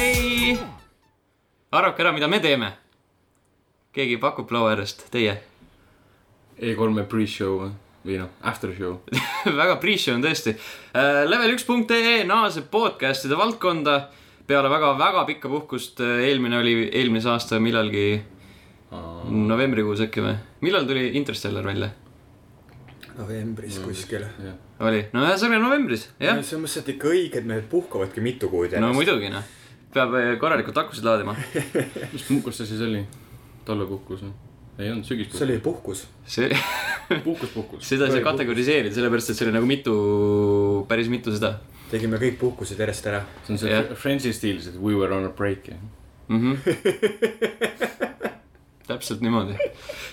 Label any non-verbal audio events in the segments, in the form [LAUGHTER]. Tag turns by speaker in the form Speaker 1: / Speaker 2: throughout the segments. Speaker 1: ei . arvake ära , mida me teeme . keegi pakub laua äärest , teie . [LAUGHS]
Speaker 2: E3-e E pre-show või- või noh , after
Speaker 1: [LAUGHS]
Speaker 2: show .
Speaker 1: väga pre-show on tõesti . Äh, level1.ee naaseb podcast'ide valdkonda peale väga-väga pikka puhkust . eelmine oli eelmise aasta millalgi novembrikuus äkki või ? millal tuli Interstellar välja ?
Speaker 3: Noh, novembris kuskil .
Speaker 1: oli , no jah , see oli novembris , Mm. jah .
Speaker 3: selles mõttes , et ikka õiged mehed puhkavadki mitu kuud
Speaker 1: no . muidugi noh , peab eh, korralikult akusid laadima .
Speaker 2: mis puhkus see siis oli ? talvepuhkus või ? ei olnud , sügispuhkus .
Speaker 3: see oli puhkus .
Speaker 1: see , [LAUGHS]
Speaker 2: puhkus , puhkus .
Speaker 1: seda ei saa
Speaker 3: Korralikult.
Speaker 1: kategoriseerida , sellepärast et see oli nagu mitu , päris mitu seda
Speaker 3: tegime kõik puhkused järjest ära .
Speaker 2: see on see
Speaker 1: Jah.
Speaker 2: yeah. Friendsi stiilis , et we were on a break .
Speaker 1: mm . -hmm. täpselt niimoodi .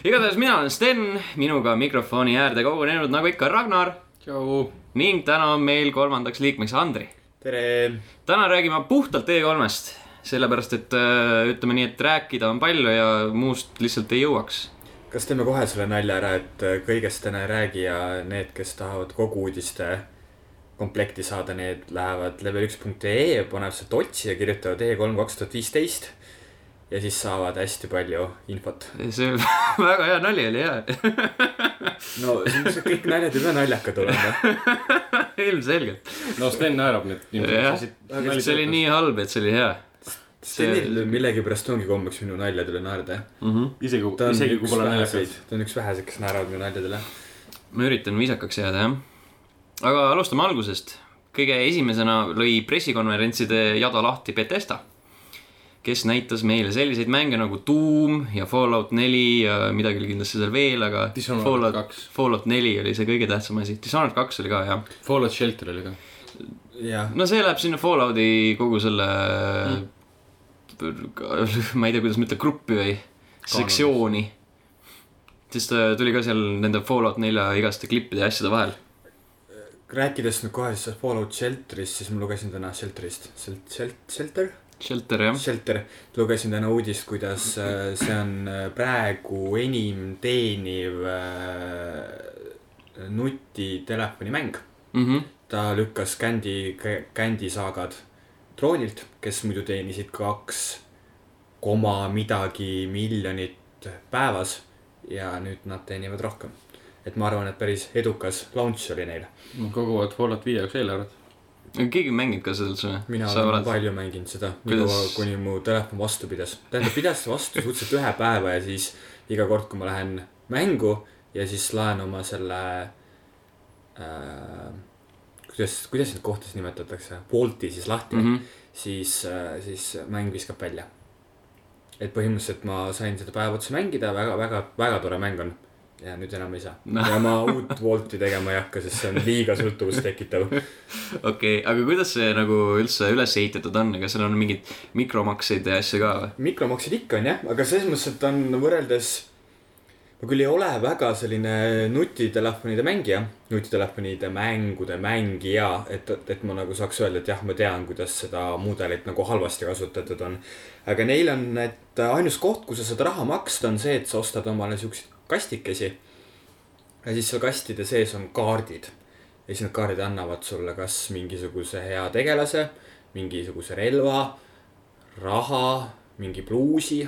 Speaker 1: igatahes mina olen Sten , minuga mikrofoni äärde kogunenud nagu ikka Ragnar
Speaker 2: tšau .
Speaker 1: ning täna on meil kolmandaks liikmeks Andri .
Speaker 3: tere .
Speaker 1: täna räägime puhtalt E3-st , sellepärast et äh, ütleme nii , et rääkida on palju ja muust lihtsalt ei jõuaks .
Speaker 3: kas teeme kohe selle nalja ära , et äh, kõigest täna ei räägi ja need , kes tahavad kogu uudiste komplekti saada , need lähevad level1.ee , panevad sealt otsi ja kirjutavad E3 kaks tuhat viisteist ja siis saavad hästi palju infot .
Speaker 1: see [LAUGHS] väga hea [LAUGHS] nali oli ja
Speaker 3: no [LAUGHS] see kõik naljad ei pea
Speaker 1: [LAUGHS]
Speaker 3: naljakad olema .
Speaker 1: ilmselgelt .
Speaker 2: no Sten naerab nüüd .
Speaker 1: Jah. see oli nii halb , et see oli hea
Speaker 3: Stenil millegipärast ongi kombeks minu naljadele naerda .
Speaker 1: mm . -hmm.
Speaker 2: isegi ,
Speaker 3: ta on
Speaker 2: isegi kui
Speaker 3: üks
Speaker 2: pole
Speaker 3: väheseid
Speaker 2: naljakad .,
Speaker 3: ta on üks väheseid , kes naeravad minu naljadele .
Speaker 1: ma üritan viisakaks jääda , jah . aga alustame algusest . kõige esimesena lõi pressikonverentside jada lahti Betesta , kes näitas meile selliseid mänge nagu Doom ja Fallout neli ja midagi oli kindlasti seal veel , aga
Speaker 2: Dishonored
Speaker 1: Fallout
Speaker 2: kaks.
Speaker 1: Fallout neli oli see kõige tähtsam asi . Dishonored kaks oli ka , jah .
Speaker 2: Fallout Shelter oli ka .
Speaker 3: jah ,
Speaker 1: no see läheb sinna Fallouti kogu selle
Speaker 2: Hmm.
Speaker 1: [LAUGHS] ma ei tea , kuidas ma ütlen , gruppi või sektsiooni . sest ta tuli ka seal nende Fallout nelja igaste klippide ja asjade vahel .
Speaker 3: rääkides nüüd kohe siis Fallout Shelterist , siis ma lugesin täna Shelterist , Shelt- , Shelt- , Shelter ?
Speaker 1: Shelter jah .
Speaker 3: Shelter , lugesin täna uudist , kuidas äh, see on äh, praegu enim teeniv äh, nutitelefonimäng .
Speaker 1: mm . -hmm.
Speaker 3: ta lükkas Candy , Candy saagad troonilt , kes muidu teenisid kaks koma midagi miljonit päevas ja nüüd nad teenivad rohkem . et ma arvan , et päris edukas launch oli neil .
Speaker 2: Nad koguvad Fallout viie jaoks eelarvet .
Speaker 1: keegi mängib ka seda üldse või ?
Speaker 3: mina
Speaker 1: sa
Speaker 3: olen
Speaker 1: oled
Speaker 3: oled... ? palju mänginud seda ,
Speaker 1: Kuidas-
Speaker 3: niikaua kuni mu telefon vastu pidas . tähendab , pidas vastu suhteliselt ühe päeva ja siis iga kord , kui ma lähen mängu ja siis laen oma selle äh, , kuidas , kuidas neid kohtasid nimetatakse , Bolti siis lahti mm ,
Speaker 1: Mhm.
Speaker 3: -hmm. siis , siis mäng viskab välja . et põhimõtteliselt ma sain seda päev otsa mängida väga, , väga-väga-väga tore mäng on ja nüüd enam ei saa
Speaker 1: No.
Speaker 3: no. . ja ma uut Wolti tegema ei hakka , sest see on liiga sõltuvust tekitav .
Speaker 1: okei , aga kuidas see nagu üldse üles ehitatud on , kas seal on mingeid mikromakseid ja asju ka või ?
Speaker 3: mikromaksed ikka on jah , aga selles mõttes , et ta on võrreldes , ma küll ei ole väga selline nutitelefonide mängija , nutitelefonide mängude mängija , et , et ma nagu saaks öelda , et jah , ma tean , kuidas seda mudelit nagu halvasti kasutatud on . aga neil on , et ainus koht , kus sa saad raha maksta , on see , et sa ostad omale siukseid kastikesi . ja siis seal kastide sees on kaardid ja siis need kaardid annavad sulle kas mingisuguse hea tegelase , mingisuguse relva raha , mingi pluusi .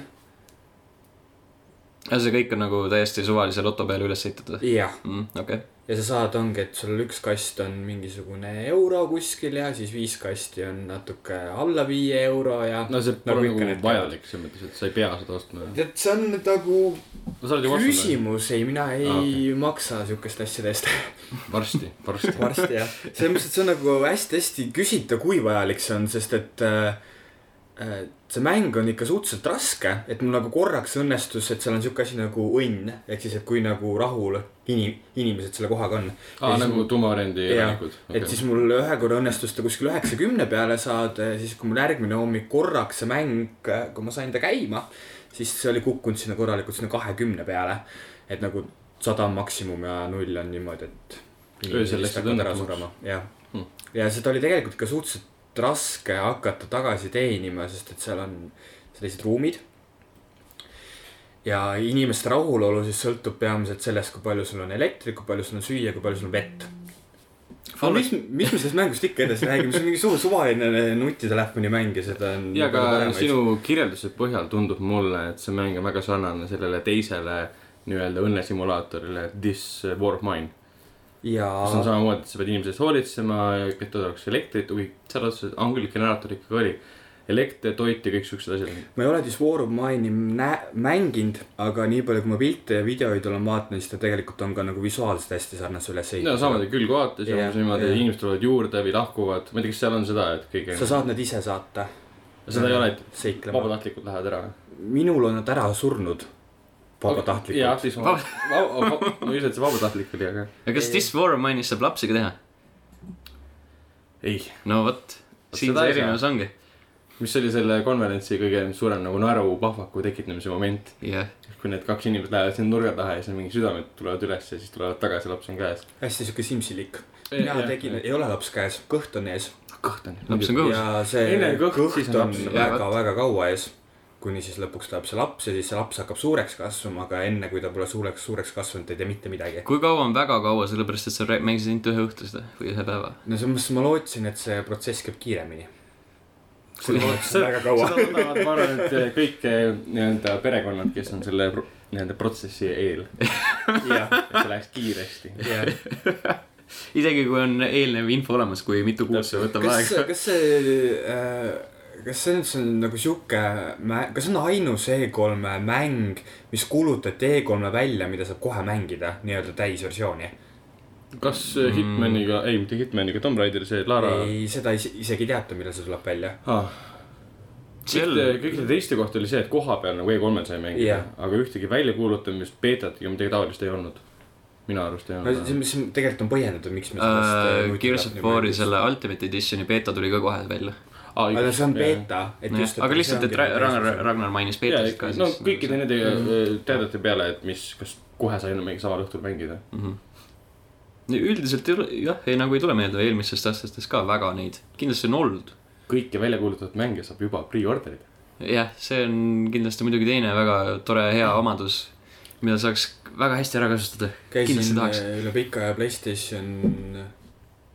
Speaker 1: see kõik on nagu täiesti suvalise loto peale üles ehitatud ?
Speaker 3: jah ,
Speaker 1: Mm, okei okay. ,
Speaker 3: ja sa saad , ongi , et sul üks kast on mingisugune euro kuskil ja siis viis kasti on natuke alla viie euro ja
Speaker 2: no see pole
Speaker 3: ikka
Speaker 2: nagu,
Speaker 3: need
Speaker 2: nagu vajalik selles mõttes , et sa ei pea seda ostma .
Speaker 3: tead , see on nagu
Speaker 2: no sa oled ju vastu .
Speaker 3: küsimus , ei , mina ei
Speaker 2: Aa,
Speaker 3: ah,
Speaker 2: okei.
Speaker 3: okay. maksa siukeste asjade eest
Speaker 2: varsti , varsti .
Speaker 3: [LAUGHS] varsti
Speaker 2: [LAUGHS]
Speaker 3: jah , selles mõttes , et see on nagu hästi-hästi küsitav , kui vajalik see on , sest et äh, äh, see mäng on ikka suhteliselt raske , et mul nagu korraks õnnestus , et seal on siuke asi nagu õnn , ehk siis , et kui nagu rahul inim- , inimesed selle kohaga on .
Speaker 2: aa , nagu tuumaarendajate
Speaker 3: jah ,
Speaker 2: elanikud .
Speaker 3: et siis mul ühe korra õnnestus ta kuskil üheksakümne peale saada ja siis , kui mul järgmine hommik korraks see mäng , kui ma sain ta käima , siis see oli kukkunud sinna korralikult sinna kahekümne peale . et nagu sada on maksimum ja null on niimoodi , et .
Speaker 2: Öösel läksid õnnetuks. .
Speaker 3: jah
Speaker 2: Hmm. ,
Speaker 3: ja seda oli tegelikult ka suhteliselt raske hakata tagasi teenima , sest et seal on sellised ruumid ja inimeste rahulolu siis sõltub peamiselt sellest , kui palju sul on elektrit , kui palju sul on süüa , kui palju sul on vett . aga mis , mis me sellest mängust ikka edasi räägime , see on mingi suur suvaline nutitelefoni mäng ja seda on .
Speaker 2: ja ka sinu kirjelduse põhjal tundub mulle , et see mäng on väga sarnane sellele teisele nii-öelda õnnesimulaatorile This War of Mine . kus on
Speaker 3: jaa ,
Speaker 2: samamoodi , et sa pead inimese eest hoolitsema , et tal oleks elektrit , oi , seal otseselt , on küll , generaator ikkagi oli . elekter , toit ja kõik siuksed asjad .
Speaker 3: ma ei ole siis War of Mine'i nä- mänginud , aga nii palju , kui ma pilte ja videoid olen vaadanud , siis ta tegelikult on ka nagu visuaalselt hästi sarnase üles
Speaker 2: no samamoodi külgvaates ja
Speaker 3: Jah,
Speaker 2: umbes niimoodi
Speaker 3: jah. ,
Speaker 2: inimesed tulevad juurde või lahkuvad , ma ei tea , kas seal on seda , et kõige .
Speaker 3: sa saad need ise saata .
Speaker 2: seda ei ole , et
Speaker 3: seiklema .
Speaker 2: vabatahtlikult lähevad ära .
Speaker 3: minul on nad ära surnud .
Speaker 2: jah ,
Speaker 3: vabatahtlikult .
Speaker 2: siis ma , [LAUGHS] ma ei usu , et see vabatahtlik oli , aga .
Speaker 1: ja kas This War of Mine'is saab lapsi ka teha ?
Speaker 2: ei ,
Speaker 1: no vot , siin see
Speaker 2: seda ei saa.
Speaker 1: erinevus ongi .
Speaker 2: mis oli selle konverentsi kõige suurem nagu naerupahvaku tekitamise moment ,
Speaker 1: jah ,
Speaker 2: kui need kaks inimest lähevad sinna nurga taha ja siis mingi südamed tulevad üles ja siis tulevad tagasi , laps on käes .
Speaker 3: hästi siuke simsilik .
Speaker 2: Ei,
Speaker 3: mina
Speaker 2: jah,
Speaker 3: tegin ,
Speaker 2: jah.
Speaker 3: ei ole laps käes , kõht on ees .
Speaker 2: kõht on .
Speaker 1: laps on kõhus .
Speaker 3: ja see
Speaker 2: Enne kõht, siis
Speaker 3: kõht
Speaker 2: on
Speaker 3: on
Speaker 2: laps.
Speaker 1: Jaa, vaat.
Speaker 3: väga-väga kaua ees . kuni siis lõpuks tuleb see laps ja siis see laps hakkab suureks kasvama , aga enne kui ta pole suureks , suureks kasvanud , ei tee mitte midagi .
Speaker 1: kui kaua on väga kaua , sellepärast et sa rää- mängisid ainult ühe õhtu seda või ühe päeva .
Speaker 3: no selles mõttes ma lootsin , et see protsess käib kiiremini .
Speaker 2: Kui- see-
Speaker 3: väga
Speaker 2: seda
Speaker 3: kaua .
Speaker 2: võtavad , ma arvan , et kõik eh, nii-öelda perekonnad , kes on selle pro- nii-öelda protsessi eel ,
Speaker 3: jah ,
Speaker 2: et see läheks kiiresti .
Speaker 3: jah .
Speaker 1: isegi kui on eelnev info olemas , kui mitu kuud see võtab
Speaker 3: kas
Speaker 1: aega .,
Speaker 3: kas see äh, , kas see üldse on nagu sihuke , kas see on ainus E3-e mäng , mis kuulutati E3-e välja , mida saab kohe mängida nii-öelda täisversiooni ?
Speaker 2: kas eh, Hitmaniga , ei mitte Hitmaniga , Tomb Raideri see Lara .
Speaker 3: ei , seda is isegi ei teata , millal see tuleb välja .
Speaker 2: Ah,
Speaker 1: seal ,
Speaker 2: kõikide eh, teiste kohta oli see , et koha peal nagu E3-l sai mängida
Speaker 3: Jah. ,
Speaker 2: aga ühtegi väljakuulutamist , beetat ega midagi taolist ei olnud . minu arust ei
Speaker 3: no see ,
Speaker 2: olnud .
Speaker 3: mis tegelikult on põhjendatud , miks me äh,
Speaker 1: Uh, Gears of War'i
Speaker 3: nutitelefoni
Speaker 1: selle Ultimate Editioni beeta tuli ka kohe välja .
Speaker 3: aga see on . beeta , et nagu just .
Speaker 1: aga lihtsalt , et Ra- Ragnar , Ragnar mainis
Speaker 2: ja
Speaker 1: beetasid , ka
Speaker 2: ikka , no kõikide nende
Speaker 1: Mm.
Speaker 2: eh, teadete peale , et mis , kas kohe sai enam mingi samal õhtul mängida .
Speaker 1: Mhm. üldiselt ei ole , jah , ei nagu ei tule meelde eelmistest aastatest ka väga neid , kindlasti on olnud .
Speaker 2: kõiki välja kuulutatud mänge saab juba pre-order'ida .
Speaker 1: jah , see on kindlasti muidugi teine väga tore hea omadus , mida saaks väga hästi ära kasutada . kindlasti
Speaker 3: käisin
Speaker 1: tahaks .
Speaker 3: äh, üle pika aja Playstation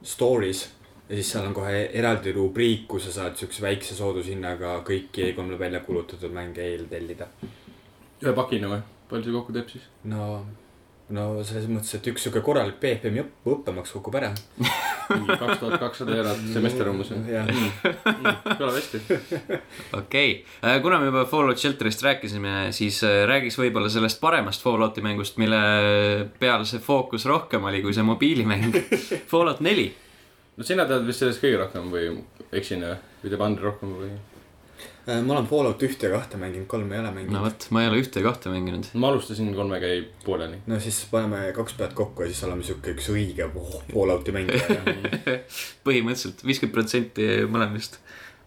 Speaker 3: Store'is ja siis seal on kohe eraldi rubriik , kus sa saad siukse väikse soodushinnaga kõiki E3-le välja kulutatud mänge eeltellida .
Speaker 2: ühe pakina või ? palju see kokku teeb siis ?
Speaker 3: no , no selles mõttes , et üks siuke korralik BFM-i õpp- õppemaks kukub ära .
Speaker 2: kaks tuhat kakssada eurot semester umbes või ?
Speaker 3: jah ,
Speaker 2: kõlab hästi .
Speaker 1: okei okay. , kuna me juba Fallout Shelterist rääkisime , siis äh, räägiks võib-olla sellest paremast Fallouti mängust , mille peal see fookus rohkem oli kui see
Speaker 3: [LAUGHS]
Speaker 1: mobiilimäng . Fallout neli ,
Speaker 2: no sina tead vist sellest kõige rohkem või eksin või ? või teeb Andri rohkem või ?
Speaker 3: Äh, ma olen Fallout ühte ja kahte mänginud , kolme ei ole
Speaker 1: no
Speaker 3: mänginud .
Speaker 1: vot , ma ei ole ühte ja kahte mänginud .
Speaker 2: ma alustasin kolmega jäi pooleli .
Speaker 3: no siis paneme kaks pead kokku ja siis oleme siuke üks õige Fallouti
Speaker 1: [LAUGHS]
Speaker 3: mängija .
Speaker 1: põhimõtteliselt viiskümmend protsenti mõlemist ,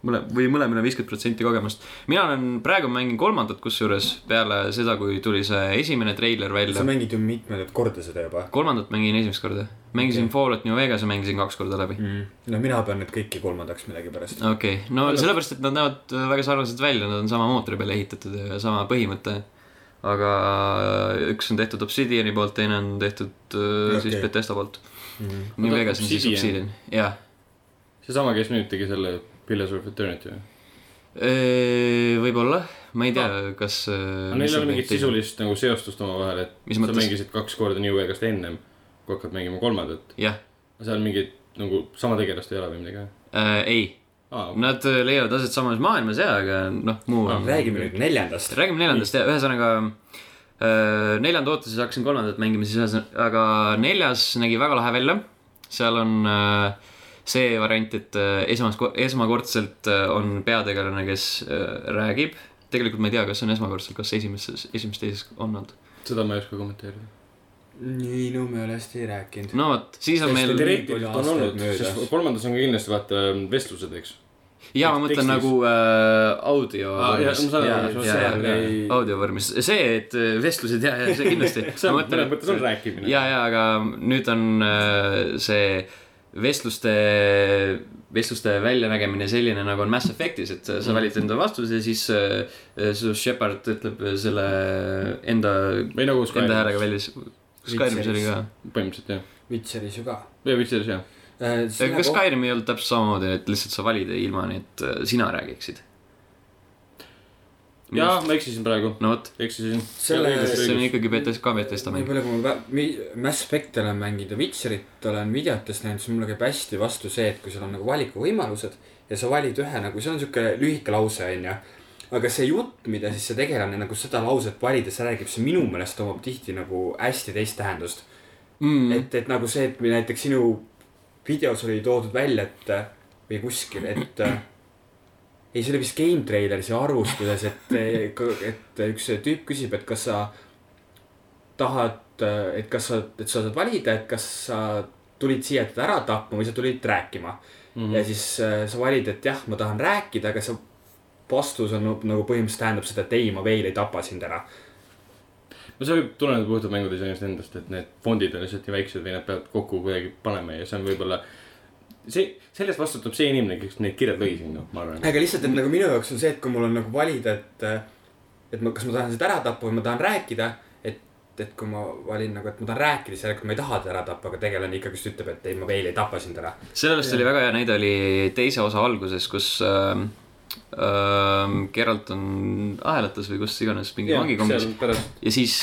Speaker 1: mõle- või mõlemale viiskümmend protsenti kogemust . mina olen , praegu mängin kolmandat , kusjuures peale seda , kui tuli see esimene treiler
Speaker 3: sa
Speaker 1: välja .
Speaker 3: mängid ju mitmendat korda seda juba
Speaker 1: kolmandat mängin esimest korda , mängisin okay. Fallout New Vegase , mängisin kaks korda läbi .
Speaker 3: mm. . no mina pean need kõiki kolmandaks millegipärast .
Speaker 1: okei okay. , Mhm. no sellepärast , et nad näevad väga sarnased välja , nad on sama mootori peale ehitatud ja sama põhimõte . aga üks on tehtud Obsidiani poolt , teine on tehtud okay. siis
Speaker 3: Okei.
Speaker 1: Bethesda poolt .
Speaker 3: mm. .
Speaker 1: New
Speaker 2: Oota,
Speaker 1: Vegas on siis
Speaker 2: Obsidian.
Speaker 1: Obsidian , jah .
Speaker 2: seesama , kes nüüd tegi selle Pillars of Eternity või ?
Speaker 1: Äh, võib-olla , ma ei tea no. , kas . äh,
Speaker 2: aga Ah. neil ei ole mingit . sisulist nagu seostust omavahel , et
Speaker 1: Mis
Speaker 2: sa
Speaker 1: mõttes?
Speaker 2: mängisid kaks korda New Vegast ennem , kui hakkad mängima kolmandat .
Speaker 1: jah ,
Speaker 2: seal mingit nagu sama tegelast ei ole või midagi või ?
Speaker 1: Äh, ei ,
Speaker 2: aa ,
Speaker 1: nad äh, leiavad aset samas maailmas ja , aga noh , muu
Speaker 2: Ah.
Speaker 1: on
Speaker 3: räägime nüüd neljandast .
Speaker 1: räägime neljandast ja ühesõnaga äh, neljanda ootuses hakkasin kolmandat mängima , siis ühesõnaga , aga neljas nägi väga lahe välja . seal on äh, see variant , et äh, esmas , esmakordselt äh, on peategelane , kes äh, räägib . tegelikult ma ei tea , kas see on esmakordselt , kas esimeses , esimeses , teises on nad .
Speaker 2: seda ma ei oska kommenteerida .
Speaker 3: nii , no me ei ole hästi rääkinud .
Speaker 1: no vot , siis on
Speaker 3: Sest
Speaker 1: meil
Speaker 3: oli-
Speaker 2: teoreetiliselt on
Speaker 3: aastaid
Speaker 2: olnud ,
Speaker 3: möödas.
Speaker 2: sest kolmandas on ka kindlasti vaata ähm, vestlused , eks .
Speaker 1: ja ma mõtlen
Speaker 2: tekstis.
Speaker 1: nagu äh, audio
Speaker 2: Aa, jaa, ma saan aru,
Speaker 1: Jaa,
Speaker 2: mis
Speaker 1: jaa,
Speaker 2: ma saan
Speaker 1: jaa,
Speaker 2: aru,
Speaker 1: jaa.
Speaker 2: ei-
Speaker 1: audio vormis , see , et äh, vestlused ja , ja see
Speaker 2: [LAUGHS]
Speaker 1: kindlasti .
Speaker 2: see on , mõnes mõttes on rääkimine .
Speaker 1: ja , ja aga nüüd on äh, see vestluste , vestluste väljanägemine selline , nagu on Mass Effectis , et sa
Speaker 2: Mm.
Speaker 1: sa valid enda vastuse , siis äh, su Shepard ütleb selle enda ,
Speaker 2: või nagu
Speaker 1: enda
Speaker 2: Skyrim ,
Speaker 1: häälega välja . Skyrimis oli ka .
Speaker 2: põhimõtteliselt jah .
Speaker 3: Witcheris ju ka .
Speaker 2: või Witcheris jah .
Speaker 1: aga kas Skyrim ei olnud täpselt samamoodi , et lihtsalt sa valid ilma , nii et äh, sina räägiksid ?
Speaker 2: jaa , ma eksisin praegu ,
Speaker 1: no vot ,
Speaker 2: eksisin .
Speaker 3: Selle-
Speaker 1: see on ikkagi BTS , ka BTS-ta
Speaker 3: nii
Speaker 1: mäng .
Speaker 3: palju , kui ma vä- mi- Mass Effect olen mänginud ja Witcherit olen videotest näinud , siis mulle käib hästi vastu see , et kui sul on nagu valikuvõimalused ja sa valid ühe nagu , see on sihuke lühike lause , onju . aga see jutt , mida siis see tegelane nagu seda lauset valides räägib , see minu meelest omab tihti nagu hästi teist tähendust mm. . et , et nagu see , et või näiteks sinu videos oli toodud välja , et äh, või kuskil , et äh, ei , see oli vist Game Traileris ja arvustuses , et , et üks tüüp küsib , et kas sa tahad , et kas sa , et sa saad valida , et kas sa tulid siia teda ära tapma või sa tulid rääkima mm . -hmm. ja siis äh, sa valid , et jah , ma tahan rääkida , aga sa vastus on nagu- nagu põhimõtteliselt tähendab seda , et ei , ma veel ei tapa sind ära .
Speaker 2: no see võib tuleneda puhtalt mängudisainist endast , et need fondid on lihtsalt nii väiksed või nad peavad kokku kuidagi panema ja see on võib-olla , see , sellest vastutab see inimene , kes need kirjad lõi sinna , ma arvan .
Speaker 3: aga lihtsalt , et nagu minu jaoks on see , et kui mul on nagu valida , et , et ma , kas ma tahan seda ära tappa või ma tahan rääkida , et , et kui ma valin nagu , et ma tahan rääkida , siis järelikult ma ei taha teda ära tappa , aga tegelane ikkagist ütleb , et ei , ma veel ei tapa sind ära .
Speaker 1: sellest oli väga hea näide oli teise osa alguses , kus äh, äh, Geralt on ahelates või kus iganes mingi vangikombis
Speaker 2: seal pärast ,
Speaker 1: ja siis ,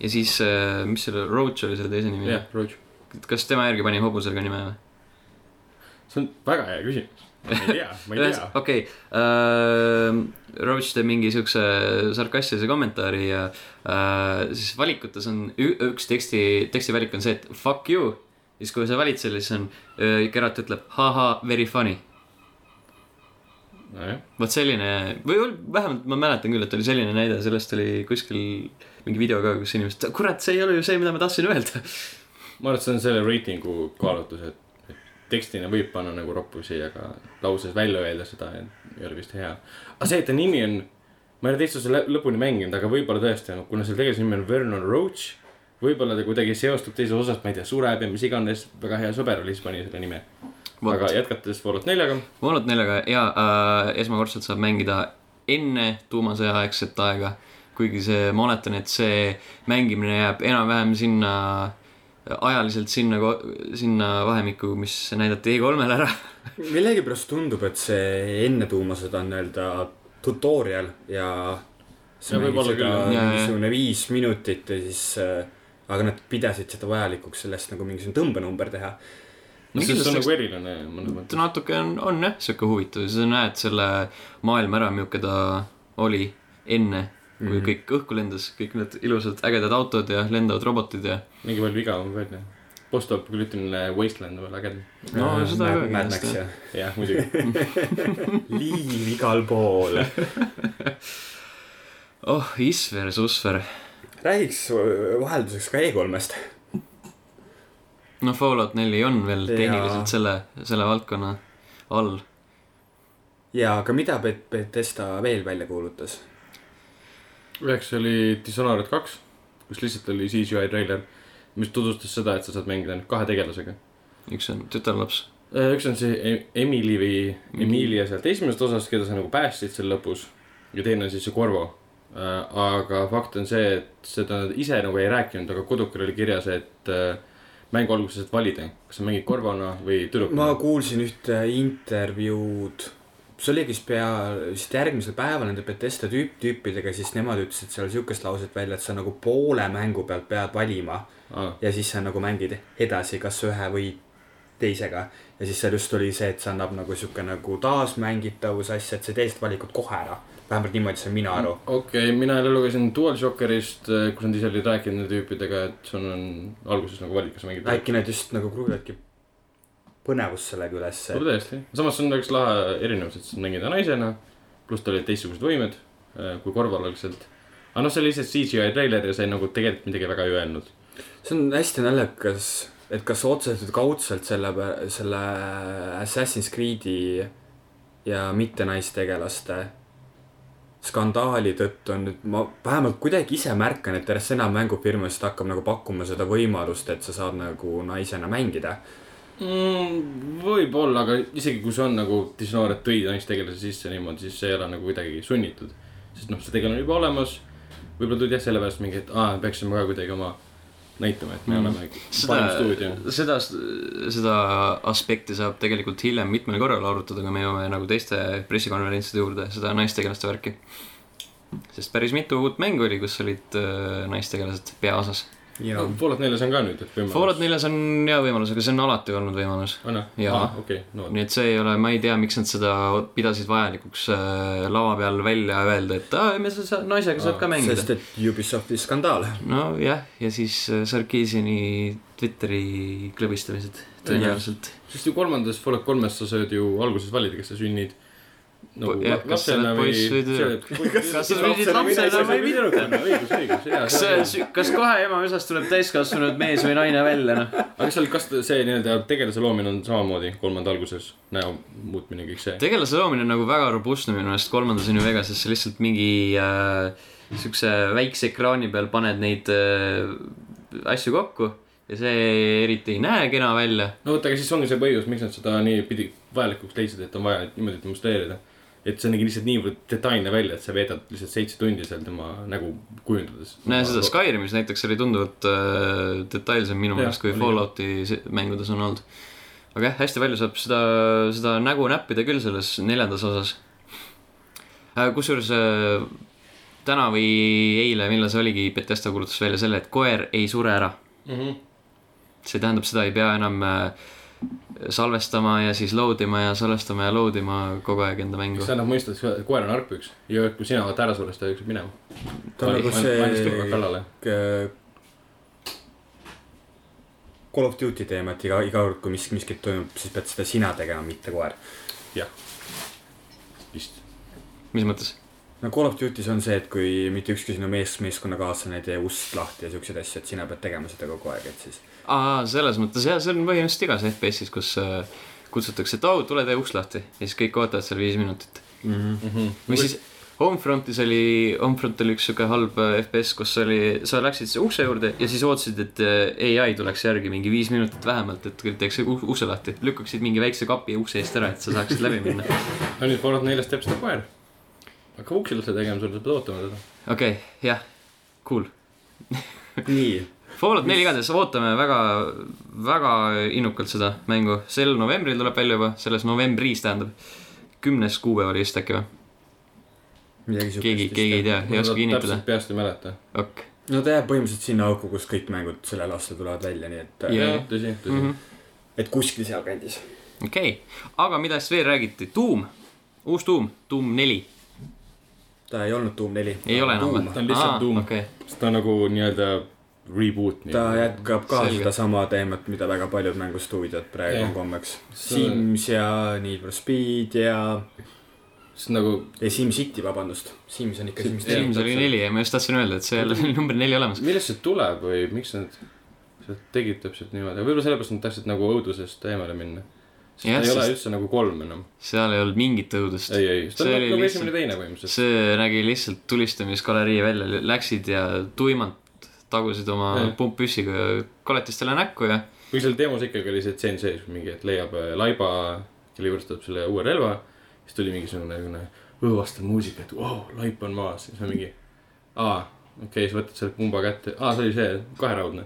Speaker 1: ja siis äh, , mis selle Roach oli selle teise nimi
Speaker 2: jah , Roach .
Speaker 1: kas tema järgi pani hobusel ka nime või ?
Speaker 2: see on väga hea küsimus . ma ei tea , ma ei tea .
Speaker 1: okei , Roach teeb mingi siukse sarkastilise kommentaari ja äh, siis valikutes on ü- üks teksti , tekstivalik on see , et fuck you . siis kui sa valid selle , siis on äh, , Geralt ütleb haha , very funny .
Speaker 2: nojah ,
Speaker 1: vot selline või ol- vähemalt ma mäletan küll , et oli selline näide , sellest oli kuskil mingi video ka , kus inimesed , kurat , see ei ole ju see , mida ma tahtsin öelda . [LAUGHS]
Speaker 2: ma arvan , et see on selle reitingu kaalutlus , et et tekstina võib panna nagu roppusi , aga lauses välja öelda seda ei ole vist hea . aga see , et ta nimi on , ma ei ole teist osa lä- lõpuni mänginud , aga võib-olla tõesti , kuna selle tegelase nimi on Vernon Roach , võib-olla ta kuidagi seostub teises osas , ma ei tea , sureb ja mis iganes , väga hea sõber oli , siis pani selle nime . aga jätkates Fallout neljaga ,
Speaker 1: Fallout neljaga ja äh, esmakordselt saab mängida enne tuumasõjaaegset aega , kuigi see , ma oletan , et see mängimine jääb enam-vähem sinna , ajaliselt sinna , sinna vahemikku , mis näidati E3-l ära . [LAUGHS]
Speaker 3: millegipärast tundub , et see enne tuumasõda on nii-öelda tutorial ja see
Speaker 2: Ja
Speaker 3: mängib
Speaker 2: võib-olla
Speaker 3: seda
Speaker 2: küll,
Speaker 1: jah.
Speaker 3: mingisugune viis minutit ja siis äh, aga nad pidasid seda vajalikuks sellest nagu mingisugune tõmbenumber teha .
Speaker 2: no see
Speaker 1: Mingis
Speaker 2: on
Speaker 1: mõttes-
Speaker 2: nagu eriline mõnes mõttes .
Speaker 1: natuke on , on jah , sihuke huvitav , sa näed selle maailma ära , milline ta oli enne , kui
Speaker 3: Mhm.
Speaker 1: mm -hmm. kõik õhku lendas , kõik need ilusad ägedad autod ja lendavad robotid ja
Speaker 2: mingi palju viga on välja . Postop küll ütleme Wasteland on veel ägedam .
Speaker 3: Äh, Mm.
Speaker 1: no seda ka kindlasti.
Speaker 3: kindlasti .
Speaker 2: jah , muidugi .
Speaker 3: liiv igal pool .
Speaker 1: oh , Isver , Susver
Speaker 3: räägiks äh, vahelduseks ka E3-st .
Speaker 1: noh , Fallout neli on veel
Speaker 3: Jaa.
Speaker 1: tehniliselt selle , selle valdkonna all .
Speaker 3: ja aga mida Bet- , Betesta veel välja kuulutas ?
Speaker 2: üheks oli Dishonored kaks , kus lihtsalt oli CGI treiler , mis tutvustas seda , et sa saad mängida ainult kahe tegelasega .
Speaker 1: üks on tütarlaps .
Speaker 2: üks on see E- Emily või Emilia sealt esimesest osast , keda sa nagu päästsid seal lõpus ja teine on siis see Corvo . aga fakt on see , et seda nad ise nagu ei rääkinud , aga kodukul oli kirjas , et äh, mängu alguses saad valida , kas sa mängid Corvona või
Speaker 3: ma
Speaker 2: tüdrukuna .
Speaker 3: kuulsin ühte intervjuud , see oli vist pea , vist järgmisel päeval nende Betesta tüüp , tüüpidega , siis nemad ütlesid seal siukest lauset välja , et sa nagu poole mängu pealt pead valima
Speaker 2: Ah,
Speaker 3: ja siis sa nagu mängid edasi kas ühe või teisega . ja siis seal just oli see , et see annab nagu siuke nagu taasmängitavuse asja , et sa teed valikud kohe ära . vähemalt niimoodi sain mina aru .
Speaker 2: okei okay, , mina jälle lugesin DualShockerist , kus nad ise olid rääkinud nende tüüpidega , et sul on alguses nagu valid , kas sa mängid .
Speaker 3: äkki nad just nagu kruvivadki põnevust sellega ülesse .
Speaker 2: võib täiesti , samas see on üks lahe erinevus , et sa mängid naisena , pluss tal olid teistsugused võimed äh, kui korval algselt . aga noh , see oli lihtsalt CGI treiler ja see nagu tegelikult midagi väga ei öelnud .
Speaker 3: see on hästi naljakas , et kas otseselt või kaudselt selle , selle Assassin's Creed'i ja mittenaistegelaste skandaali tõttu on nüüd ma vähemalt kuidagi ise märkan , et järjest enam mängufirmasid hakkab nagu pakkuma seda võimalust , et sa saad nagu naisena mängida .
Speaker 2: mm, . võib-olla , aga isegi kui see on nagu Dishonored tõi naistegelase sisse niimoodi , siis see ei ole nagu kuidagi sunnitud . sest noh , see tegelane on juba olemas . võib-olla tulid jah sellepärast mingi , et aa , peaksime ka kuidagi oma näitama , et me
Speaker 1: Mm.
Speaker 2: oleme
Speaker 1: seda
Speaker 2: parim stuudio .,
Speaker 1: seda , seda aspekti saab tegelikult hiljem mitmel korral arutada , kui me jõuame nagu teiste pressikonverentside juurde , seda naistegelaste värki . sest päris mitu uut mängu oli , kus olid äh, naistegelased peaosas .
Speaker 3: ja
Speaker 2: Fallout neljas on ka nüüd , et võimalus .
Speaker 1: Fallout . neljas on hea võimalus , aga see on alati olnud võimalus .
Speaker 2: on
Speaker 1: Jaa.
Speaker 2: jah ? noh. okei , no vot .
Speaker 1: nii et see ei ole , ma ei tea , miks nad seda pidasid vajalikuks äh, lava peal välja öelda , et aa , me sa, sa, naisega saad ka mängida .
Speaker 3: sest , et Ubisofti skandaal .
Speaker 1: nojah , ja siis äh, Sarkisini Twitteri klõbistamised tõenäoliselt .
Speaker 2: sest ju kolmandas Fallout kolmes sa saad ju alguses valida , kas sa sünnid nagu
Speaker 1: Jah, kas sa
Speaker 2: lapsena
Speaker 1: oled
Speaker 2: või .
Speaker 1: poiss või tüdruk? Kas sa
Speaker 2: õigus ,
Speaker 1: sünnid lapsena või tüdrukuna ?
Speaker 2: õigus , jaa .
Speaker 1: kas , kas kohe ema üsast tuleb täiskasvanud mees või naine välja , noh ?
Speaker 2: aga seal , kas ta- see nii-öelda tegelase loomine on samamoodi kolmanda alguses näo muutmine , kõik see ?
Speaker 1: tegelase loomine on nagu väga robustne minu meelest kolmandas New Vegases , sa lihtsalt mingi äh, siukse väikse ekraani peal paned neid äh, asju kokku ja see eriti ei näe kena välja .
Speaker 2: no vot , aga siis ongi see põhjus , miks nad seda nii pidi vajalikuks leidsid , et on vaja niimoodi demonstreerida . et see nägi lihtsalt niivõrd detailne välja , et sa veedad lihtsalt seitse tundi seal tema nägu kujundades .
Speaker 1: näe seda . Skyrimis näiteks oli tunduvalt äh, detailsem minu
Speaker 2: Jah,
Speaker 1: meelest kui
Speaker 2: oli.
Speaker 1: Fallouti se- mängudes on olnud . aga jah , hästi palju saab seda , seda nägu näppida küll selles neljandas osas . kusjuures äh, täna või eile , millal see oligi , Betesta kuulutas välja selle , et koer ei sure ära .
Speaker 2: Mhm.
Speaker 1: see tähendab , seda ei pea enam äh, salvestama ja siis load ima ja salvestama ja load ima kogu aeg enda mängu .
Speaker 2: sa annad mõista , et koer on argpüks ja kui sina oled ära surnud , ta jookseb minema .
Speaker 3: ta on nagu see
Speaker 2: kallale .
Speaker 3: äh, Call of Duty teema , et iga , iga kord , kui mis , miskit toimub , siis pead seda sina tegema , mitte koer .
Speaker 2: vist .
Speaker 1: mis mõttes ?
Speaker 3: no Call of Duty's on see , et kui mitte ükski sinu mees , meeskonnakaaslane ei tee ust lahti ja siukseid asju , et sina pead tegema seda kogu aeg , et siis . [LAUGHS]
Speaker 1: aa , selles mõttes jah , see on põhimõtteliselt igas FPS-is , kus äh, kutsutakse , et au , tule tee uks lahti ja siis kõik ootavad seal viis minutit . Mhm. või siis Homefrontis oli , Homefront oli üks siuke halb äh, FPS , kus oli , sa läksid siis ukse juurde ja siis ootasid , et äh, ai tuleks järgi mingi viis minutit vähemalt , et küll teeks u- ukse lahti , lükkaksid mingi väikse kapi ukse eest ära , et sa saaksid läbi minna .
Speaker 2: no nüüd Fallout neljas teeb seda koer . hakkab uksi üldse tegema , sul peab ootama teda .
Speaker 1: okei okay, , jah , cool .
Speaker 3: nii ,
Speaker 1: Fallout neli igatahes ootame väga , väga innukalt seda mängu , sel novembril tuleb välja juba , selles novembris tähendab . kümnes kuupäev oli vist äkki või ?
Speaker 3: midagi siukest .
Speaker 1: keegi , keegi ei tea , ei oska kinnitada .
Speaker 2: peast ei mäleta .
Speaker 1: okei ,
Speaker 3: no ta jääb põhimõtteliselt sinna auku , kus kõik mängud sellel aastal tulevad välja , nii et äh,
Speaker 1: Jah.
Speaker 2: jah , tõsi , tõsi .
Speaker 1: Mhm.
Speaker 3: et kuskil sealkandis .
Speaker 1: okei , aga mida siis veel räägiti , Doom , uus Doom , Doom neli ,
Speaker 3: ta ei olnud Doom neli .
Speaker 1: ei ole enam
Speaker 2: Ta on lihtsalt Doom.
Speaker 1: okei ,
Speaker 2: sest ta on nagu nii-öelda reboot nii
Speaker 3: ta jätkab ka
Speaker 1: Selge.
Speaker 3: sedasama teemat , mida väga paljud mängustuudiod praegu
Speaker 2: Jah.
Speaker 3: on kombeks .
Speaker 2: See-
Speaker 3: Sims ja Need for Speed ja ,
Speaker 2: sest nagu
Speaker 3: ei SimCity , vabandust . Sims on ikka Sims
Speaker 1: Sims
Speaker 3: neli .
Speaker 1: oli neli ja ma just tahtsin öelda , et see jälle oli number neli olemas .
Speaker 2: millest see tuleb või miks nad seda tegid täpselt niimoodi , aga võib-olla sellepärast nad tahtsid nagu õudusest eemale minna . sest
Speaker 1: Jah,
Speaker 2: ta ei ole
Speaker 1: sest-
Speaker 2: üldse nagu kolm enam .
Speaker 1: seal ei olnud mingit õudust .
Speaker 2: ei , ei , see
Speaker 1: See
Speaker 2: on
Speaker 1: oli
Speaker 2: nagu
Speaker 1: lihtsalt-
Speaker 2: esimene ja teine põhimõtteliselt .
Speaker 1: see nägi lihtsalt tulistamisgalerii välja , läksid ja tuimalt tagusid oma
Speaker 2: Jah.
Speaker 1: pumppüssiga koletistele näkku ja
Speaker 2: kuigi seal demos ikkagi oli see tseen sees mingi , et leiab äh, laiba , kelle juures tuleb selle uue relva , siis tuli mingisugune niisugune õõvastav muusika , et vau , laip on maas , siis on mingi aa , okei okay, , sa võtad selle pumba kätte , aa , see oli see kaheraudne .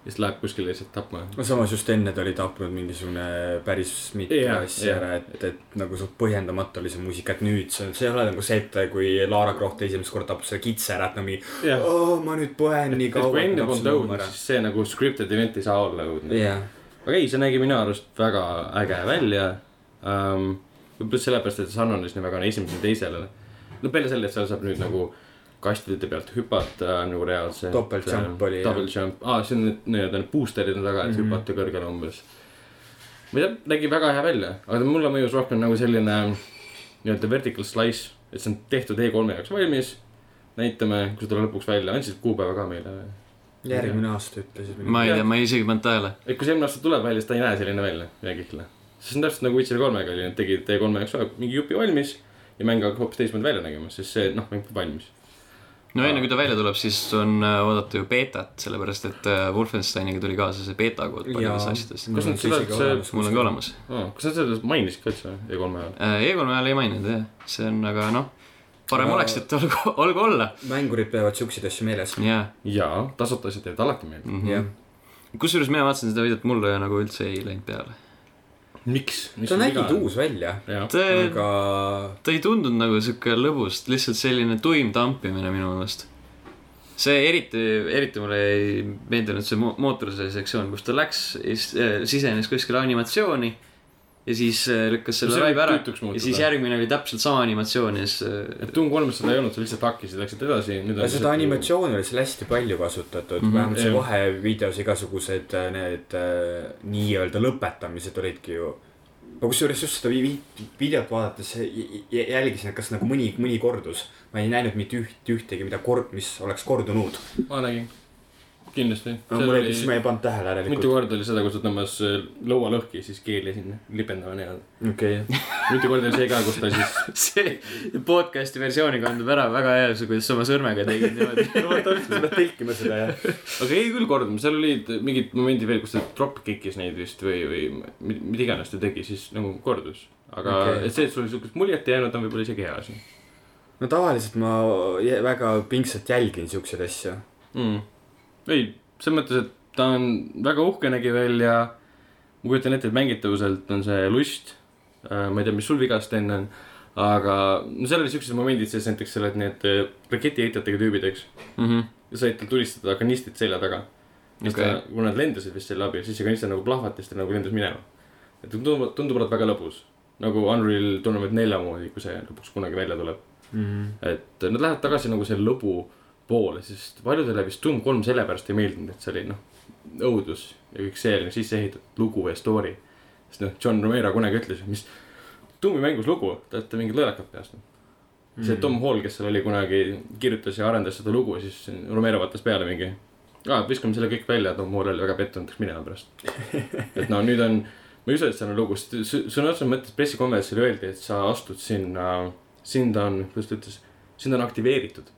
Speaker 2: ja siis läheb kuskile lihtsalt tapma .
Speaker 3: no samas just enne ta oli tapnud mingisugune päris mitu
Speaker 2: Jah,
Speaker 3: yeah, asja
Speaker 2: jah.
Speaker 3: ära yeah. , et , et nagu suht põhjendamatu oli see muusika , et nüüd see , see ei ole nagu see , et kui Lara Croft esimest korda tapab selle kitse ära , et no nii ,
Speaker 2: jah ,
Speaker 3: oo , ma nüüd põen nii
Speaker 2: et
Speaker 3: kaua .
Speaker 2: kui enne polnud õudne , siis see nagu scripted event ei saa olla õudne .
Speaker 3: jah ,
Speaker 2: aga ei , see nägi minu arust väga äge välja um, . võib-olla sellepärast , et see sarnanes nii väga on esimesele ja teisele . no peale selle , et seal saab nüüd nagu kastide pealt hüpata nagu reaalselt .
Speaker 3: Topeltjump oli, jah. Mhm.
Speaker 2: topeltjump , aa , see on need nii-öelda need booster'id on taga , et mm -hmm. hüpata kõrgele umbes . ma ei tea , nägi väga hea välja , aga mulle mõjus rohkem nagu selline nii-öelda vertical slice , et see on tehtud E3-e jaoks valmis . näitame , kui see tuleb lõpuks välja , andsid kuupäeva ka meile või ?
Speaker 3: järgmine aasta ütlesid .
Speaker 1: ma ei tea , ma ei isegi pannud tähele .
Speaker 2: et kui see eelmine aasta tuleb välja , siis ta ei näe selline välja , ühe kihla . see on täpselt nagu Witcher kolmega oli , nad tegid E3-e jaoks vahe- mingi jupi valmis ja mäng hakkab hoopis teistmoodi välja nägema , sest see noh , mäng pole valmis .
Speaker 1: no enne kui ta välja tuleb , siis on äh, oodata ju beetat , sellepärast et äh, Wolfensteiniga tuli kaasa see beeta kood paljudes
Speaker 3: Jaa.
Speaker 1: asjadest .
Speaker 2: kas nad seda üldse ,
Speaker 1: mul on ka olemas . Äh,
Speaker 2: kas nad seda mainisid ka üldse E3-e ajal ?
Speaker 1: Egon ajal ei maininud jah , see on aga noh , parem
Speaker 3: Aga-
Speaker 1: oleks , et olgu , [LAUGHS] olgu olla .
Speaker 3: mängurid peavad siukseid asju meeles .
Speaker 1: jaa ,
Speaker 2: jaa , tasuta asjad jäävad alati meelde .
Speaker 3: jah ,
Speaker 1: kusjuures mina vaatasin seda videot , mulle nagu üldse ei läinud peale .
Speaker 2: miks ?
Speaker 3: sa nägid . uus välja ,
Speaker 2: jah ,
Speaker 1: ta ,
Speaker 3: aga
Speaker 1: ta ei tundunud nagu sihuke lõbus , lihtsalt selline tuim tampimine minu meelest . see eriti , eriti mulle ei meeldinud see mo- mootorsõja sektsioon , kus ta läks , sisenes kuskile animatsiooni ja siis eh, lükkas selle
Speaker 2: See võib
Speaker 1: raive ära
Speaker 2: tüütuks
Speaker 1: ja
Speaker 2: muutuda.
Speaker 1: siis järgmine oli täpselt sama animatsioon ja siis äh,
Speaker 2: et Doom kolmes seda ei olnud , sa lihtsalt hakkisid , läksid edasi , nüüd on . nagu-
Speaker 3: seda . animatsiooni oli seal hästi palju kasutatud mm ,
Speaker 1: Mhm.
Speaker 3: -hmm. vähemalt see
Speaker 2: Jah.
Speaker 3: vahevideos igasugused äh, need äh, nii-öelda lõpetamised olidki ju . no kusjuures just seda vi- vi- videot vaadates j- j- jälgisin , et kas nagu mõni , mõni kordus . ma ei näinud mitte üht , ühtegi , mida kord , mis oleks kordunud .
Speaker 2: ma nägin , kindlasti .
Speaker 3: no mul oli , siis ma ei pannud tähele
Speaker 2: mitu
Speaker 3: järelikult .
Speaker 2: korda oli seda , kui sa tõmbas äh, laua lõhki ja siis keeli sinna lipendama nii-öelda .
Speaker 3: okei , [LAUGHS]
Speaker 2: mitu korda oli see ka , kus ta siis .
Speaker 1: [LAUGHS] see podcast'i versiooni kandub ära väga hea , kuidas sa oma sõrmega tegid niimoodi .
Speaker 3: sa pead tõlkima seda jah .
Speaker 2: aga ei küll kordama , seal olid mingid momendid veel , kus ta drop kick'is neid vist või , või mi- mida iganes ta tegi , siis nagu kordus . aga
Speaker 3: Okei.
Speaker 2: okay. et see , et sul siukest muljet ei jäänud , on võib-olla isegi hea asi
Speaker 3: no tavaliselt ma jä- väga pingsalt jälgin siukseid asju .
Speaker 2: mm. . ei , selles mõttes , et ta on väga uhke nägi välja . ma kujutan ette , et mängitavuselt on see lust . ma ei tea , mis sul viga Sten on , aga no seal oli siuksed momendid sees näiteks seal , et need äh, raketiheitjatega tüübid , eks . said tal tulistada kanistrit selja taga . siis okay.
Speaker 1: Okei.
Speaker 2: ta , kui nad lendasid vist selle abi , siis see kanister nagu plahvatas , ta nagu lendas minema . et tundub , tundub olevat väga lõbus . nagu Unreal Tournament nelja moodi , kui see lõpuks kunagi välja tuleb .
Speaker 3: Mhm.
Speaker 2: et nad lähevad tagasi nagu selle lõbu poole , sest paljudele vist Doom kolm sellepärast ei meeldinud , et see oli noh , õudus ja kõik see oli nagu sisse ehitatud lugu ja story . sest noh , John Romero kunagi ütles , mis Doomi mängus lugu , te olete mingid lollakad peast . see
Speaker 3: Mm.
Speaker 2: Tom Hall , kes seal oli kunagi , kirjutas ja arendas seda lugu , siis Romero vaatas peale mingi . aa , viskame selle kõik välja , Tom Hall oli väga pettunud , läks minema pärast .
Speaker 3: [LAUGHS]
Speaker 2: et no nüüd on , ma ei usu , et seal on lugu , sest sõ- sõna otseses mõttes pressikonverentsil öeldi , et sa astud sinna , sind on , kuidas ta ütles , sind on aktiveeritud .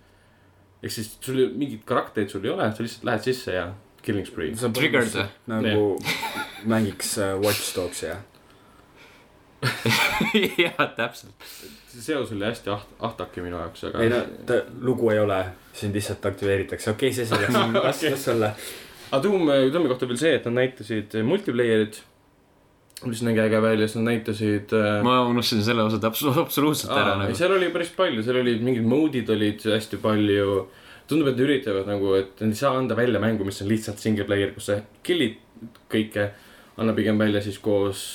Speaker 2: ehk siis sul ju- mingeid karaktereid sul ei ole , sa lihtsalt lähed sisse ja killing spree .
Speaker 3: sa
Speaker 1: Triggered või ?
Speaker 3: nagu [LAUGHS] mängiks äh, Watch Dogsi jah .
Speaker 1: [LAUGHS] jah , täpselt .
Speaker 2: see seos oli hästi aht- , ahtake minu jaoks , aga
Speaker 3: ei no , ta lugu ei ole , sind lihtsalt aktiveeritakse , okei okay, , see
Speaker 2: [LAUGHS]
Speaker 3: selleks , las , las olla .
Speaker 2: aga Doom , Doomi kohta veel see , et nad näitasid äh, multiplayer'it , mis nägi äge välja , siis nad näitasid äh,
Speaker 1: ma unustasin selle osa täpselt , absoluutselt ära
Speaker 2: aa, ei,
Speaker 1: nagu .
Speaker 2: seal oli päris palju , seal olid mingid mode'id olid hästi palju . tundub , et nad üritavad nagu , et nad ei saa anda välja mängu , mis on lihtsalt single player , kus sa kill'id kõike . anna pigem välja siis koos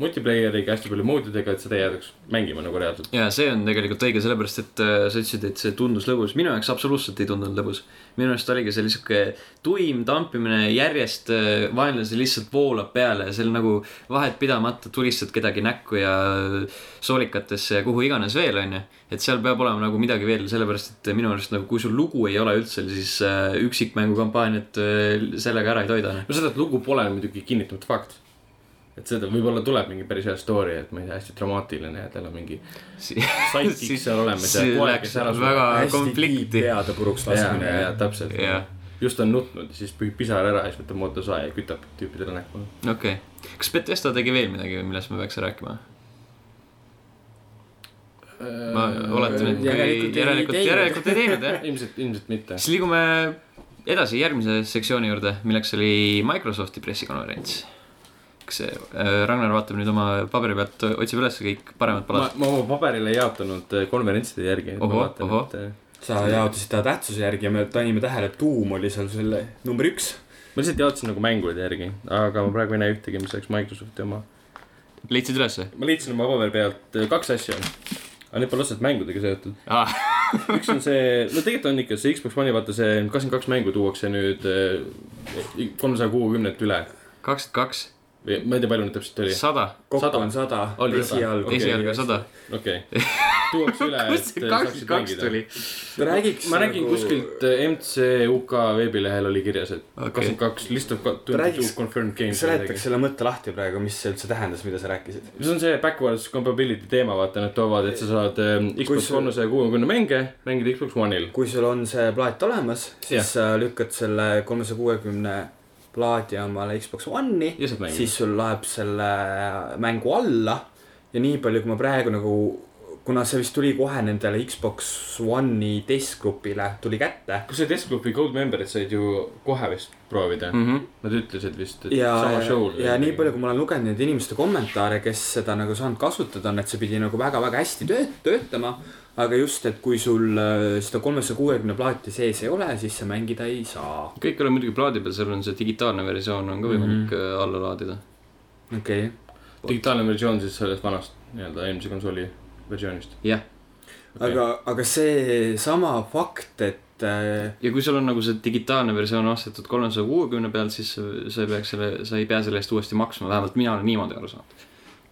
Speaker 2: multiplayer'iga hästi palju mode idega , et seda ei jäädaks mängima nagu reaalselt .
Speaker 1: ja see on tegelikult õige , sellepärast et äh, sa ütlesid , et see tundus lõbus , minu jaoks absoluutselt ei tundunud lõbus . minu arust oligi see sihuke tuim tampimine , järjest äh, vaenlase lihtsalt voolab peale , seal nagu vahet pidamata tulistad kedagi näkku ja äh, soolikatesse ja kuhu iganes veel , onju . et seal peab olema nagu midagi veel , sellepärast et minu arust nagu kui sul lugu ei ole üldse , siis äh, üksikmängukampaaniat äh, sellega ära ei toida .
Speaker 2: [LAUGHS] no seda , et lugu pole muidugi kinnitatud fakt et seda võib-olla tuleb mingi päris hea story , et ma ei tea , hästi dramaatiline ja tal on mingi sidekick
Speaker 1: Siis-
Speaker 2: seal olemas ja
Speaker 1: see
Speaker 2: koer ,
Speaker 1: läks
Speaker 2: kes ära sureb .
Speaker 1: väga
Speaker 3: hästi
Speaker 1: konflikti .
Speaker 3: peade puruks
Speaker 2: ja ,
Speaker 3: laskmine
Speaker 2: ja
Speaker 3: jah .
Speaker 2: täpselt
Speaker 1: Jah. .
Speaker 2: just on nutnud , siis pühib pisar ära ja siis võtab mootorsae ja kütab tüüpidele näkku .
Speaker 1: okei okay. , kas Betesta tegi veel midagi , millest me peaks rääkima ? ma oletan , et
Speaker 3: Äh, järelikult
Speaker 1: kui
Speaker 3: ei
Speaker 1: järelikult ,
Speaker 3: teinud.
Speaker 1: järelikult ei teinud jah .
Speaker 2: ilmselt , ilmselt mitte .
Speaker 1: siis liigume edasi järgmise sektsiooni juurde , milleks oli Microsofti pressikonverents . kas see , Ragnar vaatab nüüd oma paberi pealt , otsib üles kõik paremad
Speaker 2: ma
Speaker 1: palad ,.
Speaker 2: ma oma paberile ei jaotanud eh, konverentside järgi .
Speaker 1: Ohoh, ohoh.
Speaker 2: ma
Speaker 3: sa jaotasid ta tähtsuse järgi ja me panime tähele , et tuum oli seal selle number üks .
Speaker 2: lihtsalt jaotasin nagu mängude järgi , aga ma praegu ei näe ühtegi , mis oleks Microsofti oma .
Speaker 1: leidsid ülesse ?
Speaker 2: ma leidsin oma paberi pealt eh, kaks asja . aga need pole otseselt mängudega seotud . üks on see , no tegelikult on ikka see Xbox One'i vaata see kakskümmend kaks mängu tuuakse nüüd kolmesaja kuuekümnelt üle .
Speaker 1: kakskümmend kaks ,
Speaker 2: või ma ei tea , palju neid täpselt oli .
Speaker 1: sada ,
Speaker 3: kokku
Speaker 2: Sada.
Speaker 3: on sada
Speaker 2: Oli , sada.
Speaker 3: esialgu .
Speaker 2: Okei,
Speaker 1: esialgu sada .
Speaker 2: okei okay. , tuuakse üle .
Speaker 3: Äh,
Speaker 1: kust see kakskümmend kaks tuli ?
Speaker 3: räägiks .
Speaker 2: ma nägin nagu... . kuskilt eh, MCUK veebilehel oli kirjas , et
Speaker 1: Okei.
Speaker 2: kakskümmend kaks list of
Speaker 3: Ta räägiks-
Speaker 2: two confirmed games .
Speaker 3: seletaks
Speaker 2: see
Speaker 3: selle mõtte lahti praegu , mis see üldse tähendas , mida sa rääkisid .
Speaker 2: on see backwards compatibility teema , vaata nad toovad , et sa saad eh,
Speaker 3: Kui
Speaker 2: Xbox
Speaker 3: sa-
Speaker 2: kolmesaja kuuekümne mänge mängida Xbox One'il .
Speaker 3: kui sul on see plaat olemas , siis
Speaker 2: Jah.
Speaker 3: sa lükkad selle kolmesaja kuuekümne plaadi omale Xbox One'i
Speaker 2: ja saad mängida .
Speaker 3: siis sul läheb selle mängu alla ja nii palju , kui ma praegu nagu kuna see vist tuli kohe nendele Xbox One'i testgrupile tuli kätte .
Speaker 2: kas see testgrupi gold memberid said ju kohe vist proovida mm ?
Speaker 1: Mhm.
Speaker 2: Nad ütlesid vist , et
Speaker 3: ja
Speaker 2: sama , show'l .
Speaker 3: ja nii palju , kui ma olen lugenud neid inimeste kommentaare , kes seda nagu saanud kasutada on , et see pidi nagu väga-väga hästi tööt- , töötama . aga just , et kui sul äh, seda kolmesaja kuuekümne plaati sees ei ole , siis sa mängida ei saa .
Speaker 1: kõik ei ole muidugi plaadi peal , seal on see digitaalne versioon on ka võimalik mm -hmm. alla laadida .
Speaker 3: okei okay. ,
Speaker 2: digitaalne versioon siis sellest vanast nii-öelda eelmise konsooli versioonist .
Speaker 1: jah ,
Speaker 3: aga , aga seesama fakt , et äh,
Speaker 1: ja kui sul on nagu see digitaalne versioon ostetud kolmesaja kuuekümne pealt , siis sa ei peaks selle , sa ei pea selle eest uuesti maksma , vähemalt mina olen niimoodi aru saanud .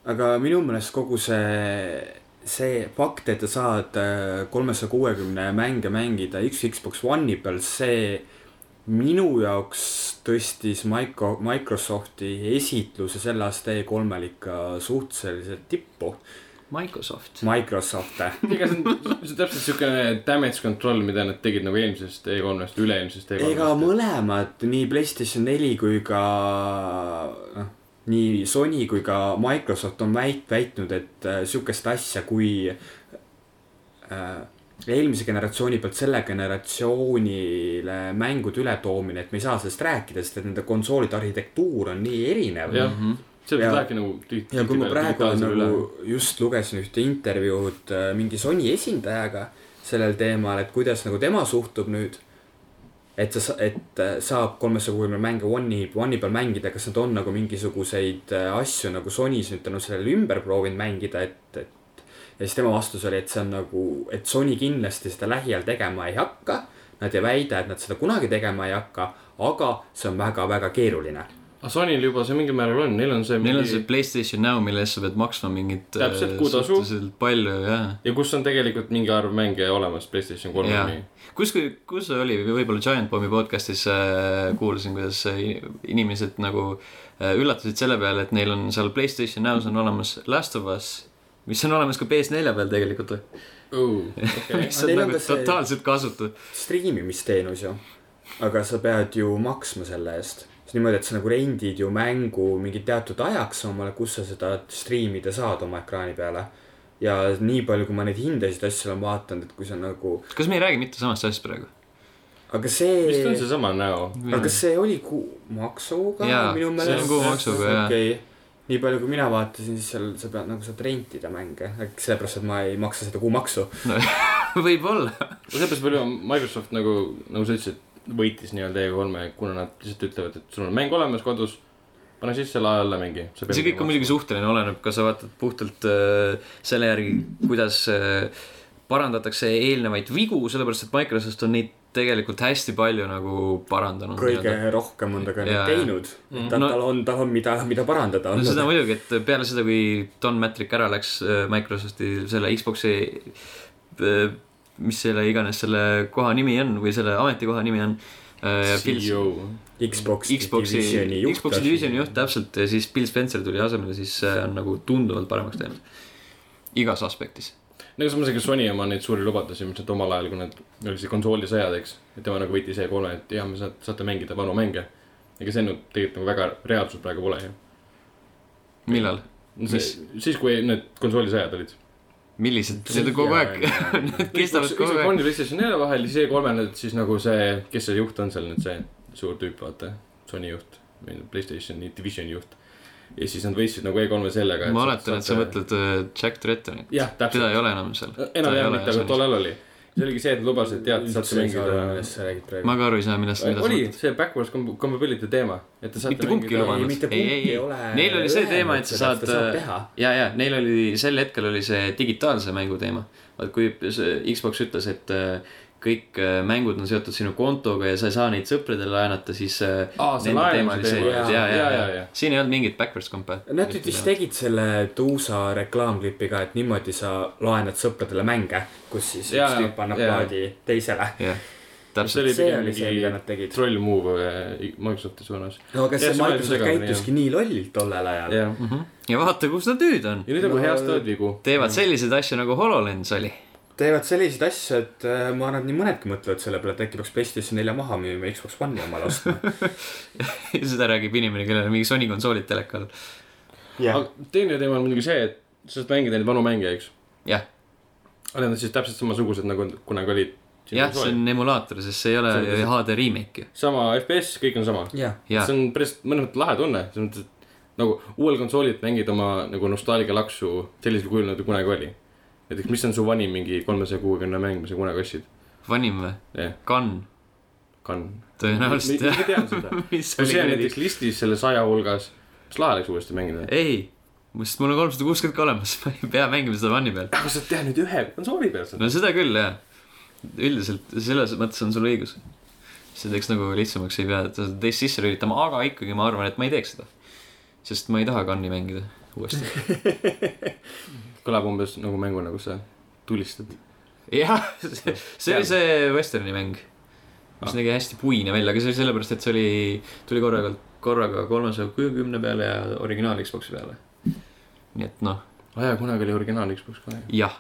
Speaker 3: aga minu meelest kogu see , see fakt , et sa saad äh, kolmesaja kuuekümne mänge mängida üks Xbox One'i peal , see minu jaoks tõstis Micro , Microsofti esitluse selle aasta E3-l ikka suhteliselt tippu .
Speaker 1: Microsoft .
Speaker 3: Microsoft ,
Speaker 2: ega see on , see on täpselt siukene damage control , mida nad tegid nagu eelmisest E3-st , üle-eelmisest E
Speaker 3: ega
Speaker 2: E3-st .
Speaker 3: mõlemad , nii PlayStation neli kui ka noh , nii Sony kui ka Microsoft on väit- , väitnud , et äh, sihukest asja kui äh, eelmise generatsiooni pealt selle generatsioonile mängude ületoomine , et me ei saa sellest rääkida , sest et nende konsoolide arhitektuur on nii erinev .
Speaker 2: jah ,
Speaker 1: Mhm.
Speaker 2: see
Speaker 3: Ja-
Speaker 2: võib lähebki nagu tihti .
Speaker 3: ja kui ma praegu nagu just lugesin ühte intervjuud äh, mingi Sony esindajaga sellel teemal , et kuidas nagu tema suhtub nüüd . et sa , et äh, saab kolmesaja kuuekümne mänge One'i , One'i peal mängida , kas nad on nagu mingisuguseid äh, asju nagu Sony's nüüd tänu sellele ümber proovinud mängida , et , et . ja siis tema vastus oli , et see on nagu , et Sony kindlasti seda lähiajal tegema ei hakka . Nad ei väida , et nad seda kunagi tegema ei hakka , aga see on väga-väga keeruline .
Speaker 2: aga Ah, Sonyl juba see mingil määral on , neil on see .
Speaker 1: Neil on see PlayStation Now , mille eest sa pead maksma mingit .
Speaker 2: Täpselt, kuutasu.
Speaker 1: palju , jah .
Speaker 2: ja kus on tegelikult mingi arv mänge olemas Playstation
Speaker 1: jaa
Speaker 2: kolmeni .,
Speaker 1: kus , kus see oli , võib-olla Giant Bombi podcast'is äh, kuulsin , kuidas äh, inimesed nagu äh, üllatusid selle peale , et neil on seal Playstation Now's on olemas Last of Us , mis on olemas ka PS4 peal tegelikult ,
Speaker 2: okei ,
Speaker 1: mis on
Speaker 3: Neil on
Speaker 1: nagu
Speaker 3: ka see-
Speaker 1: totaalselt kasutu .
Speaker 3: striimimisteenus ju , aga sa pead ju maksma selle eest . niimoodi , et sa nagu rendid ju mängu mingi teatud ajaks omale , kus sa seda striimida saad oma ekraani peale . ja nii palju , kui ma neid hindasid asju olen vaadanud , et kui sa nagu ,
Speaker 1: kas me ei räägi mitte samast asjast praegu ?
Speaker 3: aga
Speaker 2: vist on
Speaker 3: see ,
Speaker 2: seesama näo .
Speaker 3: aga kas see oli kuu , maksuga
Speaker 1: Jaa, see on kuumaksuga, jaa.
Speaker 3: okei okay. nii palju , kui mina vaatasin , siis seal sa pead nagu saad rentida mänge , äkki sellepärast , et ma ei maksa seda kuumaksu .
Speaker 1: [LAUGHS] võib-olla .
Speaker 2: seepärast palju Microsoft nagu , nagu sa ütlesid , võitis nii-öelda E3-e , kuna nad lihtsalt ütlevad , et sul on mäng olemas kodus , pane sisse , lae alla mängi .
Speaker 1: see kõik on muidugi suhteline , oleneb , kas sa vaatad puhtalt äh, selle järgi , kuidas äh, parandatakse eelnevaid vigu , sellepärast et Microsoft on neid tegelikult hästi palju nagu parandanud .
Speaker 3: kõige rohkem on ta ka
Speaker 1: Jaa, jaa.
Speaker 3: nüüd teinud . tal
Speaker 1: No-
Speaker 3: tal on , tal on , mida , mida parandada .
Speaker 1: no seda muidugi , et peale seda , kui Don Matrick ära läks äh, Microsofti selle Xbox'i , mis selle iganes selle koha nimi on või selle ametikoha nimi on . äh,
Speaker 2: CEO .
Speaker 3: Xbox
Speaker 1: Xbox'i , Xbox'i divisioni juht täpselt ja siis Bill Spencer tuli asemele , siis see on nagu tunduvalt paremaks teinud . igas aspektis .
Speaker 2: no samas , ega Sony oma neid suuri lubadusi , mis nad omal ajal , kui nad olid siin konsoolisõjad , eks , et tema nagu võitis E3-e , et jah , me saad , saate mängida vanu mänge . ega see nüüd tegelikult nagu väga reaalsus praegu pole ju .
Speaker 1: millal ?
Speaker 2: No see , siis kui need konsoolisõjad olid .
Speaker 1: millised ? Need on kogu aeg , [LAUGHS] need kestavad
Speaker 2: Xbox
Speaker 1: kogu aeg .
Speaker 2: One'i PlayStation 4 vahel ja see kolmene , siis nagu see , kes see juht on seal nüüd see suur tüüp , vaata , Sony juht või Playstationi divisioni juht . ja siis nad võitsid nagu E3-e sellega .
Speaker 1: ma oletan , et sa . mõtled äh, Jack Trettonit .
Speaker 2: jah ,
Speaker 1: teda
Speaker 2: täpselt .
Speaker 1: ei ole enam seal .
Speaker 2: enam ei ole mitte , aga tol ajal oli . see oligi see , et nad lubasid , et jah , te saate mängida .
Speaker 3: millest sa räägid praegu .
Speaker 1: ma ka aru ei saa , millest , mida sa
Speaker 2: oli
Speaker 1: mõtled .
Speaker 2: see backwards comp- compatibility teema , et te saate .
Speaker 1: Mitte kumbki ei lubanud.
Speaker 3: mitte
Speaker 1: Ei,
Speaker 3: kumbki
Speaker 1: ei,
Speaker 3: ei,
Speaker 1: ei.
Speaker 3: ole .
Speaker 1: Neil oli see teema, et sa saad-
Speaker 3: teha .
Speaker 1: ja , ja neil oli sel hetkel oli see digitaalse mängu teema . vaat kui see Xbox ütles , et äh, kõik äh, mängud on seotud sinu kontoga ja sa ei saa neid sõpradele laenata , siis . äh,
Speaker 2: Aa, see laenamise teema.
Speaker 1: ja ,
Speaker 3: Jaa,
Speaker 1: ja ,
Speaker 2: jaa,
Speaker 1: ja
Speaker 2: jaa, ,
Speaker 1: ja
Speaker 2: jaa.
Speaker 1: siin ei olnud mingit backwards compa- .
Speaker 3: Nad nüüd vist tegid selle Tuusa reklaamklipiga , et niimoodi sa laenad sõpradele mänge , kus siis
Speaker 2: Jaa,
Speaker 3: üks tüüp annab
Speaker 2: jaa.
Speaker 3: plaadi teisele .
Speaker 1: jah ,
Speaker 2: see
Speaker 1: täpselt .
Speaker 2: oli
Speaker 3: see
Speaker 2: pigem
Speaker 3: oli see , mida
Speaker 2: mingi
Speaker 3: nad tegid .
Speaker 2: troll move eh, Microsofti suunas .
Speaker 3: no aga see
Speaker 2: Jah, see mõeldis
Speaker 3: Microsoft
Speaker 2: segamini,
Speaker 3: käituski nii lollilt tollel ajal .
Speaker 2: jah ,
Speaker 1: Mhm. ja vaata , kus nad nüüd on .
Speaker 2: ja nüüd nagu
Speaker 3: No-
Speaker 2: heastavad vigu .
Speaker 1: teevad selliseid asju nagu HoloLens oli . [LAUGHS]
Speaker 3: teevad selliseid asju , et äh, ma arvan , et nii mõnedki mõtlevad selle peale , et äkki peaks PlayStation nelja maha müüma , Xbox One'i omale ostma .
Speaker 1: [LAUGHS] seda räägib inimene , kellel on mingi Sony konsoolid teleka all .
Speaker 3: jah ,
Speaker 2: aga teine teema on muidugi see , et sa saad mängida neid vanu mänge , eks .
Speaker 1: jah ,
Speaker 2: olid nad siis täpselt samasugused nagu kunagi olid ?
Speaker 1: jah , see on emulaator , sest see ei ole
Speaker 2: See on-
Speaker 1: HD remake ju .
Speaker 2: sama FPS , kõik on sama .
Speaker 3: jah ,
Speaker 1: jaa ,
Speaker 2: see on päris mõnes mõttes lahe tunne , selles mõttes , et nagu uuel konsoolil mängid oma nagu nostalgia laksu sellisel kujul , nagu ta kunagi oli . näiteks , mis on su vanim mingi kolmesaja kuuekümne mäng , mis sa kunagi ostsid ?
Speaker 1: vanim või ?
Speaker 2: jah ,
Speaker 1: Gun ,
Speaker 2: Gun .
Speaker 1: tõenäoliselt jah . [LAUGHS]
Speaker 2: ma tean seda .
Speaker 1: mis
Speaker 2: kui see on
Speaker 1: oli ?
Speaker 2: näiteks listis selle saja hulgas , kas lahe oleks uuesti mängida ?
Speaker 1: ei , sest mul on kolmsada kuuskümmend ka olemas , [LAUGHS] ma ei pea mängima seda vani peal .
Speaker 2: aga sa teed nüüd ühe konsooli peal seda .
Speaker 1: no seda küll jah , üldiselt selles mõttes on sul õigus . see teeks nagu lihtsamaks ei pea seda teist sisse lülitama , aga ikkagi ma arvan , et ma ei teeks seda . sest ma ei taha Gun'i mängida uuesti . [LAUGHS]
Speaker 2: kõlab umbes nagu mänguna , kus sa [LAUGHS] tulistad .
Speaker 1: jah , [LAUGHS] see see oli see Westerni mäng , mis
Speaker 2: Ah.
Speaker 1: nägi hästi puine välja , aga see oli sellepärast , et see oli , tuli korraga , korraga kolmesaja kuuekümne peale ja originaal Xbox'i peale . nii et noh ,
Speaker 2: aa jaa , kunagi oli originaal Xbox ka .
Speaker 1: jah .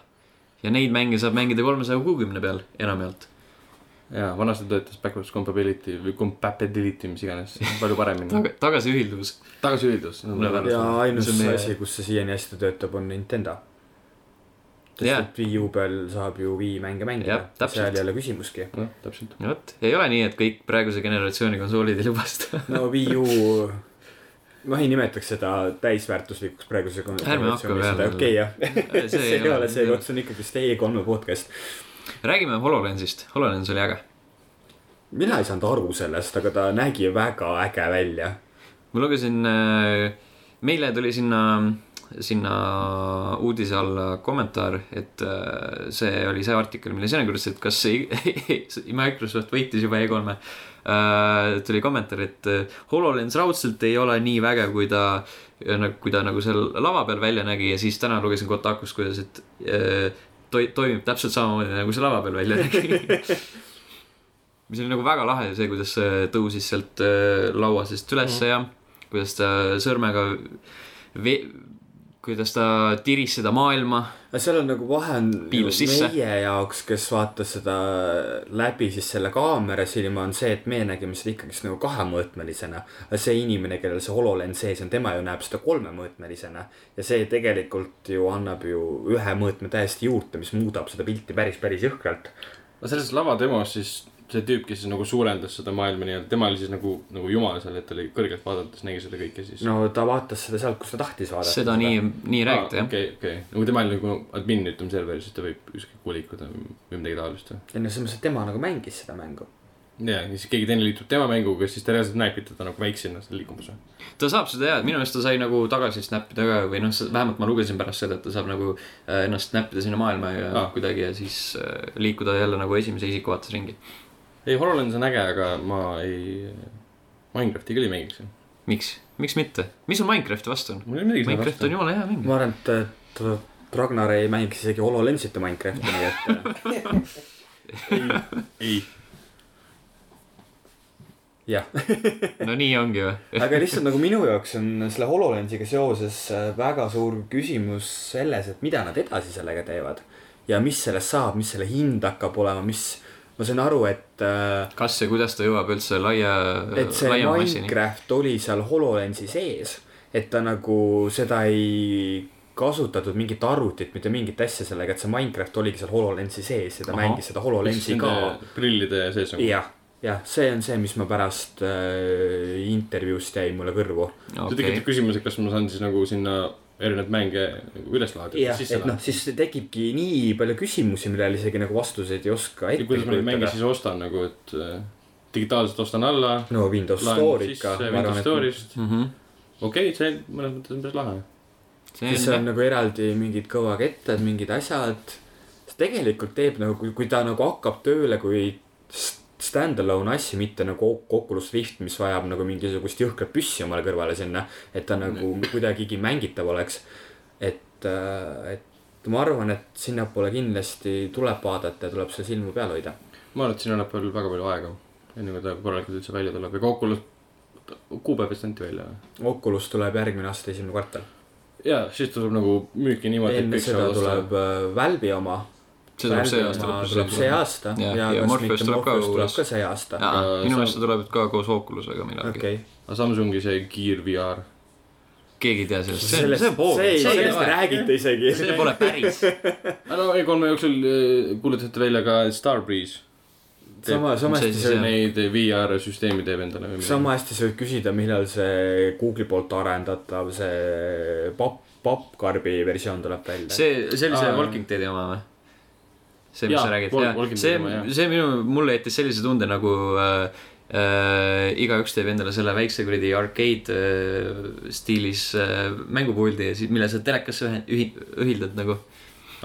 Speaker 1: ja neid mänge saab mängida kolmesaja kuuekümne peal enamjaalt .
Speaker 2: jaa , vanasti töötas backwards compatibility või compatibility , mis iganes , palju paremini .
Speaker 1: taga , tagasiühilduvus .
Speaker 2: tagasiühildus .
Speaker 3: ja ainus
Speaker 1: See on meie-
Speaker 3: asi , kus see siiani hästi töötab , on Nintendo . sest
Speaker 1: Jaa.
Speaker 3: et Wii U peal saab ju Wii mänge mängida
Speaker 1: Jah, , täpselt.
Speaker 3: seal ei ole küsimuski .
Speaker 2: noh , täpselt .
Speaker 1: no vot , ei ole nii , et kõik praeguse generatsiooni konsoolid ei luba
Speaker 3: [LAUGHS]
Speaker 1: seda .
Speaker 3: no Wii U , ma ei nimetaks seda täisväärtuslikuks praeguse
Speaker 1: Ärme hakka peale.
Speaker 3: okei jah , [LAUGHS] see ei ole see koht ,
Speaker 1: koht .
Speaker 3: see on ikkagist E3 podcast .
Speaker 1: räägime HoloLensist , HoloLens oli äge .
Speaker 3: mina ei saanud aru sellest , aga ta nägi väga äge välja .
Speaker 1: ma lugesin , meile tuli sinna , sinna uudise alla kommentaar , et äh, see oli see artikkel , mille sina kirjutasid , kas see [LAUGHS] Microsoft võitis juba E3-e . tuli kommentaar , et äh, HoloLens raudselt ei ole nii vägev , kui ta , kui ta nagu seal lava peal välja nägi ja siis täna lugesin Kotakus , kuidas , et äh, toi- , toimib täpselt samamoodi nagu see lava peal välja nägi [LAUGHS] mis oli nagu väga lahe see , kuidas see tõusis sealt äh, laua seest ülesse mm. ja kuidas ta sõrmega ve- , kuidas ta tiris seda maailma .
Speaker 3: aga seal on nagu vahe on
Speaker 1: Piilus sisse.
Speaker 3: meie jaoks , kes vaatas seda läbi siis selle kaamera silma , on see , et meie nägime seda ikkagist nagu kahemõõtmelisena . aga see inimene , kellel see hololens sees on , tema ju näeb seda kolmemõõtmelisena ja see tegelikult ju annab ju ühe mõõtme täiesti juurde , mis muudab seda pilti päris , päris jõhkralt .
Speaker 2: no selles lavademos siis see tüüp , kes siis nagu suurendas seda maailma nii-öelda , tema oli siis nagu , nagu jumal seal , et ta oli kõrgelt vaadates , nägi seda kõike siis .
Speaker 3: no ta vaatas seda sealt , kus ta tahtis vaadata .
Speaker 1: seda nii , nii räägiti jah .
Speaker 2: Ah, okei , okei , nagu tema oli nagu admin , ütleme serveris , et ta võib ükskõik kuhu liikuda või või midagi taolist või .
Speaker 3: ei no selles mõttes , et tema nagu mängis seda mängu .
Speaker 2: ja , ja siis keegi teine liitub tema mänguga , siis ta reaalselt näeb teda nagu väiksena seal liikumas või .
Speaker 1: ta saab seda jah , minu meelest ta sai nagu tagasi snap ida ka või noh , vähemalt ma lugesin pärast seda , et ta saab nagu äh, ennast snap ida sinna maailma ja ah.
Speaker 2: Aa.
Speaker 1: kuidagi ja siis äh, liikuda jälle nagu esimese isiku vaates ringi .
Speaker 2: ei , HoloLens on äge , aga ma ei , Minecrafti küll ei mängiks .
Speaker 1: miks , miks mitte , mis sul Minecrafti vastu on ?
Speaker 2: mul ei ole midagi selle
Speaker 1: Minecraft
Speaker 2: vastu
Speaker 1: on . jumala hea mäng .
Speaker 3: ma arvan , et , et Ragnar ei mängiks isegi hololensita Minecrafti , nii et
Speaker 2: ei ,
Speaker 3: jah . [LAUGHS]
Speaker 1: no nii ongi või ?
Speaker 3: aga lihtsalt nagu minu jaoks on selle HoloLensiga seoses äh, väga suur küsimus selles , et mida nad edasi sellega teevad ja mis sellest saab , mis selle hind hakkab olema , mis ma sain aru , et ,
Speaker 1: kas ja kuidas ta jõuab üldse laia ,
Speaker 3: et see
Speaker 1: laia massini ?
Speaker 3: Minecraft oli seal HoloLensi sees , et ta nagu seda ei kasutatud mingit arvutit , mitte mingit asja sellega , et see Minecraft oligi seal HoloLensi sees ja ta
Speaker 1: Ahah.
Speaker 3: mängis seda HoloLensi ka .
Speaker 2: prillide sees on .
Speaker 3: jah , jah , see on see , mis ma pärast äh, intervjuust jäi mulle kõrvu
Speaker 2: see tekitab küsimuse , kas ma saan siis nagu sinna erinevaid mänge nagu üles laadida .
Speaker 3: jah , et noh , siis tekibki nii palju küsimusi , millele isegi nagu vastuseid ei oska
Speaker 2: ja
Speaker 3: ette
Speaker 2: kuidas ma neid mänge
Speaker 3: kujutada .
Speaker 2: siis ostan nagu , et äh, digitaalselt ostan alla .
Speaker 3: no Windows Store ikka .
Speaker 2: Windows Store'ist ,
Speaker 1: mm .
Speaker 2: okei , see mõnes mõttes on päris lahe .
Speaker 1: -hmm.
Speaker 3: siis
Speaker 1: see
Speaker 3: seal on
Speaker 1: on ,
Speaker 3: nagu eraldi mingid kõvakettad , mingid asjad . see tegelikult teeb nagu , kui kui ta nagu hakkab tööle kui st- stand-alone asja , mitte nagu Ok- Oculus Rift , mis vajab nagu mingisugust jõhkrat püssi omale kõrvale sinna , et ta nagu kuidagigi mängitav oleks . et , et ma arvan , et sinnapoole kindlasti tuleb vaadata ja tuleb see silma peal hoida .
Speaker 2: ma arvan , et siin annab veel väga palju aega , enne kui ta korralikult üldse välja tuleb ja Oculus , kuupäev vist anti välja või ?
Speaker 3: Oculus tuleb järgmine aasta esimene kvartal .
Speaker 2: jaa , siis ta tuleb nagu müüki niimoodi .
Speaker 3: enne seda tuleb . äh, Välbi oma .
Speaker 1: see tuleb see aasta
Speaker 3: tuleb see
Speaker 1: lõpus .
Speaker 3: aasta
Speaker 1: Ja-
Speaker 3: ja,
Speaker 1: ja
Speaker 3: ja, ja kas
Speaker 1: Morpheus
Speaker 3: mitte
Speaker 1: tuleb ka
Speaker 3: Morpheus tuleb
Speaker 1: uus.
Speaker 3: ka see aasta .
Speaker 1: minu
Speaker 2: Sam-
Speaker 1: meelest see tuleb ka koos Oculusega millalgi okay. .
Speaker 3: okei ,
Speaker 2: aga Samsungi see Gear VR ,
Speaker 1: keegi ei tea sellest , see on ,
Speaker 3: sellest
Speaker 1: see , on pool ,
Speaker 3: see ei ,
Speaker 1: see ei
Speaker 3: sellest ei
Speaker 1: ole ,
Speaker 3: räägita isegi .
Speaker 1: see pole päris .
Speaker 2: Äh, no ja kolme jooksul eh, kuulutasite välja ka Starbreeze .
Speaker 3: sama , sama
Speaker 1: mis
Speaker 3: hästi
Speaker 1: asi
Speaker 3: sa
Speaker 1: see on?
Speaker 2: Neid VR-süsteemi teeb endale või midagi .
Speaker 3: sama hästi sa võid küsida , millal see Google'i poolt arendatav see papp , pappkarbi versioon tuleb välja .
Speaker 1: see , see oli see
Speaker 2: Aa.
Speaker 1: Walking Deadi oma või ? see , mis
Speaker 2: Jaa,
Speaker 1: sa räägid ,
Speaker 2: Wal-
Speaker 1: jah
Speaker 2: Walking . Deadi oma,
Speaker 1: see
Speaker 2: jah. ,
Speaker 1: see minu , mulle jättis sellise tunde nagu äh, äh, igaüks teeb endale selle väikse kuradi arcade äh, stiilis äh, mängupuldi ja siis , mille sa telekasse ühe- , ühi- , ühildad nagu .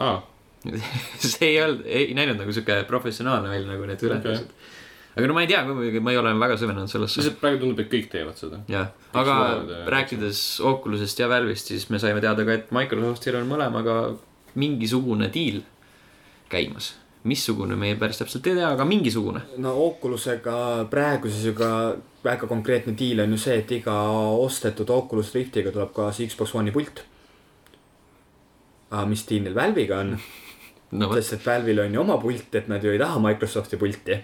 Speaker 2: aa ,
Speaker 1: [LAUGHS] see ei olnud , ei näinud nagu sihuke professionaalne välja nagu need ülejäänud okay. . aga no ma ei tea , ma ei ole väga süvenenud sellesse .
Speaker 2: lihtsalt praegu tundub , et kõik teevad seda .
Speaker 1: jah ,
Speaker 2: Eks
Speaker 1: aga
Speaker 2: lood, jah.
Speaker 1: rääkides Oculusest ja Valve'ist , siis me saime teada ka , et Microsoftil on mõlemaga mingisugune deal käimas . missugune , me päris täpselt ei tea , aga mingisugune .
Speaker 3: no Oculusega praeguses ju ka väga konkreetne deal on ju see , et iga ostetud Oculus Riftiga tuleb kaasa Xbox One'i pult . aga mis deal neil Valve'iga on ?
Speaker 1: no vot ,
Speaker 3: sest et Valve'il on ju oma pult , et nad ju ei taha Microsofti pulti .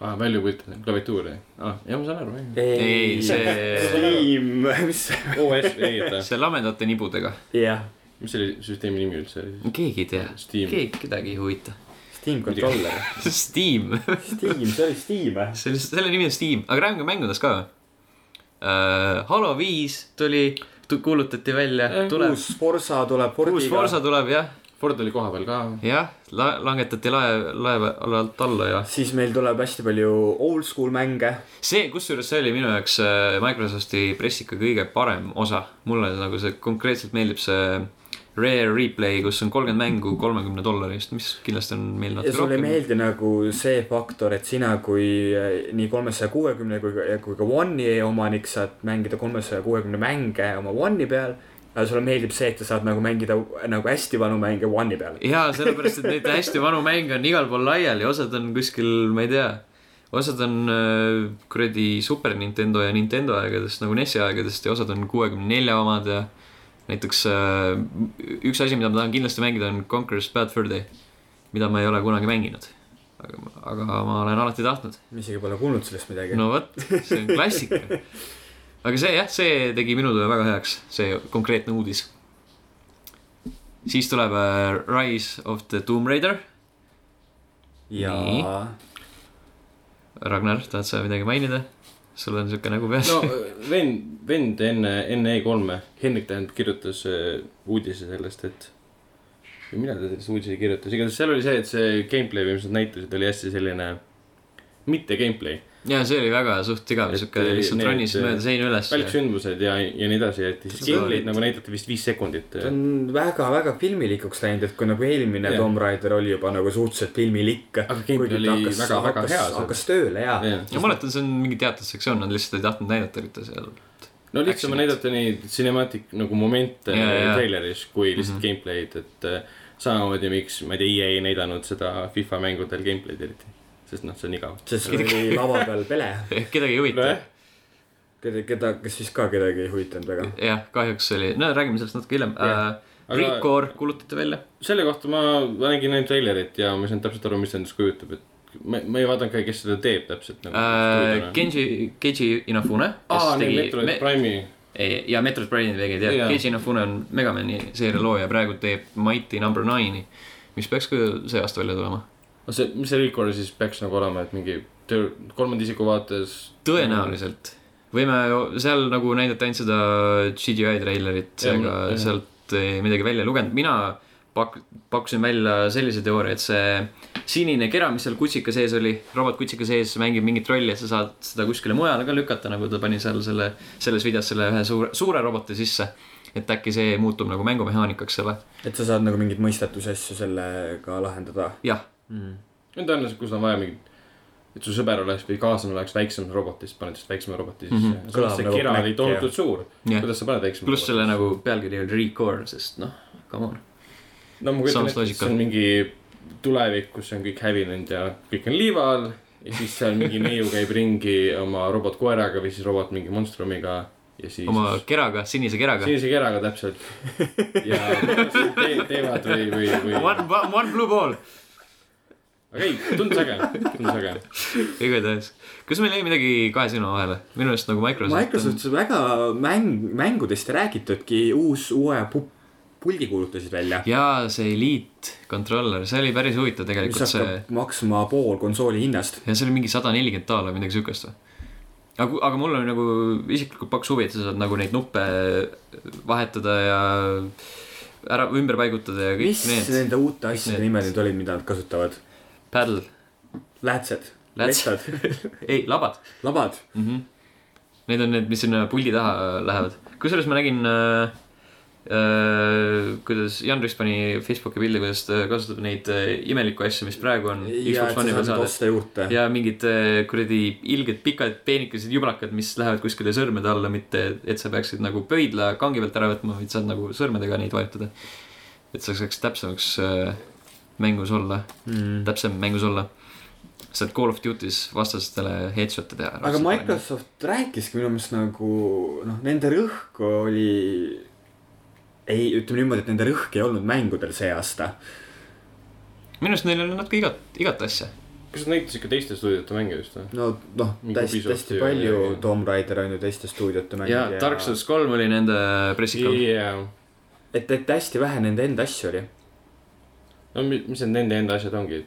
Speaker 2: aa , välja kujutada , klaviatuuri . aa , jah , ma saan aru .
Speaker 1: ei ,
Speaker 3: [LAUGHS]
Speaker 1: see ,
Speaker 3: Steam , mis ,
Speaker 2: [LAUGHS] OS , ei , oota ,
Speaker 1: see lamedate nibudega ,
Speaker 3: jah ,
Speaker 2: mis selle süsteemi nimi üldse oli siis ?
Speaker 1: keegi ei tea ,
Speaker 2: Steam ,
Speaker 1: keegi , kedagi ei huvita . [LAUGHS]
Speaker 3: Steam controller .
Speaker 1: Steam , [LAUGHS]
Speaker 3: Steam , see oli Steam või ?
Speaker 1: selle , selle nimi on Steam , aga räägime mängudest ka uh, . Halo viis tuli , kuulutati välja , tuleb ,
Speaker 3: Eh, uus Forsa tuleb .
Speaker 1: uus Forsa tuleb jah ,
Speaker 2: Ford oli kohapeal ka .
Speaker 1: jah , langetati lae , laeva alt alla ja
Speaker 3: siis meil tuleb hästi palju oldschool mänge .
Speaker 1: see , kusjuures see oli minu jaoks äh, Microsofti pressika kõige parem osa , mulle nagu see konkreetselt meeldib see Rare Replay , kus on kolmkümmend mängu kolmekümne dollari eest , mis kindlasti on meil
Speaker 3: ja
Speaker 1: natuke
Speaker 3: sulle ei
Speaker 1: rohkem .
Speaker 3: meeldi nagu see faktor , et sina kui eh, nii kolmesaja kuuekümne kui ka , kui ka One'i omanik saad mängida kolmesaja kuuekümne mänge oma One'i peal . aga sulle meeldib see , et sa saad nagu mängida nagu hästi vanu mänge One'i peal .
Speaker 1: jaa , sellepärast , et neid hästi vanu mänge on igal pool laiali , osad on kuskil , ma ei tea , osad on äh, kuradi Super Nintendo ja Nintendo aegadest nagu NES-i aegadest ja osad on kuuekümne nelja omad ja näiteks äh, üks asi , mida ma tahan kindlasti mängida , on Conker's Bad Fur Day , mida ma ei ole kunagi mänginud . aga , aga ma olen alati tahtnud .
Speaker 3: ma isegi pole kuulnud sellest midagi no. .
Speaker 1: no vot , see on klassika . aga see jah , see tegi minu töö väga heaks , see konkreetne uudis . siis tuleb äh, Rise of the Tomb Raider .
Speaker 3: ja
Speaker 1: Nii. Ragnar , tahad sa midagi mainida ? sul on siuke nägu [LAUGHS] peas
Speaker 2: no
Speaker 1: no. .
Speaker 2: vend , vend enne , enne E3-e , Henrik tähendab , kirjutas äh, uudise sellest , et või mina teda sellest uudise ei kirjutas , igatahes seal oli see , et see gameplay , mis nad näitasid , oli hästi selline mitte gameplay ,
Speaker 1: ja see oli väga suht igav ,
Speaker 2: Et,
Speaker 1: siuke
Speaker 2: eh,
Speaker 1: lihtsalt
Speaker 2: need,
Speaker 1: ronisid
Speaker 2: eh,
Speaker 1: mööda seina üles .
Speaker 2: väliksündmused ja , ja nii edasi , et siis
Speaker 1: Seda
Speaker 2: gameplay'd
Speaker 1: olid-
Speaker 2: nagu näidati vist viis sekundit . äh,
Speaker 3: ta on väga-väga filmilikuks läinud , et kui nagu eelmine
Speaker 2: Jah.
Speaker 3: Tomb Raider oli juba nagu suhteliselt filmilik .
Speaker 2: Aga gameplay oli väga- väga hea seal.
Speaker 3: hakkas tööle ja, ja. .
Speaker 1: ma mäletan , see on mingi teatud sektsioon , nad lihtsalt ei tahtnud näidata üldse seal .
Speaker 2: no lihtsam on näidata neid cinematic nagu momente
Speaker 1: Jaa, jaa. Mhm.
Speaker 2: treileris kui lihtsalt mm -hmm. gameplay'd , et äh, samamoodi , miks , ma ei tea , EA ei näidanud seda FIFA mängudel gameplay'd eriti , sest noh , see on igav .
Speaker 3: sest seal oli lava peal pele ,
Speaker 1: Eh, kedagi ei huvita .
Speaker 2: nojah ,
Speaker 3: keda , keda , kes vist ka kedagi ei huvitanud väga .
Speaker 1: jah , kahjuks oli , no räägime sellest natuke hiljem Äh, yeah. .
Speaker 2: Aga-
Speaker 1: Recore kuulutati välja .
Speaker 2: selle kohta ma ma nägin ainult treilerit ja ma ei saanud täpselt aru , mis see endast kujutab , et ma , ma ei vaadanud ka , kes seda teeb täpselt nagu
Speaker 1: Uh, . Genji , Keiji Inafune .
Speaker 2: aa , need Metroid me... Prime'i ,
Speaker 1: Ei, ja Metroid Prime'i tegid jah
Speaker 2: Jaa.
Speaker 1: yeah. , Keiji Inafune on Mega Man'i seeria looja , praegu teeb Mighty number nine'i , mis peaks ka see aasta välja tulema .
Speaker 2: no see , mis see Recore siis peaks nagu olema , et mingi töö- kolmanda isiku vaates .
Speaker 1: tõenäoliselt võime , seal nagu näidati ainult seda CGI treilerit ,
Speaker 2: Jah,
Speaker 1: aga
Speaker 2: jah.
Speaker 1: sealt ei midagi välja ei lugenud , mina pak- , pakkusin välja sellise teooria , et see sinine kera , mis seal kutsika sees oli , robotkutsika sees mängib mingit rolli , et sa saad seda kuskile mujale ka lükata , nagu ta pani seal selle , selles videos selle ühe suure , suure roboti sisse . et äkki see muutub nagu mängumehaanikaks selle ,
Speaker 3: et sa saad nagu mingeid mõistatuse asju sellega lahendada
Speaker 1: jah
Speaker 3: mm. .
Speaker 2: on tõenäoliselt , kus on vaja mingit , et su sõber oleks või kaaslane oleks väiksem robotist , paned just väiksema roboti sisse mm . -hmm.
Speaker 3: Kõlab
Speaker 2: samas see
Speaker 3: nagu
Speaker 2: kera
Speaker 3: Mac,
Speaker 2: oli tohutult suur
Speaker 1: Jah.
Speaker 2: yeah. , kuidas sa paned väiksema
Speaker 1: pluss selle nagu pealkiri oli Recore , sest noh , come on .
Speaker 2: no ma kujutan
Speaker 1: samas
Speaker 2: ette , et
Speaker 1: loogika.
Speaker 2: see on mingi tulevik , kus on kõik hävinenud ja kõik on liiva all ja siis seal mingi neiu käib ringi oma robotkoeraga või siis robot mingi monstrumiga ja siis
Speaker 1: oma keraga , sinise keraga .
Speaker 2: sinise keraga täpselt ja te, teevad või , või , või
Speaker 1: One , one blue ball .
Speaker 2: aga ei , tundus äge , tundus äge .
Speaker 1: igatahes , kas meil jäi midagi kahe silma vahele , minu arust nagu Microsoft,
Speaker 3: Microsoft väga mäng , mängudest ei räägitudki , uus , uue pu- pulgi kuulutasid välja
Speaker 1: on... . ja see Elite controller , see oli päris huvitav
Speaker 3: mis
Speaker 1: tegelikult see
Speaker 3: hakkab maksma pool konsooli hinnast .
Speaker 1: ja see oli mingi sada nelikümmend daala või midagi siukest või ? aga , aga mul on nagu isiklikult paks huvi , et sa saad nagu neid nuppe vahetada ja ära , ümber paigutada ja kõik
Speaker 3: mis
Speaker 1: Mis need
Speaker 3: nende uute asjade
Speaker 1: need-
Speaker 3: nimed nüüd olid , mida nad kasutavad ?
Speaker 1: paddle ,
Speaker 3: Lätsed ,
Speaker 1: Läts-
Speaker 3: letsad ,
Speaker 1: ei , labad
Speaker 3: labad .
Speaker 1: mm . -hmm. Need on need , mis sinna puldi taha äh, lähevad . kusjuures ma nägin äh, , äh, kuidas Janris pani Facebooki pildi , kuidas ta kasutab neid äh, imelikku asju , mis praegu on
Speaker 3: ja ,
Speaker 1: [LAUGHS] Xbox
Speaker 3: et sa
Speaker 1: One'i peal
Speaker 3: saad
Speaker 1: saada .
Speaker 3: osta juurde .
Speaker 1: ja mingid äh, kuradi ilged pikad peenikesed jublakad , mis lähevad kuskile sõrmede alla , mitte et sa peaksid nagu pöidla kangi pealt ära võtma , vaid saad nagu sõrmedega neid vajutada . et see saaks täpsemaks äh, mängus olla ,
Speaker 3: Mm.
Speaker 1: täpsem mängus olla . saad Call of Duty's vastastele headshot'e teha .
Speaker 3: aga . Microsoft rääkiski minu meelest nagu noh , nende rõhk oli , ei , ütleme niimoodi , et nende rõhk ei olnud mängudel see aasta .
Speaker 1: minu arust neil on natuke igat , igat asja .
Speaker 2: kas nad näitasid ka teiste stuudiote mänge just või ?
Speaker 3: no noh ,
Speaker 2: Mingi
Speaker 3: täiesti ,
Speaker 2: Ubisofti
Speaker 3: täiesti
Speaker 2: ja- ja-
Speaker 3: palju
Speaker 2: ja- ,
Speaker 3: Tomb Raider on ju teiste stuudiote mäng
Speaker 1: ja Dark Souls kolm oli nende pressikaal .
Speaker 2: jaa ,
Speaker 3: et , et hästi vähe nende enda asju oli .
Speaker 2: no mi- mis need nende enda asjad ongi ?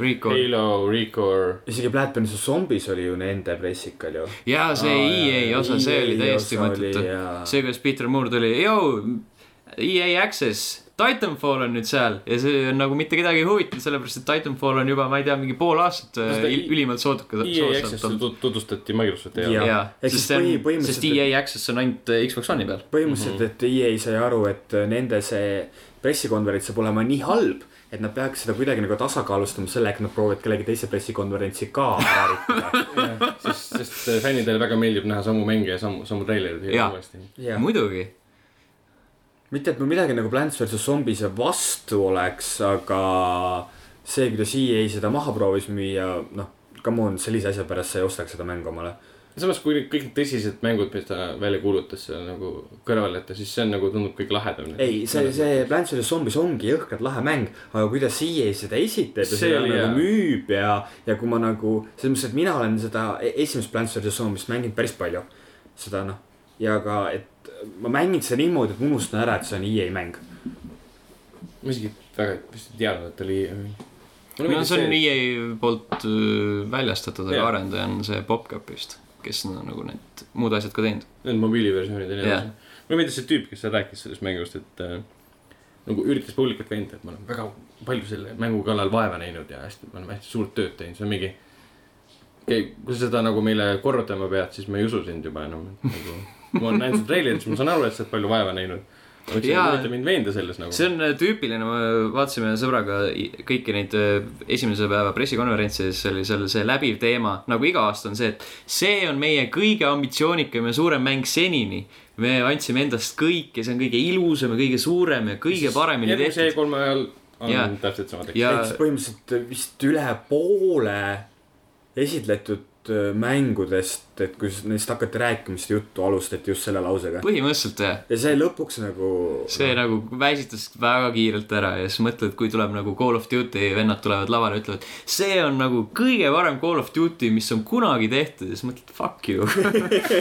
Speaker 1: Rico
Speaker 2: Halo , Recore ,
Speaker 3: isegi Bloodborne ja Zombies oli ju nende pressikal ju .
Speaker 1: ja see EA osa , see oli täiesti mõttetu . see , kuidas Peter Moore tuli , joo , EA Access , Titanfall on nüüd seal ja see on nagu mitte kedagi ei huvita , sellepärast et Titanfall on juba , ma ei tea , mingi pool aastat
Speaker 2: No
Speaker 1: äh,
Speaker 2: seda
Speaker 1: il- ülimalt soodukas .
Speaker 2: EA Access'i tu- E tutvustati Microsofti
Speaker 3: Jaa.
Speaker 2: ja
Speaker 1: jaa ,
Speaker 3: Ehk siis
Speaker 1: sest see
Speaker 3: põhi-
Speaker 1: on ,
Speaker 3: põhimõtteliselt-
Speaker 1: sest EA Access on ainult äh, Xbox One'i peal .
Speaker 2: Mhm.
Speaker 3: põhimõtteliselt , et EA sai aru , et nende see pressikonverents saab olema nii halb , et nad peaks seda kuidagi nagu tasakaalustama sellega , et nad proovivad kellegi teise pressikonverentsi ka vääritada .
Speaker 2: sest , sest äh, fännidele väga meeldib näha samu mänge ja samu , samu treilereid
Speaker 1: Jaa.
Speaker 2: uuesti .
Speaker 1: muidugi ,
Speaker 3: mitte , et ma midagi nagu Plants versus Zombies vastu oleks , aga see , kuidas EA seda maha proovis müüa , noh , come on , sellise asja pärast sa ei ostaks seda mängu omale .
Speaker 2: samas , kui nüüd kõik need tõsised mängud , mis ta välja kuulutas seal nagu kõrvale jätta , siis see on nagu tundub kõik lahedam .
Speaker 3: ei , see , see Plants versus Zombies ongi jõhkralt lahe mäng , aga kuidas EA seda esitab ja
Speaker 2: See
Speaker 3: seda
Speaker 2: oli
Speaker 3: nagu
Speaker 2: hea.
Speaker 3: müüb ja , ja kui ma nagu , selles mõttes , et mina olen seda e- esimest Plants versus Zombies mänginud päris palju . seda noh , ja ka , et ma mängin seda niimoodi , et ma unustan ära , et see on EA mäng .
Speaker 2: ma isegi väga vist ei teadnud , et oli .
Speaker 1: no see on EA poolt äh, väljastatud , aga
Speaker 2: Jaa.
Speaker 1: arendaja on see PopCap vist , kes on nagu need muud asjad ka teinud .
Speaker 2: Need mobiiliversioonid ja nii
Speaker 1: Jah.
Speaker 2: edasi . mulle meeldis see tüüp , kes seal rääkis sellest mängust , et äh, nagu üritas publikut veenda , et ma olen väga palju selle mängu kallal vaeva näinud ja hästi , me oleme hästi suurt tööd teinud , see on mingi . okei , kui sa seda nagu meile korrutama pead , siis ma ei usu sind juba enam , et nagu . ma olen näinud su treilerit , siis ma saan aru , et sa oled palju vaeva näinud . ma ütlesin ,
Speaker 1: Jaa.
Speaker 2: et ürita mind veenda selles nagu .
Speaker 1: see on äh, tüüpiline , me vaatasime sõbraga i- kõiki neid öö, esimese päeva pressikonverentse ja siis oli seal see läbiv teema , nagu iga aasta on see , et see on meie kõige ambitsioonikam ja suurem mäng senini . me andsime endast kõik ja see on kõige ilusam ja kõige suurem ja kõige paremini
Speaker 2: järgmise
Speaker 1: tehtud .
Speaker 2: E3-e ajal on
Speaker 1: Jaa.
Speaker 2: täpselt sama tekst .
Speaker 1: ja
Speaker 3: ehk siis põhimõtteliselt äh, vist üle poole esitletud öö, mängudest , et kui s- neist hakati rääkima , seda juttu alustati just selle lausega .
Speaker 1: põhimõtteliselt jah ,
Speaker 3: ja see lõpuks nagu .
Speaker 1: see nagu väsitas väga kiirelt ära ja siis mõtled , kui tuleb nagu Call of Duty vennad tulevad lavale , ütlevad , see on nagu kõige parem Call of Duty , mis on kunagi tehtud ja siis mõtled fuck you .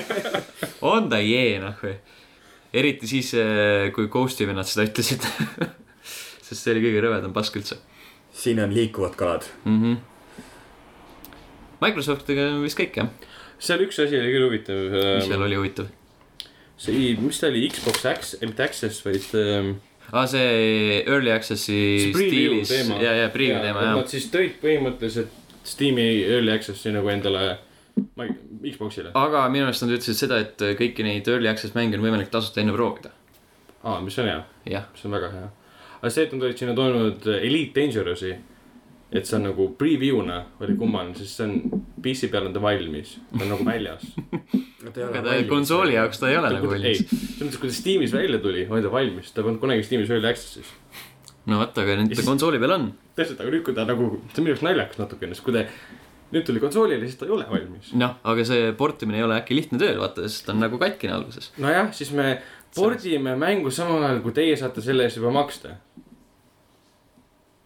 Speaker 1: [LAUGHS] on ta jee noh või , eriti siis , kui Ghosti vennad seda ütlesid . [LAUGHS] sest see oli kõige rõvedam pask üldse
Speaker 3: siin on liikuvad kalad .
Speaker 1: mm . -hmm. Microsoftiga on vist kõik jah ,
Speaker 2: seal üks asi oli küll huvitav .
Speaker 1: mis seal oli huvitav .
Speaker 2: see , mis ta oli , Xbox X , mitte Access , vaid ähm,
Speaker 1: aa , Ah, see Early Access'i
Speaker 2: See preview
Speaker 1: stiilis
Speaker 2: teema.
Speaker 1: ja , ja preview teema jah .
Speaker 2: Nad siis tõid põhimõtteliselt Steam'i Early Access'i nagu endale ma- Xbox'ile .
Speaker 1: aga minu arust nad ütlesid seda , et äh, kõiki neid early access mänge on võimalik tasuta enne proovida .
Speaker 2: aa , mis on hea ,
Speaker 1: jah ,
Speaker 2: mis on väga hea . aga see , et nad olid sinna toonud Elite Dangerous'i , et see on nagu preview'na oli kummaline , sest see on , PC peal on ta valmis , ta on nagu väljas .
Speaker 1: [LAUGHS] aga ta konsooli jaoks ta ei ole nagu
Speaker 2: ei ,
Speaker 1: valmis .
Speaker 2: selles mõttes , kui ta Steamis välja tuli , oli ta valmis , ta polnud kunagi Steamis Early Access'is .
Speaker 1: no vot , aga
Speaker 2: Ja
Speaker 1: nüüd ta
Speaker 2: siis-
Speaker 1: konsooli peal on .
Speaker 2: tõesti , aga nüüd , kui ta nagu , see on minu jaoks naljakas natukene , sest kui ta nüüd tuli konsoolile , siis ta ei ole valmis .
Speaker 1: noh , aga see portimine ei ole äkki lihtne töö , vaata , sest ta on nagu katkine alguses .
Speaker 2: nojah , siis me pordime mängu samal ajal , kui teie saate selle eest juba maksta .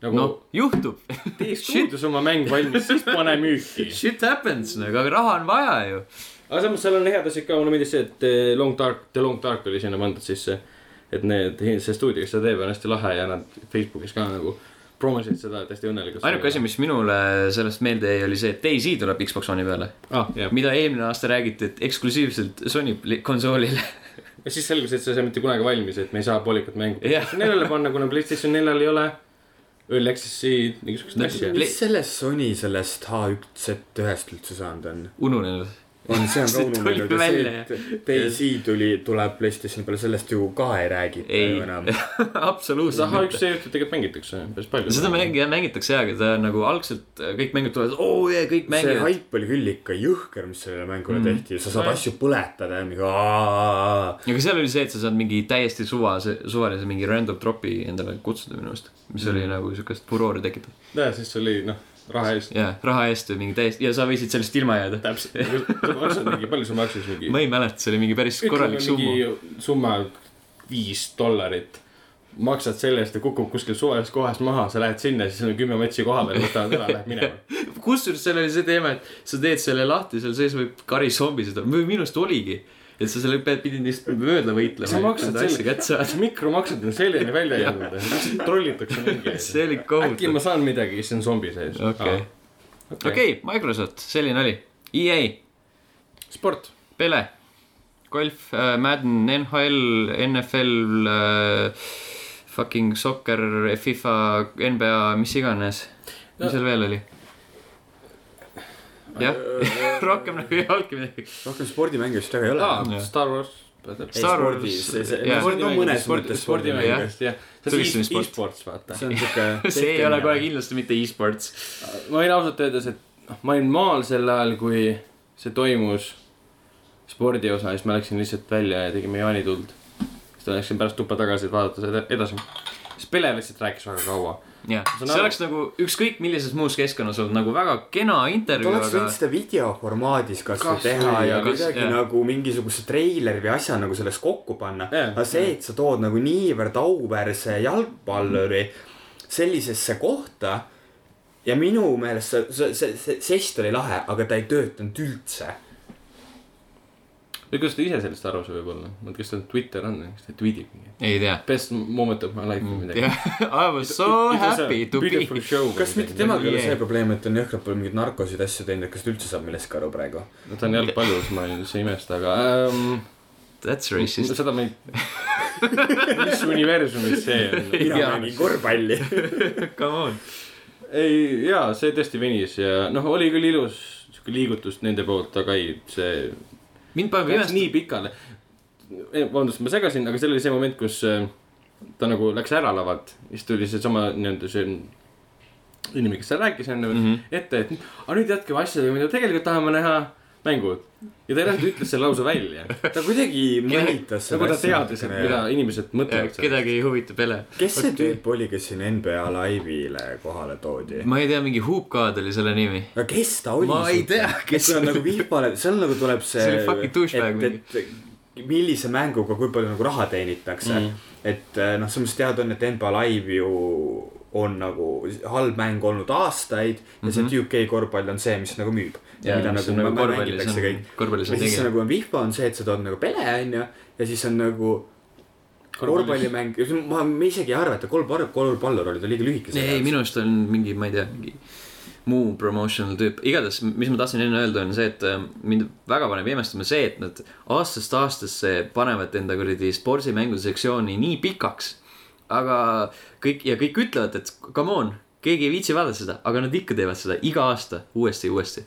Speaker 2: nagu no. [LAUGHS]
Speaker 1: noh , juhtub .
Speaker 2: tee stuudios oma mäng valmis , siis pane müüki .
Speaker 1: Shit happens , no aga raha on vaja ju .
Speaker 2: aga samas seal on head asjad ka , mulle meeldis see , et eh, Long Dark , The Long Dark oli sinna pandud sisse . et need , see stuudio , kes seda teeb , on hästi lahe ja nad Facebookis ka nagu promosid seda , et hästi õnnelikud .
Speaker 1: ainuke asi ,. mis minule sellest meelde jäi , oli see , et DayZ tuleb Xbox One'i peale .
Speaker 2: ah , jah .
Speaker 1: mida eelmine aasta räägiti , et eksklusiivselt Sony pli- konsoolile . [LAUGHS]
Speaker 2: ja siis selgus , et see ei saa mitte kunagi valmis , et me ei saa poolikut mängu
Speaker 1: Jah.
Speaker 2: PlayStation neljale panna , kuna PlayStation neljal ei ole Early Access'i mingisugust
Speaker 1: No,
Speaker 2: asja .
Speaker 1: Play-
Speaker 3: mis sellest Sony sellest H1Z1-st üldse saanud on ?
Speaker 2: [LAUGHS]
Speaker 1: ununenud .
Speaker 3: on , see on
Speaker 1: [LAUGHS] See
Speaker 3: ka
Speaker 1: tuli
Speaker 3: ununenud ja
Speaker 1: välja,
Speaker 3: see , et DayZ tuli , tuleb PlayStationi peale , sellest ju ka ei räägita
Speaker 1: Ei.
Speaker 3: ju enam .
Speaker 1: [LAUGHS] absoluutselt
Speaker 2: Zaha
Speaker 1: mitte
Speaker 2: üks . seejuht tegelikult mängitakse päris palju .
Speaker 1: seda mängi- , mängitakse jaa , aga ta on nagu algselt kõik mängud tulevad , oo jee , kõik
Speaker 3: see
Speaker 1: mängivad .
Speaker 3: haip oli küll ikka jõhker , mis sellele mängule
Speaker 1: Mm.
Speaker 3: mm. tehti , sa saad
Speaker 2: Nojah.
Speaker 3: asju põletada ja mingi aa .
Speaker 1: aga seal oli see , et sa saad mingi täiesti suva , suvalise mingi random tropi endale kutsuda minu arust , mis oli nagu siukest furoori tekitav .
Speaker 2: jaa , siis oli noh , raha eest .
Speaker 1: jaa , raha eest või mingi täiesti ja sa võisid sellest ilma jääda .
Speaker 2: täpselt , sa maksad mingi , palju sa maksis mingi ?
Speaker 1: ma ei mäleta , see oli mingi päris korralik summa . [LAUGHS]
Speaker 2: mingi summa viis dollarit . maksad selle eest ja kukub kuskil suvalist kohast maha , sa lähed sinna , siis on kümme metsi kohal ja võtavad ära , lähed
Speaker 1: [LAUGHS]
Speaker 2: minema .
Speaker 1: kusjuures seal oli see teema , et sa teed selle lahti , seal sees võib kari zombisid olla , minu arust oligi . et sa selle pead , pidid neist mööda võitlema .
Speaker 2: sa maksad selle
Speaker 1: kätte saada . ,
Speaker 2: mikromaksud on selleni välja jäänud , trollitakse mingi .
Speaker 1: [LAUGHS] see oli
Speaker 2: äkki
Speaker 1: kohutav
Speaker 2: ma . saan midagi , siis on zombi sees .
Speaker 1: okei , okei , Microsoft , selline oli . E EA ,
Speaker 2: sport .
Speaker 1: Pele , golf , Madden , NHL , NFL , äh, fucking soccer , FIFA , NBA , mis iganes . mis seal veel oli ? jah , [LAUGHS] rohkem nagu ei olnudki midagi .
Speaker 3: rohkem spordimänge vist väga ei ole .
Speaker 2: aa ,
Speaker 1: Jah.
Speaker 2: Star Wars . Ei,
Speaker 1: Star
Speaker 3: spordi-
Speaker 1: Wars-
Speaker 3: see- see-
Speaker 1: jaa.
Speaker 3: no mõnes
Speaker 2: spordi-
Speaker 3: mõttes
Speaker 2: spordimängijast , jah . see on
Speaker 1: Tulistamine sport.
Speaker 2: e-sports ,
Speaker 1: [LAUGHS]
Speaker 2: vaata .
Speaker 3: see on siuke .
Speaker 1: see ei ole kohe . kindlasti mitte e-sports .
Speaker 2: ma võin ausalt öeldes , et noh , ma olin maal sel ajal , kui see toimus , spordi osa , siis ma läksin lihtsalt välja ja tegime jaanituld . siis ta läksin pärast tuppa tagasi , et vaadata seda edasi . siis Pele lihtsalt rääkis väga kaua .
Speaker 1: jah ,
Speaker 2: saan
Speaker 1: see
Speaker 2: aru.
Speaker 1: oleks nagu ükskõik millises muus keskkonnas olnud nagu väga kena
Speaker 3: ta
Speaker 1: intervjuu ,
Speaker 3: oleks
Speaker 1: aga
Speaker 3: võinud seda videoformaadis kasvõi
Speaker 2: Kas
Speaker 3: teha
Speaker 2: või,
Speaker 3: ja
Speaker 1: kas-
Speaker 3: kuidagi
Speaker 1: jah.
Speaker 3: nagu mingisuguse treileri või asja nagu sellest kokku panna .
Speaker 2: Jah.
Speaker 3: aga see , et sa tood nagu niivõrd auväärse jalgpalluri sellisesse kohta ja minu meelest see , see , see , see žest oli lahe , aga ta ei töötanud üldse .
Speaker 2: või kuidas ta ise sellest arvas võib-olla , kas tal Twitter on , kas ta tweetib mingi
Speaker 1: ei tea .
Speaker 2: best moment of my life või
Speaker 1: Mm,
Speaker 2: midagi .
Speaker 1: jah , [LAUGHS] I was so happy to be .
Speaker 3: kas mitte temaga ei ole
Speaker 1: Jah.
Speaker 3: see probleem , et ta on jõhkralt palju mingeid narkosid asju teinud , et kas ta üldse saab millestki aru praegu ?
Speaker 2: no ta on jalgpallur , siis ma ei üldse ei imesta , aga ähm,
Speaker 1: That's racist .
Speaker 2: seda ma ei , mis universumis see on ?
Speaker 1: Jaa.
Speaker 3: mina mängin korvpalli .
Speaker 1: [LAUGHS]
Speaker 3: [LAUGHS]
Speaker 1: Come on .
Speaker 2: ei , jaa , see tõesti venis ja noh , oli küll ilus sihuke liigutus nende poolt , aga ei , see
Speaker 1: mind paneb
Speaker 2: läks
Speaker 1: imestama ,
Speaker 2: nii pikale . vabandust , ma segasin , aga seal oli see moment , kus äh, ta nagu läks ära lavalt , siis tuli seesama nii-öelda see inimene , kes seal rääkis enne mm -hmm. ette , et aga nüüd jätkame asjadega , mida tegelikult tahame näha , mängud . ja ta ei läinud , ütles selle lause välja .
Speaker 3: ta kuidagi mõnitas
Speaker 2: nagu ta teadis , et mida . inimesed mõtlevad .
Speaker 1: kedagi ei huvita Pele .
Speaker 3: kes see tüüp oli , kes siin NBA live'ile kohale toodi ?
Speaker 1: ma ei tea , mingi Hoopkaad oli selle nimi .
Speaker 3: no kes ta oli ?
Speaker 1: Ma ei tea, kes-
Speaker 3: see on nagu vihmale , seal nagu tuleb see .
Speaker 1: See oli fucking douchebag
Speaker 3: et , et millise mänguga , kui palju nagu raha teenitakse mm . -hmm. et eh, noh , samas teada on , et NBA Live ju on nagu halb mäng olnud aastaid ja see UK korvpall on see , mis nagu müüb .
Speaker 1: Mhm. Jaa, mis on nagu korvpallis on- korvpallis on
Speaker 3: ja siis
Speaker 1: tegelikult.
Speaker 3: nagu on vihma , on see , et sa tood nagu pele , onju , ja siis on nagu korvpallimäng , ma ma isegi ei arva , et ta kolm , korvpallur oli , ta oli liiga lühikese .
Speaker 1: ei , minu arust on mingi , ma ei tea , mingi muu promotional tüüp . igatahes , mis ma tahtsin enne öelda , on see , et ähm, mind väga paneb imestama see , et nad aastast aastasse panevad enda kuradi spordimängud sektsiooni nii pikaks . aga kõik ja kõik ütlevad , et come on , keegi ei viitsi vaadata seda , aga nad ikka teevad seda iga aasta uuesti ja uuesti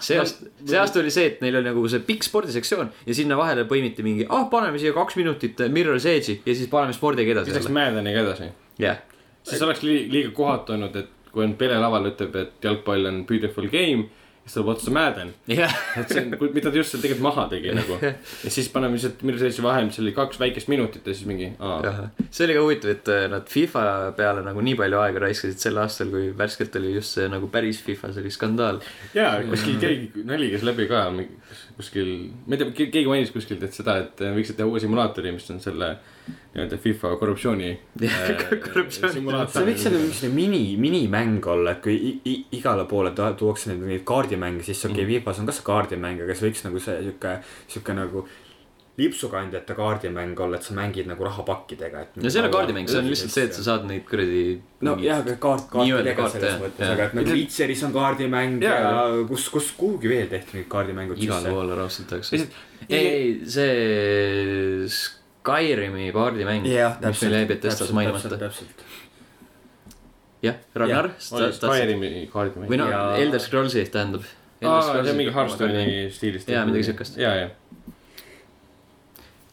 Speaker 1: see aasta , see aasta oli see , et neil oli nagu see pikk spordisektsioon ja sinna vahele põimiti mingi , ah , paneme siia kaks minutit Mirror's Edge'i ja siis paneme spordiga edasi
Speaker 2: lisaks
Speaker 1: jälle .
Speaker 2: Mäedaniga edasi .
Speaker 1: jah ,
Speaker 2: siis oleks li liiga kohatu olnud , et kui on Pele laval , ütleb , et jalgpall on beautiful game siis tuleb otsa Madden .
Speaker 1: jah , [LAUGHS]
Speaker 2: et see on , mida ta just seal tegelikult maha tegi nagu . ja siis paneme lihtsalt , millal see vahe , mis oli kaks väikest minutit ja siis mingi , aa ,
Speaker 4: see oli ka huvitav , et äh, nad FIFA peale nagu nii palju aega raiskasid sel aastal , kui värskelt oli just see nagu päris FIFA , see oli
Speaker 3: [LAUGHS]
Speaker 4: skandaal .
Speaker 2: jaa , kuskil keegi nali käis läbi ka mi- kuskil , ma ei tea , keegi mainis kuskilt , et seda , et võiksid teha uue simulaatori , mis on selle nii-öelda FIFA
Speaker 1: [LAUGHS]
Speaker 2: korruptsiooni .
Speaker 4: korruptsiooni-
Speaker 3: see võiks selline üks mini , minimäng olla , et kui i- i- igale poole ta- tuuakse neid, neid kaardimänge sisse ,
Speaker 1: Mm.
Speaker 3: okei okay, , FIFA-s on ka see kaardimäng , aga see võiks nagu see sihuke , sihuke nagu lipsukandjate kaardimäng olla , et sa mängid nagu rahapakkidega , et . Nagu
Speaker 1: no see ei ole kaardimäng , see on lihtsalt see , et sa saad neid kuradi .
Speaker 3: nojah , aga kaart ,
Speaker 1: Nii-öelda
Speaker 3: kaartidega
Speaker 1: kaart,
Speaker 3: selles
Speaker 1: jah,
Speaker 3: mõttes ,
Speaker 1: jah.
Speaker 3: aga et nagu
Speaker 2: Ütle-
Speaker 3: Witcheris on kaardimäng ja,
Speaker 2: Jaa,
Speaker 3: ja kus , kus kuhugi veel tehti neid kaardimängud
Speaker 1: igal
Speaker 3: sisse .
Speaker 1: pool rahastatakse .
Speaker 2: Lihtsalt-
Speaker 1: ei , see Skyrimi kaardimäng ,
Speaker 3: jah ,
Speaker 1: mis
Speaker 3: täpselt
Speaker 1: meil . jäi Betestas mainimata .
Speaker 3: täpselt .
Speaker 1: jah , Ragnar , sa tahtsid
Speaker 2: Skyrimi kaardimäng .
Speaker 1: või noh
Speaker 3: ja- ,
Speaker 1: Elder Scrollsi tähendab .
Speaker 2: aa , see on mingi Hearthstone'i stiilist .
Speaker 1: Jaa, midagi siukest.
Speaker 2: jaa , jaa .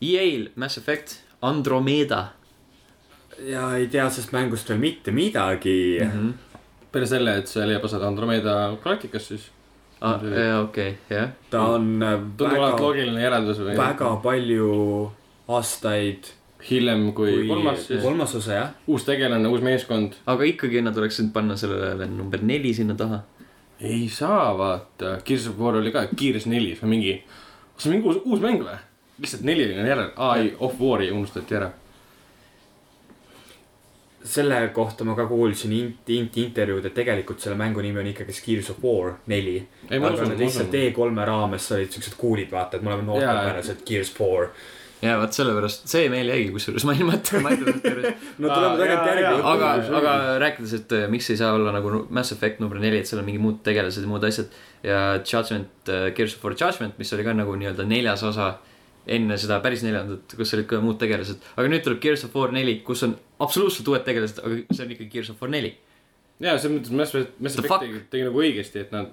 Speaker 1: EA-l Mass Effect Andromeda
Speaker 3: ja ei tea sellest mängust veel mitte midagi mm .
Speaker 1: Mhm.
Speaker 3: -hmm.
Speaker 2: peale selle , et see leiab osad Andromeda galaktikas , siis
Speaker 1: ah, . jaa , okei , jah .
Speaker 3: ta on äh,
Speaker 2: tundub
Speaker 3: väga
Speaker 2: alati , loogiline järeldus või
Speaker 3: väga palju aastaid
Speaker 2: hiljem kui
Speaker 3: kui
Speaker 2: kolmas , siis
Speaker 3: kolmas osa jah .
Speaker 2: uus tegelane , uus meeskond .
Speaker 1: aga ikkagi nad oleksid panna sellele number neli sinna taha .
Speaker 2: ei saa vaata , Gears of War oli ka , Gears neli , see on mingi , kas see on mingi uus , uus mäng või ? lihtsalt neliline järel , aa ei , Off War'i unustati ära .
Speaker 3: selle kohta ma ka kuulsin int- , int- , intervjuud , et tegelikult selle mängu nimi on ikkagi Gears of War neli .
Speaker 2: Ei, ma
Speaker 3: aga
Speaker 2: usun,
Speaker 3: nad
Speaker 2: ma
Speaker 3: lihtsalt
Speaker 2: usun.
Speaker 3: E3-e raames olid siuksed kuulid , vaata , et me oleme noored
Speaker 2: Jaa.
Speaker 3: pärast Gears of War .
Speaker 1: ja vot sellepärast , see meil jäigi kusjuures mainimata , ma ei tulnud juurde .
Speaker 3: no
Speaker 2: Aa,
Speaker 3: tuleme
Speaker 2: jaa, jaa.
Speaker 3: tagantjärgi .
Speaker 1: [LAUGHS] aga , aga rääkides , et eh, miks ei saa olla nagu nu- Mass Effect number neli , et seal on mingi muud tegelased ja muud asjad ja Judgment , Gears of War Judgment , mis oli ka nagu nii-öelda neljas osa enne seda päris neljandat , kus olid ka muud tegelased , aga nüüd tuleb Gears of War neli , kus on absoluutselt uued tegelased , aga see on ikka Gears of War neli .
Speaker 2: jaa , selles mõttes Mass Effect , Mass
Speaker 1: The
Speaker 2: Effect
Speaker 1: fuck?
Speaker 2: tegi, tegi nagu õigesti , et nad ,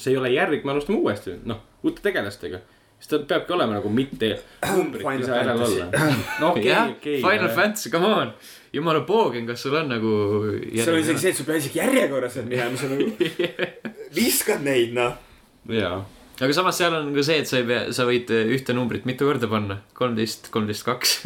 Speaker 2: see ei ole järg , me alustame uuesti , noh , uute tegelastega . siis ta peabki olema nagu mitte numbrit ei
Speaker 3: Final
Speaker 2: saa järel
Speaker 3: Fantasy.
Speaker 2: olla . no okei ,
Speaker 1: jah ,
Speaker 2: okei .
Speaker 1: Final Fantasy , come on , jumala poogen , kas sul on nagu .
Speaker 3: seal oli isegi see , et sul peab isegi järjekorras need minema , sa nagu
Speaker 1: [LAUGHS]
Speaker 3: viskad neid noh .
Speaker 2: jaa ,
Speaker 1: aga samas seal on ka see , et sa ei pea , sa võid eh, ühte numbrit mitu korda panna , kolmteist , kolmteist , kaks , [LAUGHS]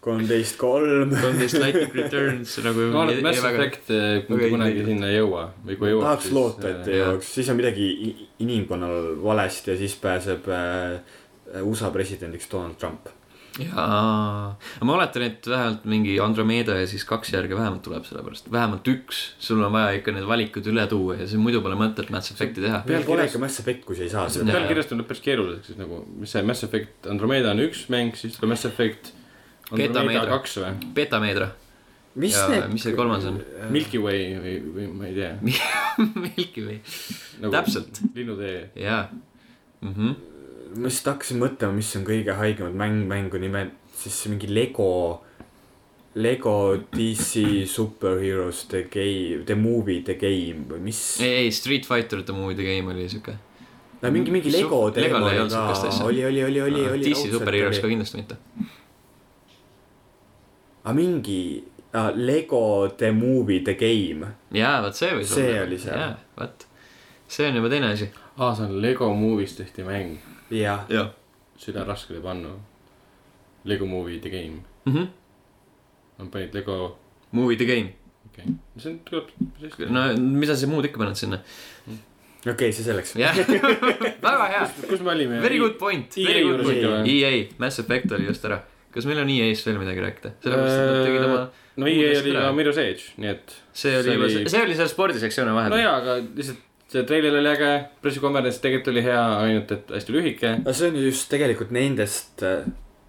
Speaker 3: kolmteist , kolm .
Speaker 1: kolmteist Lightning Returns nagu .
Speaker 2: ma arvan , et Mass Effect eh, kui ta
Speaker 1: väga
Speaker 2: kunagi
Speaker 1: intrigeeriv.
Speaker 2: sinna ei eh, jõua või kui jõuab .
Speaker 3: tahaks loota , et ei
Speaker 1: äh, jah.
Speaker 3: jõuaks , siis on midagi i- inimkonnal valesti ja siis pääseb äh, USA presidendiks Donald Trump .
Speaker 1: jaa , ma oletan , et vähemalt mingi Andromeda ja siis kaks järge vähemalt tuleb , sellepärast vähemalt üks , sul on vaja ikka need valikud üle tuua ja siis muidu pole mõtet Mass Effecti teha .
Speaker 3: meil pole ikka Mass Effect , kui sa ei saa
Speaker 2: see
Speaker 3: seda .
Speaker 2: pealkirjas tundub päris keeruliseks , siis nagu , mis see Mass Effect Andromeda on üks mäng , siis tuleb Mass Effect Andromeda
Speaker 1: Ketameedra.
Speaker 2: kaks või
Speaker 1: Betameedra
Speaker 3: mis
Speaker 1: ja
Speaker 3: need
Speaker 1: mis see kolmas on ? [LAUGHS]
Speaker 2: Milky Way või , või ma ei tea
Speaker 1: Milky Way ,
Speaker 2: nagu, .
Speaker 1: Täpselt. .
Speaker 2: linnutee .
Speaker 1: jaa mm -hmm. .
Speaker 3: ma just hakkasin mõtlema , mis on kõige haigemad mäng , mängu nimed , siis mingi Lego , Lego DC Superheroes The Game , The Movie The Game või mis ?
Speaker 1: ei , ei Street Fighter The Movie The Game oli siuke .
Speaker 3: no mingi , mingi Lego
Speaker 1: Sup-
Speaker 3: teema
Speaker 1: Legol ei
Speaker 3: oli
Speaker 1: olnud
Speaker 3: ka
Speaker 1: sihukest , asja.
Speaker 3: oli , oli , oli , oli , oli .
Speaker 1: DC superheroes ka kindlasti mitte .
Speaker 3: aga mingi ah, Lego The Movie The Game ,
Speaker 1: jaa , vot see võis
Speaker 3: See oli see.
Speaker 1: jaa , vot . see on juba teine asi .
Speaker 2: aa , see on Lego Movies tehti mäng ,
Speaker 3: jah .
Speaker 1: jah .
Speaker 2: süda raske oli panna . Lego Movie The Game ,
Speaker 1: Mhm.
Speaker 2: nad panid Lego ,
Speaker 1: Movie the game .
Speaker 2: okei okay. , see on- tuleb sellest .
Speaker 1: no mida sa muud ikka paned sinna ?
Speaker 3: okei okay, , see selleks .
Speaker 1: [LAUGHS] jah , väga hea .
Speaker 2: kus me olime ?
Speaker 1: Very good point .
Speaker 2: EA
Speaker 1: Very good
Speaker 2: E juures
Speaker 1: point
Speaker 2: ikka . või?
Speaker 1: EA , Mass Effect oli just ära . kas meil on EA-st veel midagi rääkida ? sellepärast , et nad tegid oma ,
Speaker 2: Äh, no EA
Speaker 1: uudist
Speaker 2: oli
Speaker 1: ära.
Speaker 2: ka Mirror's Edge , nii et .
Speaker 1: see oli juba , see oli seal spordisektsiooni
Speaker 2: no
Speaker 1: vahepeal .
Speaker 2: jaa , aga lihtsalt see treiler oli äge , pressikonverents tegelikult oli hea , ainult et hästi lühike .
Speaker 3: no Ah, see on ju just tegelikult nendest äh,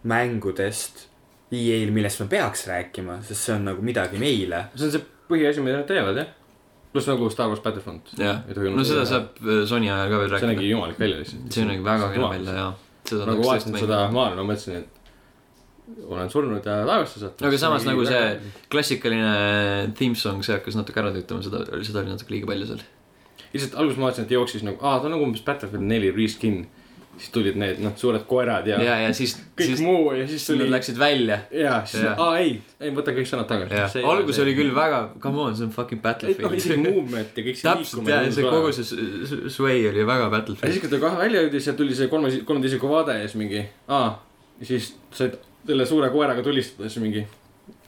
Speaker 3: mängudest EA-l , millest me peaks rääkima , sest see on nagu midagi meile .
Speaker 2: see on see põhiasi , mida nad teevad jah . pluss nagu Star Wars Battlefront .
Speaker 1: jah , no seda . saab äh, Sony ajal ka veel
Speaker 2: see nägi
Speaker 1: rääkida .
Speaker 2: jumalik välja lihtsalt .
Speaker 1: see nägi väga kena välja , jaa . seda
Speaker 2: nagu
Speaker 1: tahaks
Speaker 2: vaatasin
Speaker 1: tõesti
Speaker 2: seda maailma , ma mõtlesin , et olen surnud ja taevasse sattunud .
Speaker 1: aga samas nagu see klassikaline äh, theme song , see hakkas natuke ära tüütama , seda , seda oli natuke liiga palju seal .
Speaker 2: lihtsalt alguses ma vaatasin , et jooksis nagu , aa , ta on nagu umbes Battlefield neli reskin . siis tulid need noh , suured koerad ja, ja
Speaker 5: ja , ja siis ,
Speaker 2: kõik
Speaker 5: siis
Speaker 2: siis, muu ja siis
Speaker 5: nad
Speaker 2: tuli .
Speaker 5: läksid välja .
Speaker 2: ja siis
Speaker 5: Jaa. ,
Speaker 2: aa ei , ei võta kõik sõnad
Speaker 5: Ja.
Speaker 2: tagasi .
Speaker 1: algus oli küll väga , come on , see on fucking
Speaker 2: noh , isegi
Speaker 1: Battlefield .
Speaker 2: movement ja kõik see
Speaker 1: täpselt
Speaker 2: liikumine .
Speaker 1: jah , see kogu . see su- su- sway oli väga
Speaker 2: ja siis ,
Speaker 1: Battlefield .
Speaker 2: kui ta kohe välja jõudis ja tuli see kolme , kolmanda isiku vaade ja siis mingi , aa , siis said selle suure koeraga tulistada , siis mingi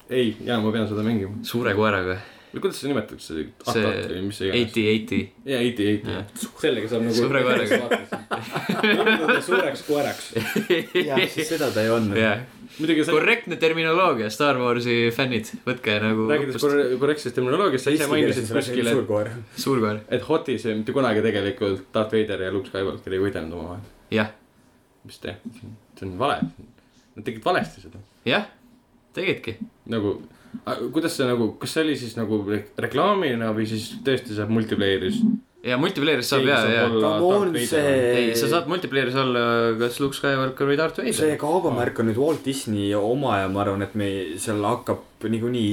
Speaker 2: ei , jaa , ma pean seda mängima .
Speaker 1: suure koeraga ,
Speaker 2: või kuidas seda nimetatakse ,
Speaker 1: See
Speaker 2: atat või mis iganes ?
Speaker 1: eighty , eighty .
Speaker 2: jaa , eighty , eighty , jah . sellega saab nagu .
Speaker 1: Suure koeraga. .
Speaker 2: suureks koeraks .
Speaker 3: jah , siis seda ta ei olnud .
Speaker 1: jah ,
Speaker 2: muidugi sa
Speaker 1: korrektne terminoloogia , Star Warsi fännid , võtke nagu
Speaker 2: räägides korre- korrektsest terminoloogiast , sa ise mainisid kuskil , et
Speaker 3: suur koer .
Speaker 1: suur koer ,
Speaker 2: et Hotis ei- mitte kunagi tegelikult Darth Vader ja Luke Skywalker ei võidelnud omavahel .
Speaker 1: Jah. .
Speaker 2: mis te , see on vale . Nad tegid valesti seda .
Speaker 1: jah , tegidki .
Speaker 2: nagu , kuidas see nagu , kas see oli siis nagu re- reklaamina või siis tõesti saab multiplayer'is ?
Speaker 1: ja multiplayer'is saab ja , ja .
Speaker 3: Come on , see .
Speaker 1: ei , sa saad multiplayer'is olla kas Luke Skywalker või Darth
Speaker 3: see
Speaker 1: Vader .
Speaker 3: kaubamärk on nüüd Walt Disney oma ja ma arvan , et me seal hakkab niikuinii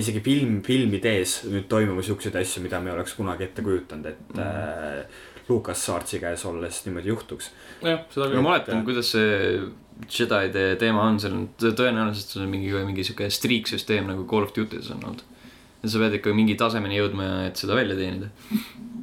Speaker 3: isegi film , filmi tees nüüd toimuma siukseid asju , mida me ei oleks kunagi ette kujutanud , et
Speaker 1: Mhm.
Speaker 3: mm. äh, Lukas Saartsi käes olles niimoodi juhtuks .
Speaker 2: jah , seda
Speaker 1: no ma mäletan ,. kuidas see Jedi'de teema on , seal on tõ- tõenäoliselt sul on mingi , mingi sihuke striiksüsteem nagu Call of Duty's on olnud . ja sa pead ikka mingi tasemeni jõudma , et seda välja teenida .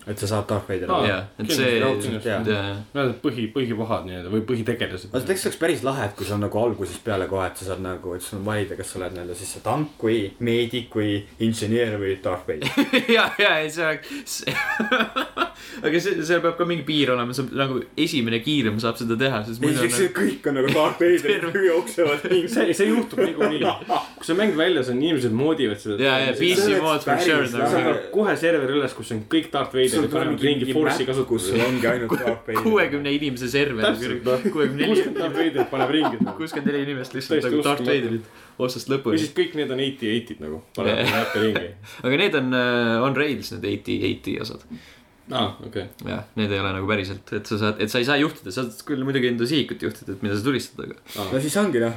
Speaker 3: et sa saad Darth Vader
Speaker 2: Aa.
Speaker 3: olla .
Speaker 1: jaa , et see ,
Speaker 3: raudselt,
Speaker 1: jaa
Speaker 3: jaa. ,
Speaker 1: [LAUGHS] jaa .
Speaker 2: Nad on põhi , põhipahad nii-öelda või põhitegelased .
Speaker 3: aga tegelikult see oleks päris lahe , et kui see on nagu algusest peale kohe , et sa saad nagu , et sul on valida , kas sa oled nii-öelda siis see tank või meedik või insener või Darth Vader .
Speaker 1: ja , ja , ei see [LAUGHS] oleks , aga see , seal peab ka mingi piir olema , sa nagu esimene kiirem saab seda teha , sest [LAUGHS]
Speaker 3: ei ,
Speaker 1: muidu on
Speaker 3: eks see kõik on nagu Darth Vader , jooksevad
Speaker 1: [LAUGHS]
Speaker 3: ringi .
Speaker 2: see , see juhtub niikuinii . kui see mäng väljas on , inimesed moodivad seda .
Speaker 1: Jaa, jaa, PC
Speaker 3: See oleks
Speaker 1: mode for sure
Speaker 3: päris
Speaker 1: nagu.
Speaker 2: sa saad kohe serveri üles , kus on kõik Darth
Speaker 3: sul
Speaker 2: Vaderid ,
Speaker 3: tuleb
Speaker 2: panevad ringi force'i
Speaker 3: mingi mäpp , kus
Speaker 2: kasutusele .
Speaker 3: sul ongi ainult Darth Vader .
Speaker 1: [LAUGHS] kuuekümne inimese server ,
Speaker 2: täpselt ,
Speaker 1: kuuekümne neli ,
Speaker 2: kuuskümmend Darth Vaderit paneb ringi .
Speaker 1: kuuskümmend neli inimest lihtsalt
Speaker 2: Täiesti
Speaker 1: nagu Darth
Speaker 2: uskumatu.
Speaker 1: Vaderit otsast
Speaker 2: või
Speaker 1: lõpuni
Speaker 2: siis . kõik need on eighty eight'id nagu , paneb
Speaker 1: Jaa.
Speaker 2: näppe ringi .
Speaker 1: aga need on , on Rails need eighty , eighty osad .
Speaker 2: aa , Ah, okei .
Speaker 1: jah , need ei ole nagu päriselt , et sa saad , et sa ei saa juhtida , sa saad küll muidugi enda sihikut juhtida , et mida sa tulistad , aga
Speaker 3: no siis ongi noh ,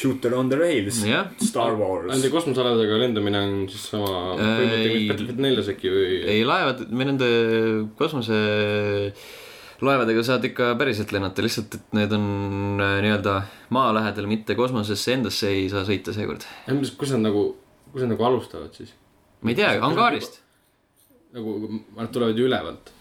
Speaker 3: shooter on the rails ,
Speaker 1: jah .
Speaker 3: Star Wars
Speaker 2: Nende . kosmosealadega lendamine on siis sama põhimõte , mis
Speaker 1: Ei.
Speaker 2: Battlefield neljas äkki või ?
Speaker 1: ei laevad , või nende kosmoselaevadega saad ikka päriselt lennata , lihtsalt et need on äh, nii-öelda maa lähedal , mitte kosmosesse endasse ei saa sõita seekord .
Speaker 2: kus nad nagu , kus nad nagu alustavad siis ?
Speaker 1: ma ei tea , angaarist ,
Speaker 2: nagu nad tulevad ju ülevalt .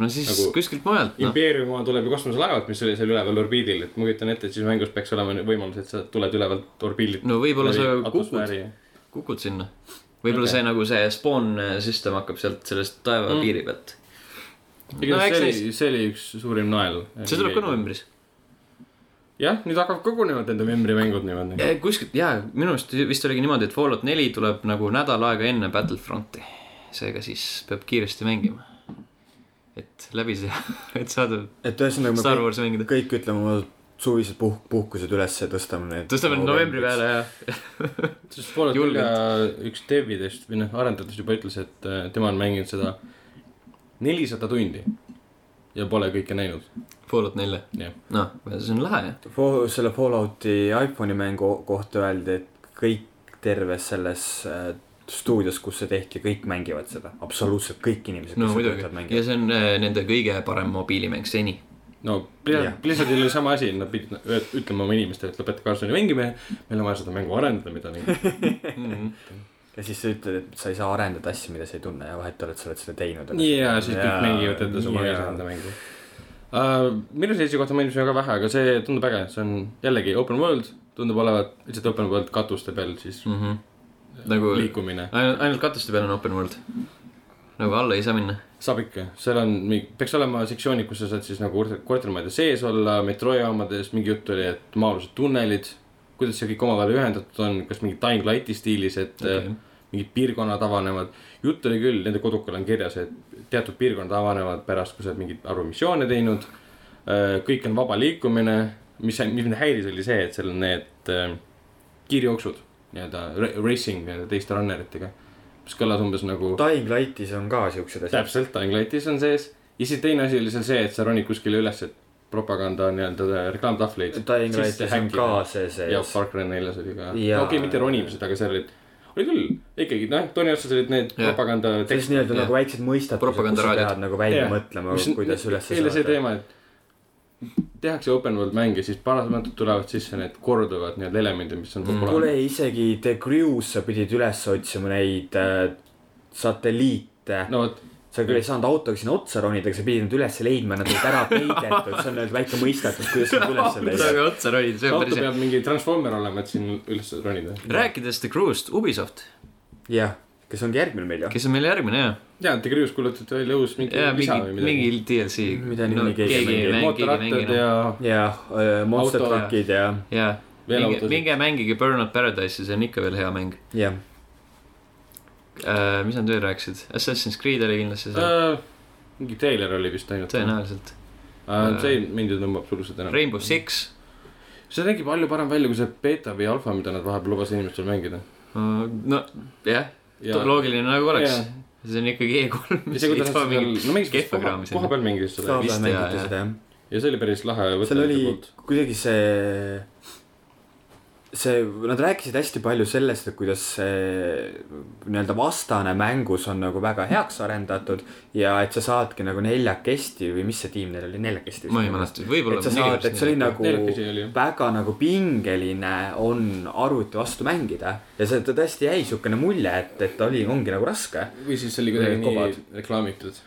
Speaker 1: no siis nagu...
Speaker 2: Nagu-
Speaker 1: kuskilt mujalt , noh .
Speaker 2: impeerium oma tuleb ju kosmoselaevalt , mis oli seal üleval orbiidil , et ma kujutan ette , et siis mängus peaks olema võimalus , et sa tuled ülevalt orbiidilt .
Speaker 1: no võib-olla sa kukud ,. kukud sinna . võib-olla
Speaker 2: Okei.
Speaker 1: okay. see nagu see spawn system hakkab sealt sellest taeva
Speaker 2: Mm.
Speaker 1: mm. piiri pealt .
Speaker 2: no,
Speaker 1: No
Speaker 2: see
Speaker 1: eks
Speaker 2: oli , see oli üks suurim nael .
Speaker 1: see tuleb ka . novembris .
Speaker 2: jah , nüüd hakkavad kogunema need novembri mängud niimoodi .
Speaker 1: kuskilt jaa , minu arust vist oligi niimoodi , et Fallout neli tuleb nagu nädal aega enne Battlefronti . seega siis peab kiiresti mängima . et läbi see , [LAUGHS] et saada
Speaker 3: et ühesõnaga me
Speaker 1: Star
Speaker 3: kõik-
Speaker 1: Warsi mängida .
Speaker 3: kõik ütleme oma suvised puhk- , puhkused üles ja tõstame need .
Speaker 1: tõstame nüüd novembri . peale ja ,
Speaker 2: sest Fallout
Speaker 1: Julgelt.
Speaker 2: nelja üks devidest või noh , arendajatest juba ütles , et äh, tema on mänginud seda nelisada tundi ja pole kõike näinud .
Speaker 1: [LAUGHS] Fallout nelja
Speaker 2: Jah. .
Speaker 1: noh , see on lahe jah .
Speaker 3: selle Fallouti iPhone'i mängu kohta öeldi , et kõik terves selles äh, stuudios , kus see tehti , kõik mängivad seda , absoluutselt kõik inimesed ,
Speaker 1: no
Speaker 3: kes
Speaker 1: muidugi
Speaker 3: töötavad ,
Speaker 1: ja
Speaker 3: mängivad .
Speaker 1: see on äh, nende kõige parem mobiilimäng seni .
Speaker 2: no
Speaker 3: Jah.
Speaker 2: Blizzard , Blizzardil oli sama asi , nad pidid öö- ütlema oma inimestele , et lõpetage Arseni mängimine , meil on vaja seda mängu arendada , mida mängida .
Speaker 3: ja siis sa ütled , et sa ei saa arendada asju , mida sa ei tunne ja vahet ei ole , et sa oled seda teinud .
Speaker 2: ja siis kõik mängivad enda oma enda mängu . Uh, minu seisukohta mainisime väga vähe , aga see tundub äge , see on jällegi open world , tundub olevat lihtsalt open world katuste peal siis
Speaker 1: mm . -hmm. nagu
Speaker 2: liikumine .
Speaker 1: ainult , ainult katuste peal on open world . nagu alla ei saa minna .
Speaker 2: saab ikka , seal on , peaks olema sektsioonid , kus sa saad siis nagu korter- kortermajade sees olla , metroojaamades , mingi jutt oli , et maa-alused tunnelid . kuidas see kõik omavahel ühendatud on , kas mingi Dying Lighti stiilis , et okay.
Speaker 1: Okay.
Speaker 2: mingid piirkonnad avanevad . jutt oli küll , nende kodukal on kirjas , et teatud piirkonnad avanevad pärast , kui sa oled mingeid arvumissioone teinud . kõik on vaba liikumine , mis , mis mind häiris , oli see , et seal on need äh, kiirjooksud nii-öelda ra- racing nii-öelda teiste runneritega , mis kõlas umbes nagu .
Speaker 3: Dying Lightis on ka siuksed asjad .
Speaker 2: täpselt , Dying Lightis on sees ja siis teine asi oli seal see , et sa ronid kuskile üles , et propaganda nii-öelda reklaamtahvleid .
Speaker 3: Dying Lightis on ka see
Speaker 2: ja
Speaker 3: sees .
Speaker 2: Far Cry neljas oli ka , okei
Speaker 3: Jaa.
Speaker 2: okay, , mitte ronimised , aga seal olid , oli küll ikkagi noh , Tony otsas olid need
Speaker 1: Jah.
Speaker 2: propaganda
Speaker 3: see on siis
Speaker 2: tekstid .
Speaker 3: nii-öelda
Speaker 1: jah.
Speaker 3: nagu väiksed mõistatused , kus sa
Speaker 1: Propagandaraadiod.
Speaker 3: pead nagu välja
Speaker 2: Jah.
Speaker 3: mõtlema , kuidas üles
Speaker 2: eile see teema , et tehakse open world mänge , siis paratamatult tulevad sisse need korduvad need elemendid , mis on populaarsed
Speaker 3: Mm. kuule , isegi The Crew's sa pidid üles otsima neid äh, satelliite
Speaker 2: mm. . no vot ,
Speaker 3: sa küll ei saanud autoga sinna otsa ronida , aga sa pidid nad üles leidma , nad olid ära peidetud , see on nüüd väike mõistetus , kuidas nad üles leida .
Speaker 1: aga Nagu otsa ronida , see on
Speaker 2: auto
Speaker 1: päris hea .
Speaker 2: peab mingi transformer olema , et siin üles ronida .
Speaker 1: rääkides The Crew'st , Ubisoft ,
Speaker 3: jah , kes ongi järgmine meil ju .
Speaker 1: kes on meil järgmine ja ,
Speaker 2: ja , The Crew's kuulutati välja uus mingi
Speaker 1: ja
Speaker 2: lisa
Speaker 1: mingi
Speaker 2: või , midagi .
Speaker 1: mingi DLC .
Speaker 3: Mida niikuinii keegi ei
Speaker 1: keegi ei
Speaker 3: mängi.
Speaker 1: mängi , keegi ei
Speaker 2: mootorrattad
Speaker 1: mängi noh.
Speaker 2: ja
Speaker 1: enam .
Speaker 3: ja äh, Monster
Speaker 2: Auto-
Speaker 3: Truckid ja ,
Speaker 1: ja ,
Speaker 2: veel
Speaker 1: minge ,
Speaker 2: autosid .
Speaker 1: minge mängige Burnout Paradise'i , see on ikka veel hea mäng
Speaker 3: jah .
Speaker 1: äh, . mis nad veel rääkisid , Assassin's Creed oli kindlasti
Speaker 2: Äh.
Speaker 1: seal ,
Speaker 2: mingi treiler oli vist ainult .
Speaker 1: tõenäoliselt .
Speaker 2: see mind ei tõmba absoluutselt enam .
Speaker 1: Rainbow Six ,
Speaker 2: see nägi palju parem välja kui see beeta või alfa , mida nad vahepeal lubasid inimestel mängida .
Speaker 1: no jah , loogiline nagu oleks . see on ikkagi E3 , mis ei too mingit kehva kraami
Speaker 2: koha
Speaker 1: sinna .
Speaker 2: peal mängisid seda
Speaker 1: Vist jaa,
Speaker 3: vahepeal mängiti
Speaker 1: jah.
Speaker 3: seda jah .
Speaker 2: ja see oli päris lahe .
Speaker 3: seal oli kuidagi see , see , nad rääkisid hästi palju sellest , et kuidas see nii-öelda vastane mängus on nagu väga heaks arendatud ja et sa saadki nagu neljakesti või mis see tiim neil oli , neljakesti .
Speaker 1: ma ei . mäleta , võib-olla .
Speaker 3: et sa saad , et see oli nagu
Speaker 2: neljakesi oli jah .
Speaker 3: väga nagu pingeline on arvuti vastu mängida ja see ta tõesti jäi siukene mulje , et , et ta oli , ongi nagu raske .
Speaker 2: või siis see oli
Speaker 3: kuidagi
Speaker 2: kuidagi
Speaker 3: nii
Speaker 2: nii reklaamitud .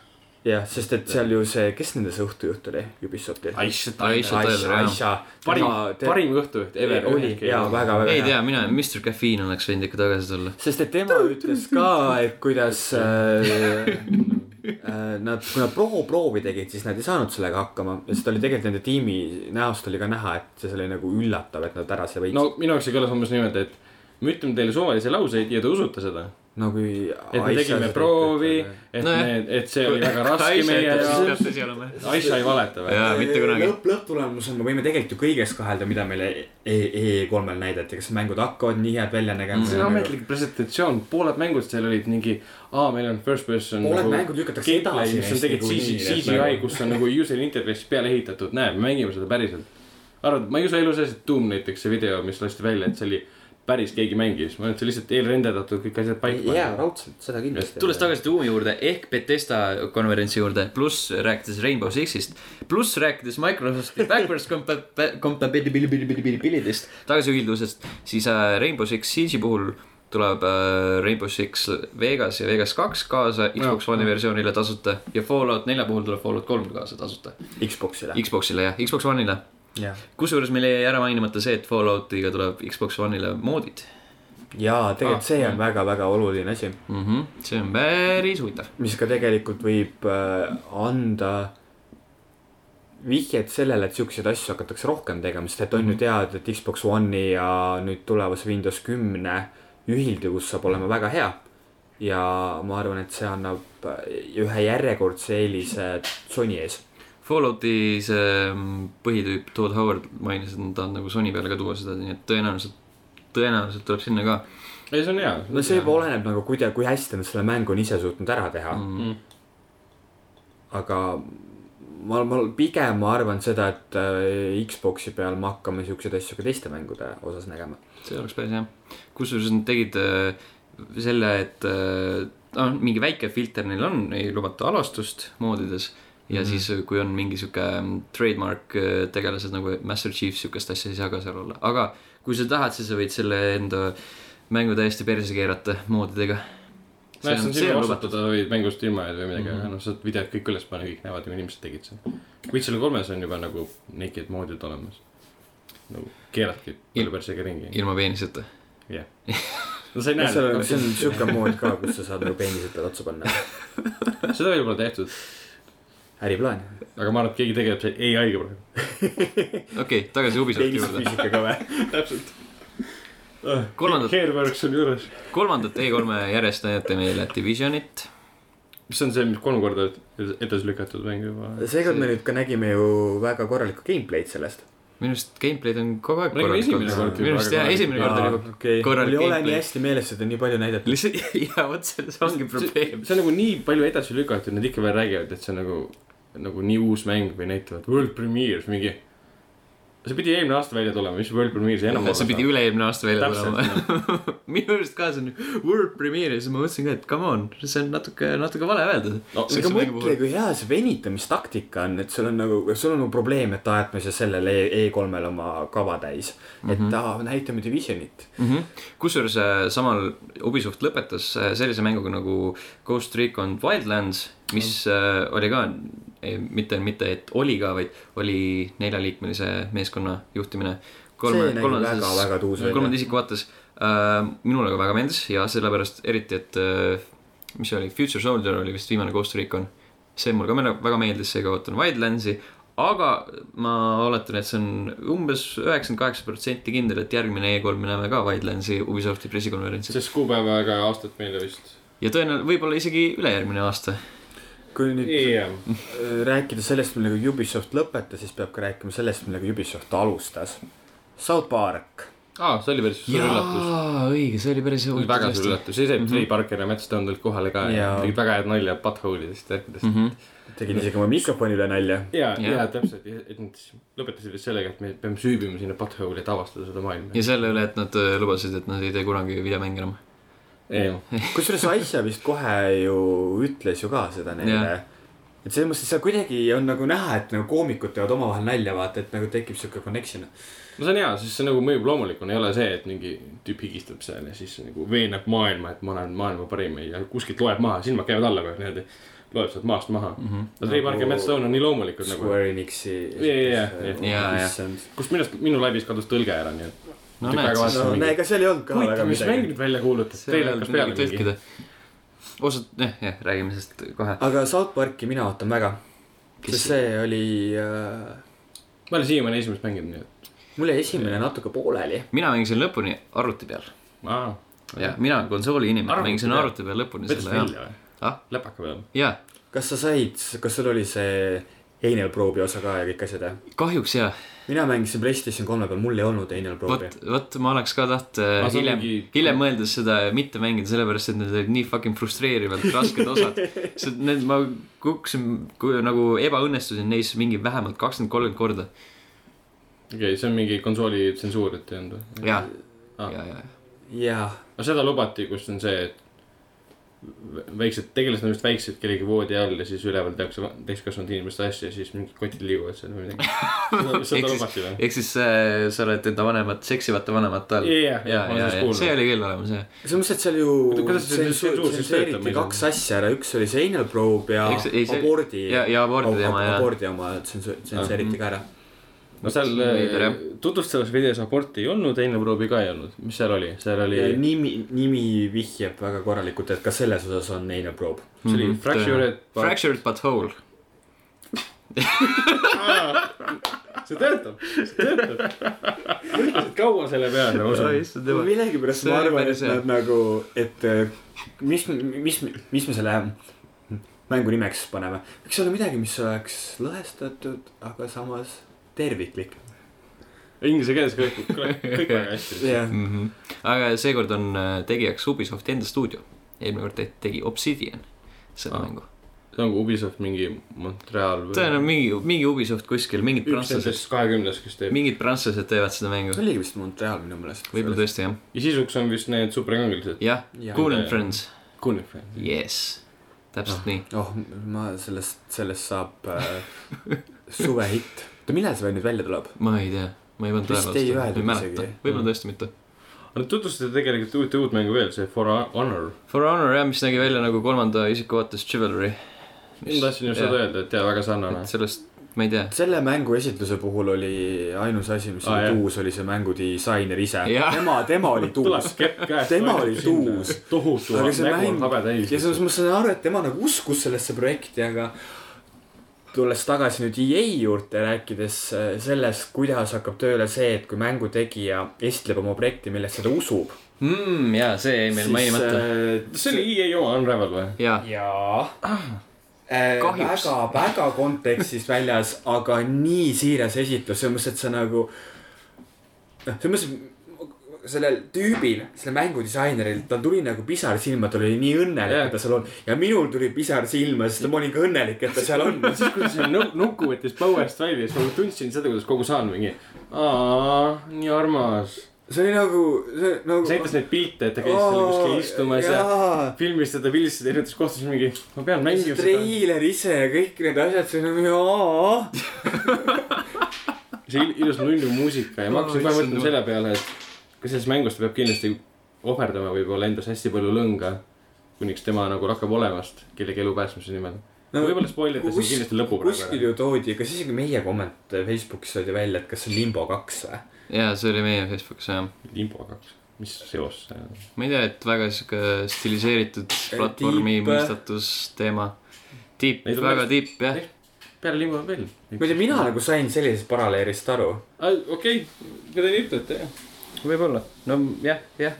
Speaker 3: jah , sest et seal ju see , kes nende see õhtujuht oli , Ubisoftil ?
Speaker 2: Aisha
Speaker 1: Aisha Tyler , jah .
Speaker 3: Aisha .
Speaker 2: parim , parim õhtujuht ever .
Speaker 3: oli ja väga-väga
Speaker 1: ei tea , mina , Mr Caffeine oleks võinud ikka tagasi tulla .
Speaker 3: sest et tema ütles ka , et
Speaker 1: [LAUGHS]
Speaker 3: kuidas äh, äh, nad , kui nad proproovi tegid , siis nad ei saanud sellega hakkama ja seda oli tegelikult nende tiimi näost oli ka näha , et see oli nagu üllatav , et nad ära see võitsid no, .
Speaker 2: no minu jaoks see kõlas umbes niimoodi , et me ütleme teile suvalisi lauseid ja te usute seda .
Speaker 3: no kui .
Speaker 2: et me tegime proovi , et
Speaker 1: Nojah.
Speaker 2: me , et see oli väga raske meie jaoks . Aisha ei valeta või ?
Speaker 1: jaa , mitte kunagi .
Speaker 3: lõpp , lõpptulemusena me võime tegelikult ju kõiges kahelda , mida meile E3-l näidati , kas mängud hakkavad nii head välja nägema
Speaker 2: see on . ametlik presentatsioon , pooled mängud seal olid mingi , aa , meil on first person .
Speaker 3: Pooled mängud lükatakse edasi
Speaker 2: mis on
Speaker 3: hästi
Speaker 2: tegelikult
Speaker 3: kui
Speaker 2: CGI,
Speaker 3: nii, et
Speaker 2: CGI ,
Speaker 3: nagu-
Speaker 2: kus on nagu user interface peale ehitatud , näe , me mängime seda päriselt . arvad , ma ei usu elu sees , et Doom näiteks see video , mis lasti välja , et see oli päris keegi mängis , ma arvan , et see lihtsalt eelrenderdatud kõik asjad paika
Speaker 3: jaa , raudselt , seda kindlasti .
Speaker 1: tulles tagasi Doomi juurde ehk Betesta konverentsi juurde , pluss rääkides Rainbow Sixist , pluss rääkides Microsofti backwards [LAUGHS] compa- , compatibility'st , tagasiühildusest , siis äh, Rainbow Six Siege'i puhul tuleb äh, Rainbow Six Vegas ja Vegas kaks kaasa Xbox One'i versioonile tasuta ja Fallout nelja puhul tuleb Fallout kolm kaasa tasuta .
Speaker 3: Xboxile .
Speaker 1: Xboxile jah , Xbox One'ile .
Speaker 3: jah ,
Speaker 1: kusjuures meil jäi ära mainimata see , et Falloutiga tuleb Xbox One'ile moodid
Speaker 3: jaa ,
Speaker 2: Ah,
Speaker 3: tegelikult see on väga-väga oluline asi
Speaker 1: mm .
Speaker 2: Mhm.
Speaker 1: -hmm. see on päris huvitav .
Speaker 3: mis ka tegelikult võib äh, anda vihjet sellele , et siukseid asju hakatakse rohkem tegema , sest et on ju teada , et Xbox One'i ja nüüd tulevase Windows kümne ühilduvus saab olema väga hea . ja ma arvan , et see annab äh, ühe järjekordse eelise Sony ees .
Speaker 1: Fallouti see mm, põhitüüp Todd Howard mainis , et nad tahavad nagu Sony peale ka tuua seda , nii et tõenäoliselt , tõenäoliselt tuleb sinna ka
Speaker 2: ei , see on hea .
Speaker 3: no see juba oleneb nagu kuida- , kui hästi nad selle mängu on ise suutnud ära teha .
Speaker 1: mm. .
Speaker 3: aga ma , ma pigem ma arvan seda , et äh, Xbox'i peal me hakkame siukseid asju ka teiste mängude osas nägema .
Speaker 1: see oleks päris hea . kusjuures nad tegid äh, selle , et äh, on mingi väike filter neil on , ei lubata alastust moodides ja mm -hmm. siis , kui on mingi sihuke mm, trademark äh, tegelased nagu Master Chief , sihukest asja ei saa ka seal olla , aga kui sa tahad , siis sa võid selle enda mängu täiesti perse keerata moodidega .
Speaker 2: nojah , see on sinu vastutada või mängust ilma jääda või midagi ,
Speaker 3: Mhm.
Speaker 2: aga noh , saad videod kõik üles panna , kõik näevad , mida inimesed tegid seal . Witcher kolmes on juba nagu naked moodid olemas . nagu keeradki palju persega ringi .
Speaker 1: ilma peeniseta .
Speaker 3: [LAUGHS]
Speaker 2: no sa ei
Speaker 3: Ja
Speaker 2: näe
Speaker 3: seal on , see on siuke mood ka , kus sa saad nagu peenisetele otsa panna .
Speaker 2: seda veel pole tehtud ,
Speaker 3: äriplaan .
Speaker 2: aga ma arvan , et keegi tegeleb seal ai-ga praegu .
Speaker 1: okei okay, , tagasi Ubisofti juurde .
Speaker 3: peenisfüüsikaga või ?
Speaker 2: täpselt .
Speaker 1: Kolmandat-
Speaker 2: Hairworks on juures .
Speaker 1: kolmandat E E3-e järjest näidati meile Divisionit .
Speaker 2: mis on see , mis kolm korda edasi lükatud mäng juba .
Speaker 3: seekord me nüüd ka nägime ju väga korralikku gameplay'd sellest .
Speaker 1: minu arust gameplay'd on kogu aeg
Speaker 2: Ma nägin esimene kord
Speaker 1: minu
Speaker 2: juba
Speaker 1: arust
Speaker 2: väga
Speaker 1: jah ,
Speaker 2: korralik.
Speaker 1: esimene kord oli juba [LAUGHS]
Speaker 3: okei , mul
Speaker 1: korralik
Speaker 3: ei ole nii
Speaker 1: gameplay .
Speaker 3: hästi meeles seda nii palju näidata .
Speaker 1: lihtsalt ja vot selles ongi probleem .
Speaker 2: see on nagu nii palju edasi lükatud , nad ikka veel räägivad , et see on nagu , nagu nii uus mäng või näitavad world premiere mingi . see pidi eelmine aasta välja tulema , mis World Premiere see enam
Speaker 4: see pidi üle-eelmine aasta välja
Speaker 1: [LAUGHS]
Speaker 4: tulema .
Speaker 2: täpselt , noh.
Speaker 4: minu arust ka see on world premiere ja siis ma mõtlesin ka , et come on , see on natuke , natuke vale öeldud
Speaker 2: No, nagu
Speaker 4: See-
Speaker 3: aga
Speaker 4: see mängu
Speaker 3: mõtle
Speaker 4: puhul- ,
Speaker 3: kui hea see venitamistaktika on , et sul on nagu , sul on nagu probleem , et ajad me siis sellel E- E3-l oma kava täis . et mm -hmm. näitame Divisionit .
Speaker 4: Mhm.
Speaker 1: kusjuures äh, samal Ubisoft lõpetas äh, sellise mänguga nagu Ghost Recon Wildlands , mis äh, oli ka eh, mitte , mitte et oli ka , vaid oli neljaliikmelise meeskonna juhtimine .
Speaker 3: See nägi väga-väga tuus välja.
Speaker 1: kolmanda isiku vaates äh, minule ka väga meeldis ja sellepärast eriti , et äh, mis see oli , Future Soldier oli vist viimane Ghost Recon . see mulle ka meele- väga meeldis , seega ootan Wildlandsi , aga ma oletan , et see on umbes üheksakümmend kaheksa protsenti kindel , et järgmine E3 me näeme ka Wildlandsi Ubisofti pressikonverentsil
Speaker 2: sest kuupäevaga aastat meile vist .
Speaker 1: ja tõenäoliselt võib-olla isegi ülejärgmine aasta .
Speaker 3: kui nüüd yeah.
Speaker 2: jah ,
Speaker 3: rääkida sellest , millega Ubisoft lõpetas , siis peab ka rääkima sellest , millega Ubisoft alustas . South Park .
Speaker 2: see oli päris suur üllatus .
Speaker 1: õige , see oli päris
Speaker 2: see oli väga suur üllatus , ise
Speaker 4: Mhm.
Speaker 2: Trey Parker ja Matt Stone tulid kohale ka ja
Speaker 3: Jaa.
Speaker 2: tegid väga head nalja butthole'idest ja asjadest .
Speaker 4: Mhm.
Speaker 3: tegin isegi oma mikrofoni üle nalja .
Speaker 2: ja , ja täpselt , et nad siis lõpetasid vist sellega , et me peame süübima sinna butthole'i , et avastada seda maailma .
Speaker 1: ja selle üle , et nad äh, lubasid , et nad ei tee kunagi videomänge enam .
Speaker 2: jah ,
Speaker 3: kusjuures Aisha vist kohe ju ütles ju ka seda neile
Speaker 1: Jah.
Speaker 3: yeah. et selles mõttes seal kuidagi on nagu näha , et nagu koomikud teevad omavahel nalja , vaata , et nagu tekib sihuke connection .
Speaker 2: no see on hea , sest see nagu mõjub loomulikuna , ei ole see , et mingi tüüp higistab seal ja siis nagu veenab maailma , et ma olen maailma parim ja kuskilt loeb maha , silmad käivad alla kohe niimoodi , loeb sealt maast maha mm . -hmm. no Trey Parker ja Matt Stone on nii loomulikud nagu ,
Speaker 3: Square Enixi . äh,
Speaker 2: Jaa, jaa, jaa.
Speaker 1: Jaa, jaa.
Speaker 2: kus minu arust minu laivis kadus tõlge ära , nii et .
Speaker 1: No näed, siis
Speaker 3: no näe , ega seal ei olnud ka
Speaker 2: huvitav , mis mäng . nüüd välja kuulutas , teil hakkas peale mingi .
Speaker 1: tõlkida . osad , jah , jah , räägime sellest kohe .
Speaker 3: aga South Parki mina ootan väga .
Speaker 1: Kes
Speaker 3: sest see oli äh, ,
Speaker 2: ma olen siiamaani esimest mänginud , nii et .
Speaker 3: mul jäi esimene natuke pooleli .
Speaker 1: mina mängisin lõpuni arvuti peal
Speaker 2: aa ,
Speaker 1: ja mina konsooli inimene
Speaker 2: Arvuti
Speaker 1: mängisin
Speaker 2: peal?
Speaker 1: arvuti peal lõpuni
Speaker 2: võttis
Speaker 1: selle
Speaker 2: välja
Speaker 1: ja ,
Speaker 2: või ?
Speaker 1: Ah?
Speaker 2: läpaka peal .
Speaker 1: ja
Speaker 3: kas sa said , kas sul oli see Anal Probe'i osa ka ja kõik asjad jah ?
Speaker 1: kahjuks ja ,
Speaker 3: mina mängisin Playstation kolme peal , mul ei olnud Anal Probe'i
Speaker 1: vot , vot ma oleks ka tahtnud äh,
Speaker 2: Ma saan
Speaker 1: hiljem
Speaker 2: mingi- ,
Speaker 1: hiljem mõeldes seda mitte mängida , sellepärast et need olid nii fucking frustreerivalt rasked
Speaker 2: [LAUGHS]
Speaker 1: osad . see , need , ma kukkusin kui, nagu ebaõnnestusin neis mingi vähemalt kakskümmend , kolmkümmend korda .
Speaker 2: okei okay, , see on mingi konsooli tsensuur , et ei olnud või ?
Speaker 1: ja ,
Speaker 2: Ah.
Speaker 1: ja , ja ,
Speaker 3: jaa ,
Speaker 2: no seda lubati , kus on see , et vä- väiksed tegelased on vist väiksed kellegi voodi all ja siis üleval tehakse va- täiskasvanud inimeste asju ja siis mingid kotid liiguvad seal või midagi .
Speaker 1: [LAUGHS]
Speaker 2: seda, seda
Speaker 1: Ehk siis-
Speaker 2: lubati või ?
Speaker 1: ehk siis äh, sa oled enda vanemat , seksivate vanemate all .
Speaker 2: Jah, jah,
Speaker 1: ja ,
Speaker 2: ma olen
Speaker 1: ja ,
Speaker 2: sellest
Speaker 1: ja
Speaker 2: kuulnud.
Speaker 1: see oli küll olemas jah .
Speaker 3: selles mõttes , et seal
Speaker 2: Kuidas see
Speaker 3: ju
Speaker 2: nüüd tsensuur siis töötab, ma
Speaker 3: tsenseeriti
Speaker 2: ei
Speaker 3: kaks asja ära , üks oli see Anal Probe ja
Speaker 1: Eks- ei, see-
Speaker 3: abordi .
Speaker 1: ja- ja abordi teema, jah.
Speaker 3: abordi oma tsensu- , tsenseeriti ka ära .
Speaker 2: no seal
Speaker 1: Veider, jah.
Speaker 2: äh, tutvustavas videos aborti ei olnud , teine proovi ka ei olnud , mis seal oli , seal oli ,
Speaker 3: nimi , nimi vihjab väga korralikult , et ka selles osas on Anal Probe .
Speaker 2: see oli Fractured .
Speaker 1: Mhm, Fractured but whole .
Speaker 2: see töötab , see töötab . kaua selle peale , ma usun .
Speaker 3: millegipärast
Speaker 1: See
Speaker 3: ma
Speaker 1: oli
Speaker 3: arvan ,
Speaker 1: päris
Speaker 3: et
Speaker 1: hea.
Speaker 3: nad nagu , et eh, mis , mis , mis me selle mängu nimeks paneme , võiks olla midagi , mis oleks lõhestatud , aga samas terviklik .
Speaker 2: Inglise keeles kõik , kõik väga hästi .
Speaker 3: jah ,
Speaker 1: Mhm. aga seekord on äh, tegijaks Ubisofti enda stuudio . eelmine kord tehti- tegi Obsidian seda
Speaker 2: Ah.
Speaker 1: mängu .
Speaker 2: see on kui Ubisoft mingi Montreal või .
Speaker 1: tõenäoliselt mingi , mingi Ubisoft kuskil , mingid
Speaker 2: üks
Speaker 1: prantslased ,
Speaker 2: nendest kahekümnes , kes teeb .
Speaker 1: mingid prantslased teevad seda mängu
Speaker 3: see . oligi vist Montreal minu meelest .
Speaker 1: võib-olla tõesti jah ,
Speaker 2: ja sisuks on vist need superkangelased .
Speaker 1: jah ,
Speaker 3: Jah.
Speaker 1: Cool and
Speaker 2: Jah. Ah.
Speaker 1: Friends ,
Speaker 2: Kunifre .
Speaker 1: yes , täpselt nii .
Speaker 3: oh , ma sellest , sellest saab äh, suvehitt . oota , millal see nüüd välja tuleb ?
Speaker 1: ma ei tea , ma ei pannud
Speaker 3: Vist ei
Speaker 1: tähele ,
Speaker 3: öeldud
Speaker 1: ei mäleta
Speaker 3: isegi. ,
Speaker 2: Mm.
Speaker 1: võib-olla tõesti mitte .
Speaker 2: aga nad tutvustasid tegelikult uut , uut mängu veel , see For Honor .
Speaker 1: For Honor jah , mis nägi välja nagu kolmanda isiku vaates Chivalry ,
Speaker 2: ma tahtsin just seda öelda , et jaa , väga sarnane
Speaker 1: et . sellest , ma ei tea .
Speaker 3: selle mängu esitluse puhul oli ainus asi , mis
Speaker 2: Aa,
Speaker 3: oli
Speaker 2: jah.
Speaker 3: tuus , oli see mängu disainer ise .
Speaker 1: Ah, Jah.
Speaker 3: tema , tema
Speaker 1: [LAUGHS]
Speaker 3: oli
Speaker 2: tuleb
Speaker 3: tuus .
Speaker 2: kepp käest .
Speaker 3: Tema oli tuus.
Speaker 2: tohutu
Speaker 3: Aga see
Speaker 2: nägu on
Speaker 3: mäng-
Speaker 2: habe
Speaker 3: ja
Speaker 2: täis .
Speaker 3: selles mõttes ma saan aru , et tema nagu uskus sellesse projekti , aga tulles tagasi nüüd EA juurde , rääkides äh, sellest , kuidas hakkab tööle see , et kui mängutegija esitleb oma projekti , millesse ta usub .
Speaker 1: Hmm,
Speaker 3: äh,
Speaker 1: jaa , see jäi meil mainimata .
Speaker 2: see oli EA oma Unravel
Speaker 1: äh,
Speaker 2: või ?
Speaker 1: jaa ,
Speaker 3: jaa .
Speaker 1: Kahjuks.
Speaker 3: Äh, väga , väga kontekstist väljas , aga nii siiras esitlus , selles mõttes , et sa nagu , noh , selles mõttes , sellel tüübil , sellel mängudisaineril , tal tuli nagu pisar silma , tal oli nii
Speaker 2: Jah.
Speaker 3: õnnelik yeah. , et ta seal on . ja minul tuli pisar silma , sest ma olin ka õnnelik , et ta seal on .
Speaker 2: siis , kui see nu- nuku võttis põuest välja , siis ma tundsin seda , kuidas kogu saal mingi , aa , nii armas .
Speaker 3: see oli nagu , see nagu .
Speaker 2: see näitas neid pilte , et ta käis seal kuskil istumas ja filmis teda pildistada erinevates kohtades mingi , ma pean mängima seda .
Speaker 3: treiler ise ja kõik need asjad , see on nagu jaa .
Speaker 2: see il- ilus nunnu muusika ja ma hakkasin kohe mõtlema selle peale , et kas selles mängus ta peab kindlasti ohverdama võib-olla endas hästi palju lõnga , kuniks tema nagu lakkab olemast kellegi elu päästmise nimel . võib-olla spoilida siin kindlasti lõpu
Speaker 3: kuskil
Speaker 2: praegu .
Speaker 3: ju toodi , kas isegi meie kommentaar Facebookis toodi välja , et kas see on Limbo kaks või ?
Speaker 1: jaa , see oli meie Facebookis jah .
Speaker 2: info kaks , mis seos see on ?
Speaker 1: ma ei tea , et väga sihuke stiliseeritud platvormi
Speaker 3: Deep.
Speaker 1: mõistatus teema . Deep ,
Speaker 2: Ei, ta
Speaker 1: väga
Speaker 2: päris-
Speaker 1: deep jah .
Speaker 2: peale limo veel .
Speaker 3: ma ei tea , mina nagu sain sellisest paralleelist aru .
Speaker 2: okei , mida te ütlete , jah . võib-olla , no jah , jah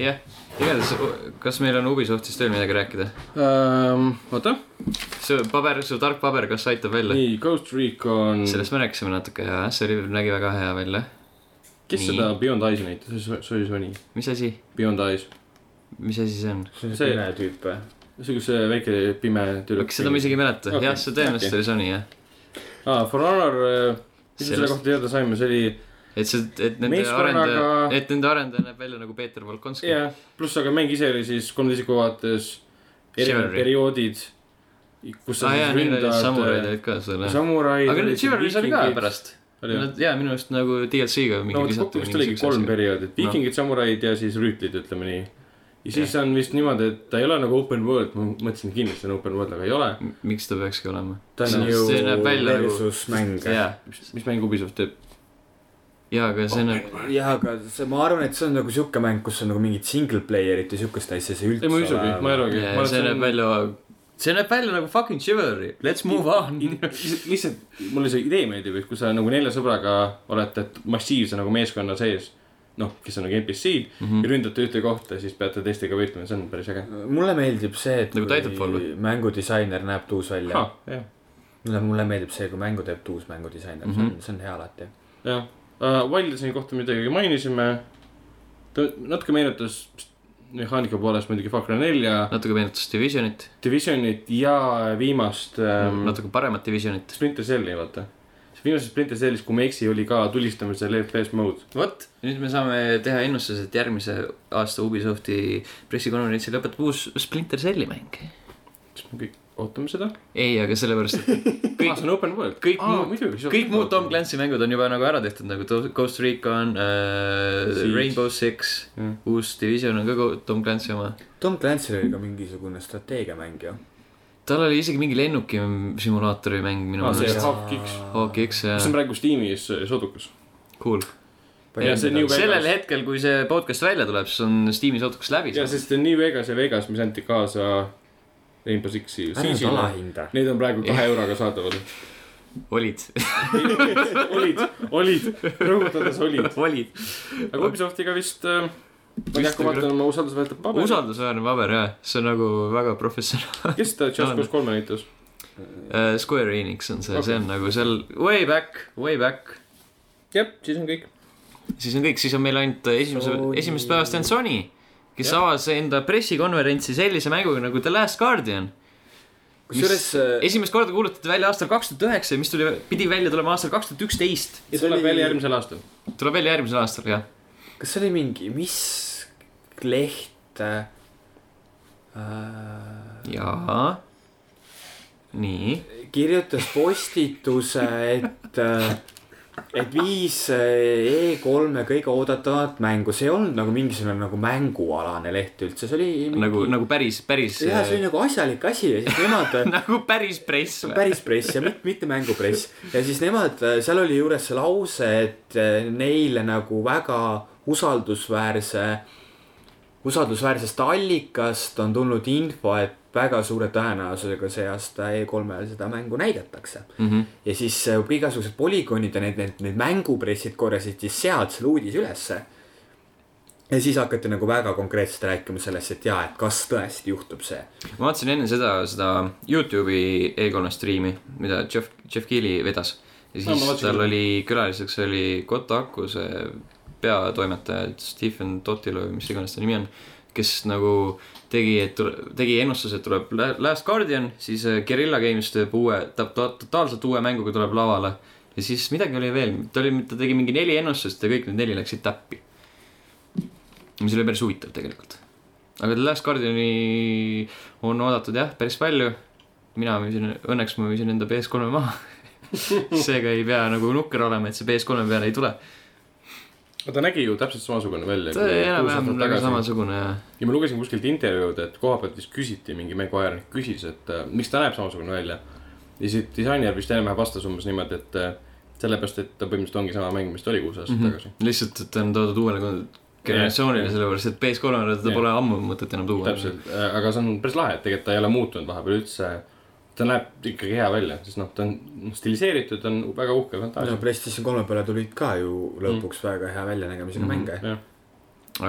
Speaker 1: jah , igatahes , kas meil on Ubisoftist veel midagi rääkida ?
Speaker 2: um, . oota ,
Speaker 1: see paber , su tark paber , kas aitab välja ?
Speaker 2: nii Ghost Recon ,
Speaker 1: sellest me rääkisime natuke ja see oli , nägi väga hea välja .
Speaker 2: kes
Speaker 1: nii.
Speaker 2: seda Beyond Eye'i näitas , see oli Sony ,
Speaker 1: mis asi ,
Speaker 2: Beyond Eyes .
Speaker 1: mis asi see on ?
Speaker 3: see on
Speaker 2: See- see ,
Speaker 3: see pime tüüp või ?
Speaker 2: kus see väike pime tüdruk .
Speaker 1: kas seda ma isegi ei mäleta
Speaker 2: Okei.
Speaker 1: okay. , jah , see tõenäoliselt
Speaker 2: Okei.
Speaker 1: oli Sony jah .
Speaker 2: aa , For Honor , mis me selle
Speaker 1: Sellest-
Speaker 2: kohta teada saime , see oli ,
Speaker 1: et see , et nende
Speaker 2: Meeskonnaga-
Speaker 1: arendaja , et nende arendaja näeb välja nagu Peeter Volkonski yeah. .
Speaker 2: jah , pluss aga mäng ise oli siis kolmanda isiku vaates , erinevad
Speaker 1: Chivalry.
Speaker 2: perioodid , kus sa
Speaker 1: aa ah, jaa ,
Speaker 2: siis
Speaker 1: neil olid samuraid
Speaker 2: ründad .
Speaker 1: olid ka seal jah .
Speaker 2: samuraid .
Speaker 1: aga need Chivalrys oli ka . pärast .
Speaker 2: oli jah ?
Speaker 1: Nad jaa , minu arust nagu DLC-ga mingi
Speaker 2: no vot kokku vist oligi kolm perioodit , viikingid , samuraid ja siis rüütlid , ütleme nii . ja siis on vist niimoodi , et ta ei ole nagu open world , ma mõtlesin , et kindlasti on open world , aga ei ole .
Speaker 1: M- miks ta peakski olema ?
Speaker 2: ta
Speaker 1: See
Speaker 2: on ju ,
Speaker 1: see näeb välja nagu-
Speaker 3: versus mäng .
Speaker 1: jaa ,
Speaker 2: mis mäng Ubisoft teeb ?
Speaker 1: jaa , aga
Speaker 2: Oh,
Speaker 1: see näeb ,
Speaker 3: jah , aga see , ma arvan , et see on nagu sihuke mäng , kus on nagu mingit single player'it ja siukest asja , see üldse
Speaker 2: ei ma ei usugi , ma ei arvagi .
Speaker 1: jaa , see näeb välja , see näeb välja nagu fucking Chivalry , let's move on .
Speaker 2: lihtsalt , lihtsalt mulle see idee meeldib , et kui sa nagu nelja sõbraga olete t- massiivse nagu meeskonna sees , noh , kes on nagu NPC-d mm -hmm. ja ründate ühte kohta , siis peate teistega võitlema , see on päris äge .
Speaker 3: mulle meeldib see , et
Speaker 1: Nagu Titanfall või?
Speaker 3: mängudisainer näeb tuus välja .
Speaker 2: Ah, jah ,
Speaker 3: mulle , mulle meeldib see , kui mängu teeb tuus mängudisainer mm ,
Speaker 1: Mhm.
Speaker 3: -hmm. see on , see on hea alati .
Speaker 2: jah uh, . Wildesi kohta midagi mainisime . ta natuke meenutas pst, mehaanika poolest muidugi Far Cry nelja ,
Speaker 1: natuke meenutas Divisionit ,
Speaker 2: Divisionit ja viimast ähm,
Speaker 1: natuke paremat Divisionit .
Speaker 2: Splinter Celli , vaata . viimases Splinter Cellis , kui ma ei eksi , oli ka tulistamisel FPS mode .
Speaker 1: vot , nüüd me saame teha ennustuse , et järgmise aasta Ubisofti pressikonverentsil lõpetab uus Splinter Celli mäng .
Speaker 2: kas me kõik ootame seda ?
Speaker 1: ei , aga sellepärast , et
Speaker 2: aa , Ah, see on open world .
Speaker 1: kõik muud- [LAUGHS] kõik muud Tom Clancy mängud on juba nagu ära tehtud , nagu To- Ghost Recon äh, ,
Speaker 2: Siege.
Speaker 1: Rainbow Six
Speaker 2: Jah. ,
Speaker 1: uus Division on ka ko- Tom Clancy oma .
Speaker 3: Tom Clancy'l oli ka mingisugune strateegiamäng ju .
Speaker 1: tal oli isegi mingi lennukisimulaatori mäng minu
Speaker 2: aa , Ah, see
Speaker 1: meelest .
Speaker 2: Hawkiks ,
Speaker 1: HGX ja
Speaker 2: mis on praegu Steamis soodukas .
Speaker 1: cool .
Speaker 2: ja see New
Speaker 1: sellel
Speaker 2: Vegas ,
Speaker 1: hetkel , kui see podcast välja tuleb , siis on Steam'i sooduks läbi
Speaker 2: ja . sest see New Vegas ja Vegas , mis anti kaasa Rainbow Sixi .
Speaker 3: ära nüüd alahinda .
Speaker 2: Need on praegu kahe euroga saadavad .
Speaker 1: olid , [LAUGHS]
Speaker 2: olid , olid , rõhutades olid .
Speaker 1: olid .
Speaker 2: aga Ubisoftiga vist äh, , ma ei hakka vaatama oma usaldusväärset paberit .
Speaker 1: usaldusväärne paber jah , see on nagu väga professionaalne .
Speaker 2: kes seda Just Cause kolme näitas ?
Speaker 1: Äh, Square Enix on see
Speaker 2: Okei.
Speaker 1: okay. , see on nagu seal way back , way back .
Speaker 2: jah , siis on kõik .
Speaker 1: siis on kõik , siis on meil ainult äh, esimese
Speaker 3: Sony. ,
Speaker 1: esimesest päevast on Sony , kes ja. avas enda pressikonverentsi sellise mänguga nagu The Last Guardian .
Speaker 3: kusjuures äh,
Speaker 1: esimest korda kuulutati välja aastal kaks tuhat üheksa ja mis tuli , pidi välja tulema aastal kaks tuhat üksteist .
Speaker 2: ja tuleb välja järgmisel aastal .
Speaker 1: tuleb välja järgmisel aastal , jah .
Speaker 3: kas see oli mingi , mis leht äh, ? äh,
Speaker 1: jaa . nii .
Speaker 3: kirjutas postituse , et , et viis äh, E3-e kõige oodatavat mängu , see ei olnud nagu mingisugune nagu mängualane leht üldse , see oli mingi...
Speaker 1: nagu , nagu päris , päris .
Speaker 3: jah , see oli nagu asjalik asi ja siis nemad ,
Speaker 1: [LAUGHS] nagu päris press või ?
Speaker 3: päris press ja mitte , mitte mängupress ja siis nemad , seal oli juures see lause , et äh, neile nagu väga usaldusväärse , usaldusväärsest allikast on tulnud info , et väga suure tõenäosusega see aasta E3-l seda mängu näidatakse
Speaker 1: Mm -hmm.
Speaker 3: ja siis äh, kui igasugused polügoonid ja need , need , need mängupressid korjasid siis sealt selle uudise ülesse . ja siis hakati nagu väga konkreetselt rääkima sellest , et jaa , et kas tõesti juhtub see .
Speaker 1: ma vaatasin enne seda , seda Youtube'i E3-e striimi , mida Jeff , Jeff Keeli vedas . ja
Speaker 2: Aa, ma
Speaker 1: siis no,
Speaker 2: vaatasin
Speaker 1: tal
Speaker 2: ka.
Speaker 1: oli külaliseks oli Kotakuse peatoimetaja Stephen Totilo või mis iganes ta nimi on , kes nagu tegi , et tule- tegi ennustuse , et tuleb La- Last Guardian , siis äh, Guerilla Games teeb uue , ta ta- totaalselt uue mänguga tuleb lavale ja siis midagi oli veel , ta oli , ta tegi mingi neli ennustust ja kõik need neli läksid täppi . mis oli päris huvitav tegelikult . aga The Last Guardiani on oodatud jah , päris palju . mina müüsin , õnneks ma müüsin enda PS3-e maha . [LAUGHS] seega ei pea nagu nukker olema , et see PS3-e peale ei tule .
Speaker 2: aga ta nägi ju täpselt samasugune välja .
Speaker 1: ta oli
Speaker 2: nagu
Speaker 1: enam-vähem väga . samasugune ja
Speaker 2: ja ma lugesin kuskilt intervjuud , et koha pealt vist küsiti , mingi mänguajakirjanik küsis , et äh, miks ta näeb samasugune välja . ja siis disainer vist enam-vähem vastas umbes niimoodi , et äh, sellepärast , et ta põhimõtteliselt ongi sama mäng , mis ta oli kuus aastat
Speaker 3: Mhm.
Speaker 2: mm -hmm. tagasi .
Speaker 1: lihtsalt , et ta on toodud uuele kon- generatsioonile , sellepärast et PS3-le teda
Speaker 2: Jah.
Speaker 1: pole ammu mõtet enam tuua .
Speaker 2: täpselt , aga see on päris lahe , et tegelikult ta ei ole muutunud vahepeal üldse . ta näeb ikkagi hea välja , sest noh , ta on noh, stiliseeritud , ta on väga uhke
Speaker 3: no
Speaker 2: fantaasia .
Speaker 3: PlayStation kolme peale tulid ka ju lõpuks väga hea väljanägemisega
Speaker 1: Mhm.
Speaker 3: mänge .
Speaker 2: jah ,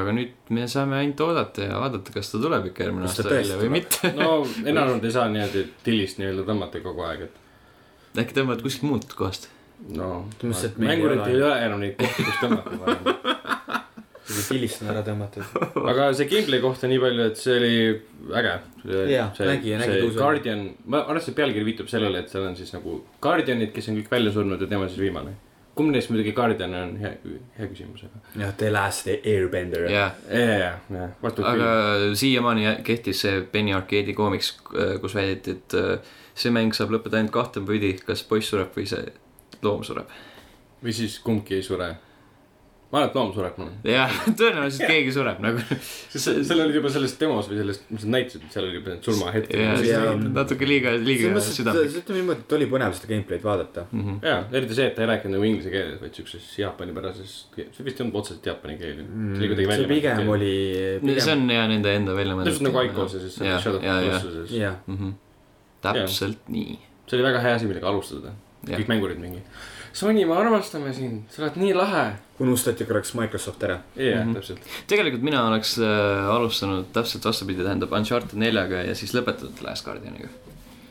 Speaker 1: aga nüüd me saame ainult oodata ja vaadata , kas ta tuleb ikka järgmine
Speaker 3: Kas ta
Speaker 1: aasta välja
Speaker 3: tõesti
Speaker 1: või
Speaker 3: tuleb?
Speaker 1: mitte .
Speaker 2: no enamjaolt ei saa niimoodi tillist nii-öelda tõmmata kogu aeg , et
Speaker 1: äkki tõmbavad kuskilt muud kohast .
Speaker 2: no .
Speaker 3: Tundus, et meil ei
Speaker 2: mängurid
Speaker 3: ole.
Speaker 2: ei ole enam neid kohti , kus tõmmata varem .
Speaker 3: pildist on ära tõmmatud .
Speaker 2: aga see gameplay kohta nii palju , et see oli äge .
Speaker 3: Jaa, nägi ja nägi
Speaker 2: tõusu .
Speaker 3: tõusu.
Speaker 2: Guardian , ma arvan , et see pealkiri viitab sellele , et seal on siis nagu Guardianid , kes on kõik välja surnud ja tema siis viimane . kumb neist muidugi Guardian on , hea , hea küsimus , aga .
Speaker 3: [LAUGHS] jah , The Last Airbender .
Speaker 1: jah ,
Speaker 2: ja , ja , ja , vastab
Speaker 1: aga
Speaker 2: küll .
Speaker 1: siiamaani jä- kehtis see Penny Arcade'i koomiks , kus väideti , et äh, see mäng saab lõppeda ainult kahte pidi , kas poiss sureb või see loom sureb .
Speaker 2: või siis kumbki ei sure . ma arvan , et loom sureb noh. mulle .
Speaker 1: jah , [LAUGHS] tõenäoliselt keegi sureb nagu .
Speaker 2: seal olid juba selles demos või selles , mis nad näitasid , seal oli juba need surmahetked .
Speaker 3: see-
Speaker 1: jah , natuke liiga , liiga
Speaker 3: selles
Speaker 1: südamlik . Mhm.
Speaker 3: mõttes , et ütleme niimoodi , et oli põnev seda gameplay'd vaadata .
Speaker 2: ja , eriti see , et ta ei rääkinud nagu inglise keeles , vaid siukses jaapanipärases , see vist ei olnud otseselt jaapani keel . see oli kuidagi
Speaker 3: Mm, see
Speaker 2: välja .
Speaker 3: pigem . oli ,
Speaker 1: see
Speaker 3: pigem ,
Speaker 1: on ja nende enda välja mõeldud .
Speaker 2: täpselt nagu Aikos ja siis see Shadow of the
Speaker 1: Colossus .
Speaker 2: Colossuses .
Speaker 3: jah .
Speaker 1: Mhm. täpselt nii .
Speaker 2: see oli väga hea asi , millega alustada .
Speaker 1: Jah.
Speaker 2: kõik mängurid mingi . Sony , me armastame sind , sa oled nii lahe .
Speaker 3: unustati korraks Microsoft ära .
Speaker 2: jah ,
Speaker 1: Mhm.
Speaker 2: täpselt .
Speaker 1: tegelikult mina oleks äh, alustanud täpselt vastupidi , tähendab Uncharted neljaga ja siis lõpetanud Last Guardianiga .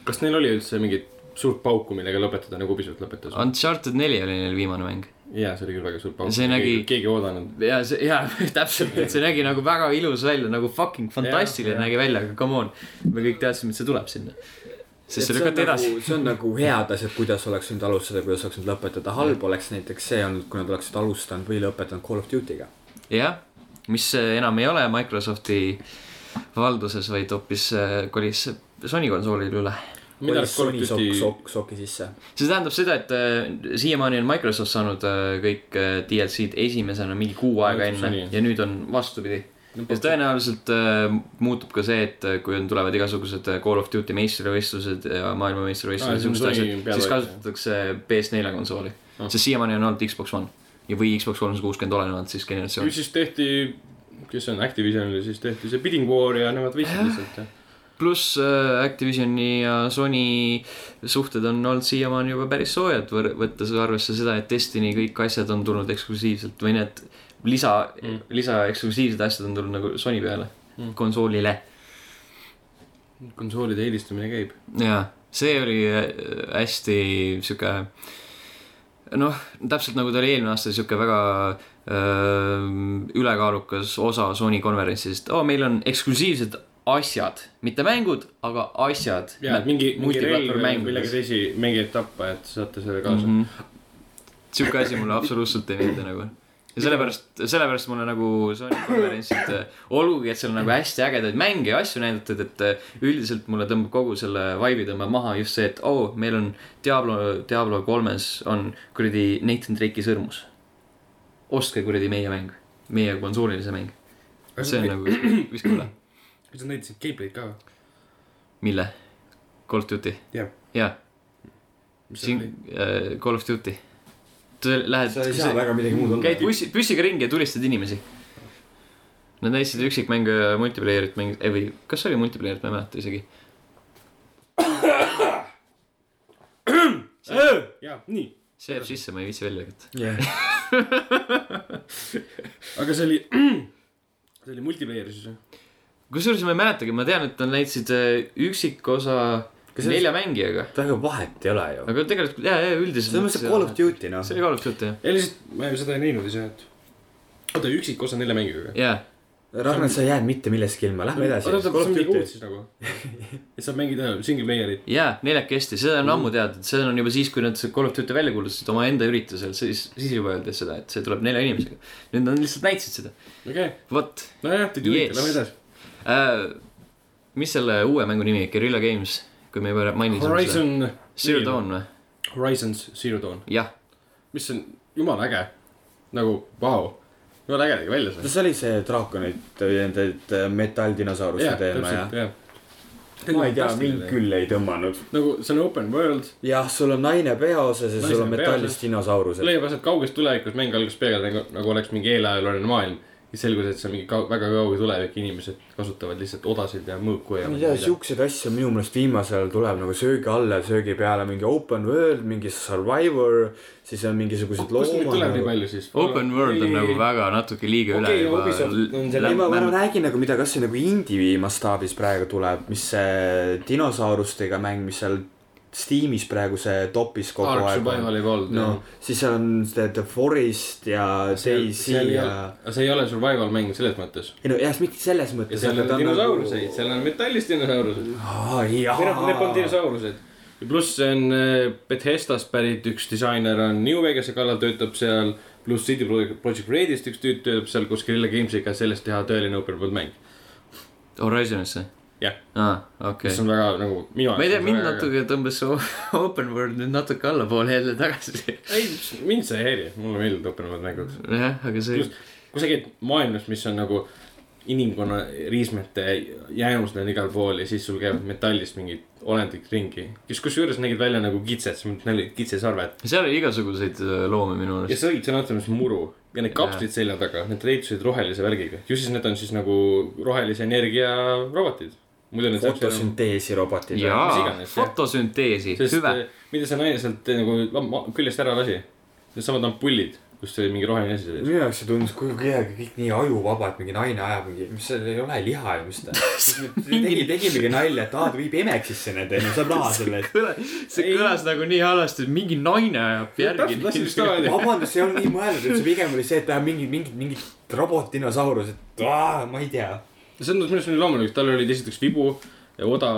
Speaker 2: kas neil oli üldse mingit suurt pauku , millega lõpetada , nagu pisut lõpetas ?
Speaker 1: Uncharted neli oli neil viimane mäng .
Speaker 2: jaa , see oli küll väga suur pauk .
Speaker 1: See nägi-
Speaker 2: keegi ei oodanud .
Speaker 1: ja see , ja [LAUGHS] täpselt , et see nägi nagu väga ilus välja , nagu fucking fantastiline
Speaker 2: Jah, jah.
Speaker 1: nägi välja , aga come on . me kõik teadsime , et see tuleb sinna . siis see lükati edasi .
Speaker 3: see on nagu head asjad , kuidas oleks võinud alustada , kuidas oleks võinud lõpetada . halb oleks näiteks see olnud , kui nad oleksid alustanud või lõpetanud Call of Duty'ga .
Speaker 1: jah , mis eh, enam ei ole Microsofti valduses , vaid hoopis äh, kolis Sony konsoolile üle .
Speaker 2: minu arust Call of
Speaker 3: sokk ,
Speaker 2: Duty ,
Speaker 3: sokk , soki sisse .
Speaker 1: see tähendab seda , et äh, siiamaani on Microsoft saanud äh, kõik äh, DLC-d esimesena mingi kuu aega
Speaker 2: Täpselt
Speaker 1: enne
Speaker 2: nii.
Speaker 1: ja nüüd on vastupidi . ja tõenäoliselt äh, muutub ka see , et äh, kui on , tulevad igasugused äh, Call of Duty meistrivõistlused ja maailmameistrivõistlused
Speaker 2: Aa,
Speaker 1: ja
Speaker 2: siis on
Speaker 1: siuksed
Speaker 2: Sony
Speaker 1: asjad ,
Speaker 2: peal
Speaker 1: siis
Speaker 2: hoidja.
Speaker 1: kasutatakse PS4 konsooli
Speaker 2: Ah.
Speaker 1: ah. . sest siiamaani on olnud Xbox One ja , või Xbox kolmsada kuuskümmend olenevalt siis
Speaker 2: kui
Speaker 1: generatsioonist .
Speaker 2: siis tehti , kes see on , Activisionile , siis tehti see Bidding War ja nemad võitsid lihtsalt .
Speaker 1: pluss äh, Activisioni ja Sony suhted on olnud siiamaani juba päris soojad , võttes arvesse seda , et Destiny kõik asjad on tulnud eksklusiivselt või need lisa
Speaker 2: Mm.
Speaker 1: mm. , lisa eksklusiivsed asjad on tulnud nagu Sony peale
Speaker 2: Mm.
Speaker 1: mm. , konsoolile .
Speaker 2: konsoolide eelistamine käib .
Speaker 1: jaa , see oli äh, hästi sihuke noh , täpselt nagu ta oli eelmine aasta , sihuke väga öö, ülekaalukas osa Sony konverentsist oh, , meil on eksklusiivsed asjad , mitte mängud , aga asjad .
Speaker 2: jaa , et mingi , mingi relv või millegi
Speaker 1: mängides .
Speaker 2: teisi mängijaid tappa , et saate selle kaasa .
Speaker 1: Mhm. sihuke asi mulle absoluutselt ei meeldi nagu . ja sellepärast , sellepärast mulle nagu Sony konverentsid , olgugi , et seal on nagu hästi ägedaid mänge ja asju näidatud , et äh, üldiselt mulle tõmbab kogu selle vibe'i tõmbab maha just see , et oo oh, , meil on Diablo , Diablo kolmes on kuradi Nathan Drake'i sõrmus . ostke kuradi meie mäng , meie konsoolilise mäng . see on nagu , viska üle .
Speaker 2: kas nad näitasid gameplay'd ka ?
Speaker 1: mille ? Call of Duty ?
Speaker 2: Jah.
Speaker 1: jah ,
Speaker 2: mis see oli ?
Speaker 1: siin äh, Call of Duty . sa lähed .
Speaker 3: sa ei saa väga midagi muud
Speaker 1: käid
Speaker 3: olla .
Speaker 1: bussi , püssiga ringi ja tulistad inimesi . Nad näitasid üksikmängu ja multiplayer'it mängi- , ei või , kas see oli multiplayer'it , ma ei mäleta isegi .
Speaker 2: jaa , nii .
Speaker 1: see jääb sisse , ma ei viitsi välja lükata .
Speaker 2: aga see oli , [CLEARS THROAT] see oli multiplayer siis või ?
Speaker 1: kusjuures ma ei mäletagi , ma tean , et nad näitasid äh, üksikosa
Speaker 3: Kas see-
Speaker 1: nelja mängijaga ,
Speaker 3: väga vahet ei ole ju .
Speaker 1: aga tegelikult jaa , jaa , üldiselt .
Speaker 3: selles mõttes , et Call of Duty noh
Speaker 1: see . oli Call of Duty jah .
Speaker 2: ei lihtsalt , ma ju seda ei näinud ise , et oota , üksik osa nelja mängiga .
Speaker 1: jaa ,
Speaker 3: Ragnar , sa ei jäänud mitte millestki ilma , lähme edasi .
Speaker 2: oota , oota , kas on mingi uut siis [LAUGHS] nagu ? et saab mängida single player'it .
Speaker 1: jaa , neljakesti , seda
Speaker 3: Mm.
Speaker 1: on ammu teadnud , seda on juba siis , kui nad Call of Duty välja kuulutasid omaenda üritusel , siis , siis juba öeldi seda , et see tuleb nelja inimesega . nüüd nad lihtsalt näitasid seda ,
Speaker 2: okei ,
Speaker 1: vot
Speaker 2: nojah , did you eat ,
Speaker 1: Yes.
Speaker 2: lähme edasi .
Speaker 1: äh, . mis selle uue mängu nimi , Guerilla Games , kui me juba mainisime seda .
Speaker 2: Horizon .
Speaker 1: Zero Dawn või ?
Speaker 2: Horizons Zero Dawn ,
Speaker 1: jah ,
Speaker 2: mis on jumala äge . nagu , vau , jumala äge nägi välja see .
Speaker 3: kas see oli see draakonid , nende äh, metalldinosauruse
Speaker 2: jah ,
Speaker 3: teema ja
Speaker 2: täpselt ,? jah .
Speaker 3: ma ei tea , mind . küll ei tõmmanud .
Speaker 2: nagu see on open world ,
Speaker 3: jah , sul on naine peaosas ja sul
Speaker 2: Naised
Speaker 3: on
Speaker 2: on peaosas.
Speaker 3: metallist dinosaurused .
Speaker 2: leiab aset kauges tulevikus , mäng algas peaaegu nagu, nagu oleks mingi eelajalooline maailm . siis selgus , et see on mingi kau- väga kauge tulevik , inimesed kasutavad lihtsalt odasid ja mõõku ja .
Speaker 3: ma ei tea , siukseid asju on minu meelest viimasel ajal tuleb nagu söögi alla ja söögi peale , mingi open world , mingi survivor , siis on mingisugused
Speaker 2: kust neid tuleb nii
Speaker 3: loomad .
Speaker 2: palju siis ?
Speaker 1: Open World on nagu väga natuke liiga üle
Speaker 2: Okei, Ubisoft on selle
Speaker 3: ei , ma , ma
Speaker 1: juba .
Speaker 3: räägin nagu mida , kas see nagu indie mastaabis praegu tuleb , mis see dinosaurustega mäng , mis seal Steamis praegu see topis kogu
Speaker 2: Ark
Speaker 3: aeg on
Speaker 2: Survival Evolved
Speaker 3: no siis seal on see The Forest ja DayZ ja
Speaker 2: aga see ei ole survival mäng selles mõttes .
Speaker 3: ei no jah , mitte selles mõttes .
Speaker 2: ja
Speaker 3: nagu-
Speaker 2: seal on dinosauruseid , seal on metallist dinosauruseid . need on
Speaker 3: dinosauruseid .
Speaker 2: dinosaurused . ja pluss see on äh, Bethesdast pärit üks disainer on New Vegase kallal , töötab seal . pluss CD Pro- Projekt Redist üks tüüp töötab seal koos Guerilla Gamesiga , sellest teha tõeline open world mäng .
Speaker 1: Horizonisse ?
Speaker 2: Jah.
Speaker 1: aa , okei
Speaker 2: mis . on väga nagu minu .
Speaker 1: ma ei tea , mind . natuke tõmbas see o- [LAUGHS] Open World nüüd natuke allapoole jälle tagasi .
Speaker 2: ei , mind see ei häiri , mulle meeldivad open world mängud .
Speaker 1: jah , aga see ,
Speaker 2: Just. kui sa käid maailmas , mis on nagu inimkonna riismete jäänused on igal pool ja siis sul käivad metallist mingid olendid ringi , kes kusjuures nägid välja nagu kitsed , sul olid kitsesarved
Speaker 1: seal oli igasuguseid äh, loome minu
Speaker 2: ja
Speaker 1: arust .
Speaker 2: sa olid sõna otseses mõttes muru ja need kapslid selja taga , need reitusid rohelise värgiga , ju siis need on siis nagu rohelise energia robotid . muidu need saaks olema
Speaker 3: fotosünteesi robotid .
Speaker 2: mis
Speaker 1: jaa ,
Speaker 2: iganes, jah.
Speaker 1: fotosünteesi ,
Speaker 2: sest
Speaker 1: hüve .
Speaker 2: eh, mida see naine sealt eh, nagu va- ma- küljest ära lasi , needsamad ampullid , kus oli mingi roheline asi sees .
Speaker 3: minu jaoks see tundus kui kuidagi kõik nii ajuvaba , et mingi naine ajab mingi , mis seal ei ole liha ja mis [LAUGHS] ta . tegi , tegi mingi nalja , et aa , ta viib Emexisse need , onju , saab raha selle eest .
Speaker 1: see kõlas nagu nii halvasti , et mingi naine ajab
Speaker 2: täpselt ,
Speaker 1: [LAUGHS]
Speaker 2: lasin just
Speaker 1: järgi .
Speaker 2: ära öelda .
Speaker 3: vabandust , see on nii mõeldud , et see pigem oli see , et vähemalt mingid , mingid , mingid robotdinosaurused , ma ei tea .
Speaker 2: see tundus minu arust nii loomulik , tal olid esiteks vibu ja oda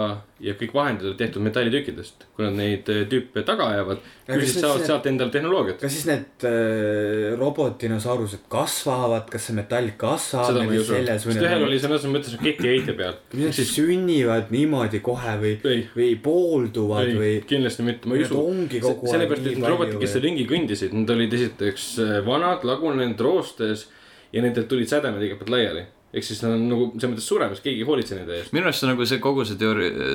Speaker 2: ja kõik vahendid olid tehtud metallitükkidest , kui nad neid eh, tüüpe taga ajavad ,
Speaker 3: Aga
Speaker 2: ju
Speaker 3: kas
Speaker 2: siis
Speaker 3: see-
Speaker 2: saavad sealt endale tehnoloogiat .
Speaker 3: kas siis need äh, robotdinosaurused kasvavad , kas see metall kasvab
Speaker 2: seda ma ei
Speaker 3: nende
Speaker 2: usu ,
Speaker 3: seljas või
Speaker 2: sest ühel oli sõna otseses mõttes ketiheite peal .
Speaker 3: mis nad siis sünnivad niimoodi kohe või ,
Speaker 2: ei ,
Speaker 3: või poolduvad ei. või
Speaker 2: ei , kindlasti mitte , ma ei
Speaker 3: Nad
Speaker 2: usu .
Speaker 3: ongi kogu aeg
Speaker 2: sellepärast ,
Speaker 3: nii
Speaker 2: et need robotid , kes
Speaker 3: palju
Speaker 2: seal ringi kõndisid , nad olid esiteks eh, vanad , lagunenud roostes ja nendelt tulid sädemed iga pealt laiali . ehk siis nad on nagu selles mõttes suremas , keegi ei hoolitse nende eest .
Speaker 1: minu arust see nagu see kogu see teooria ,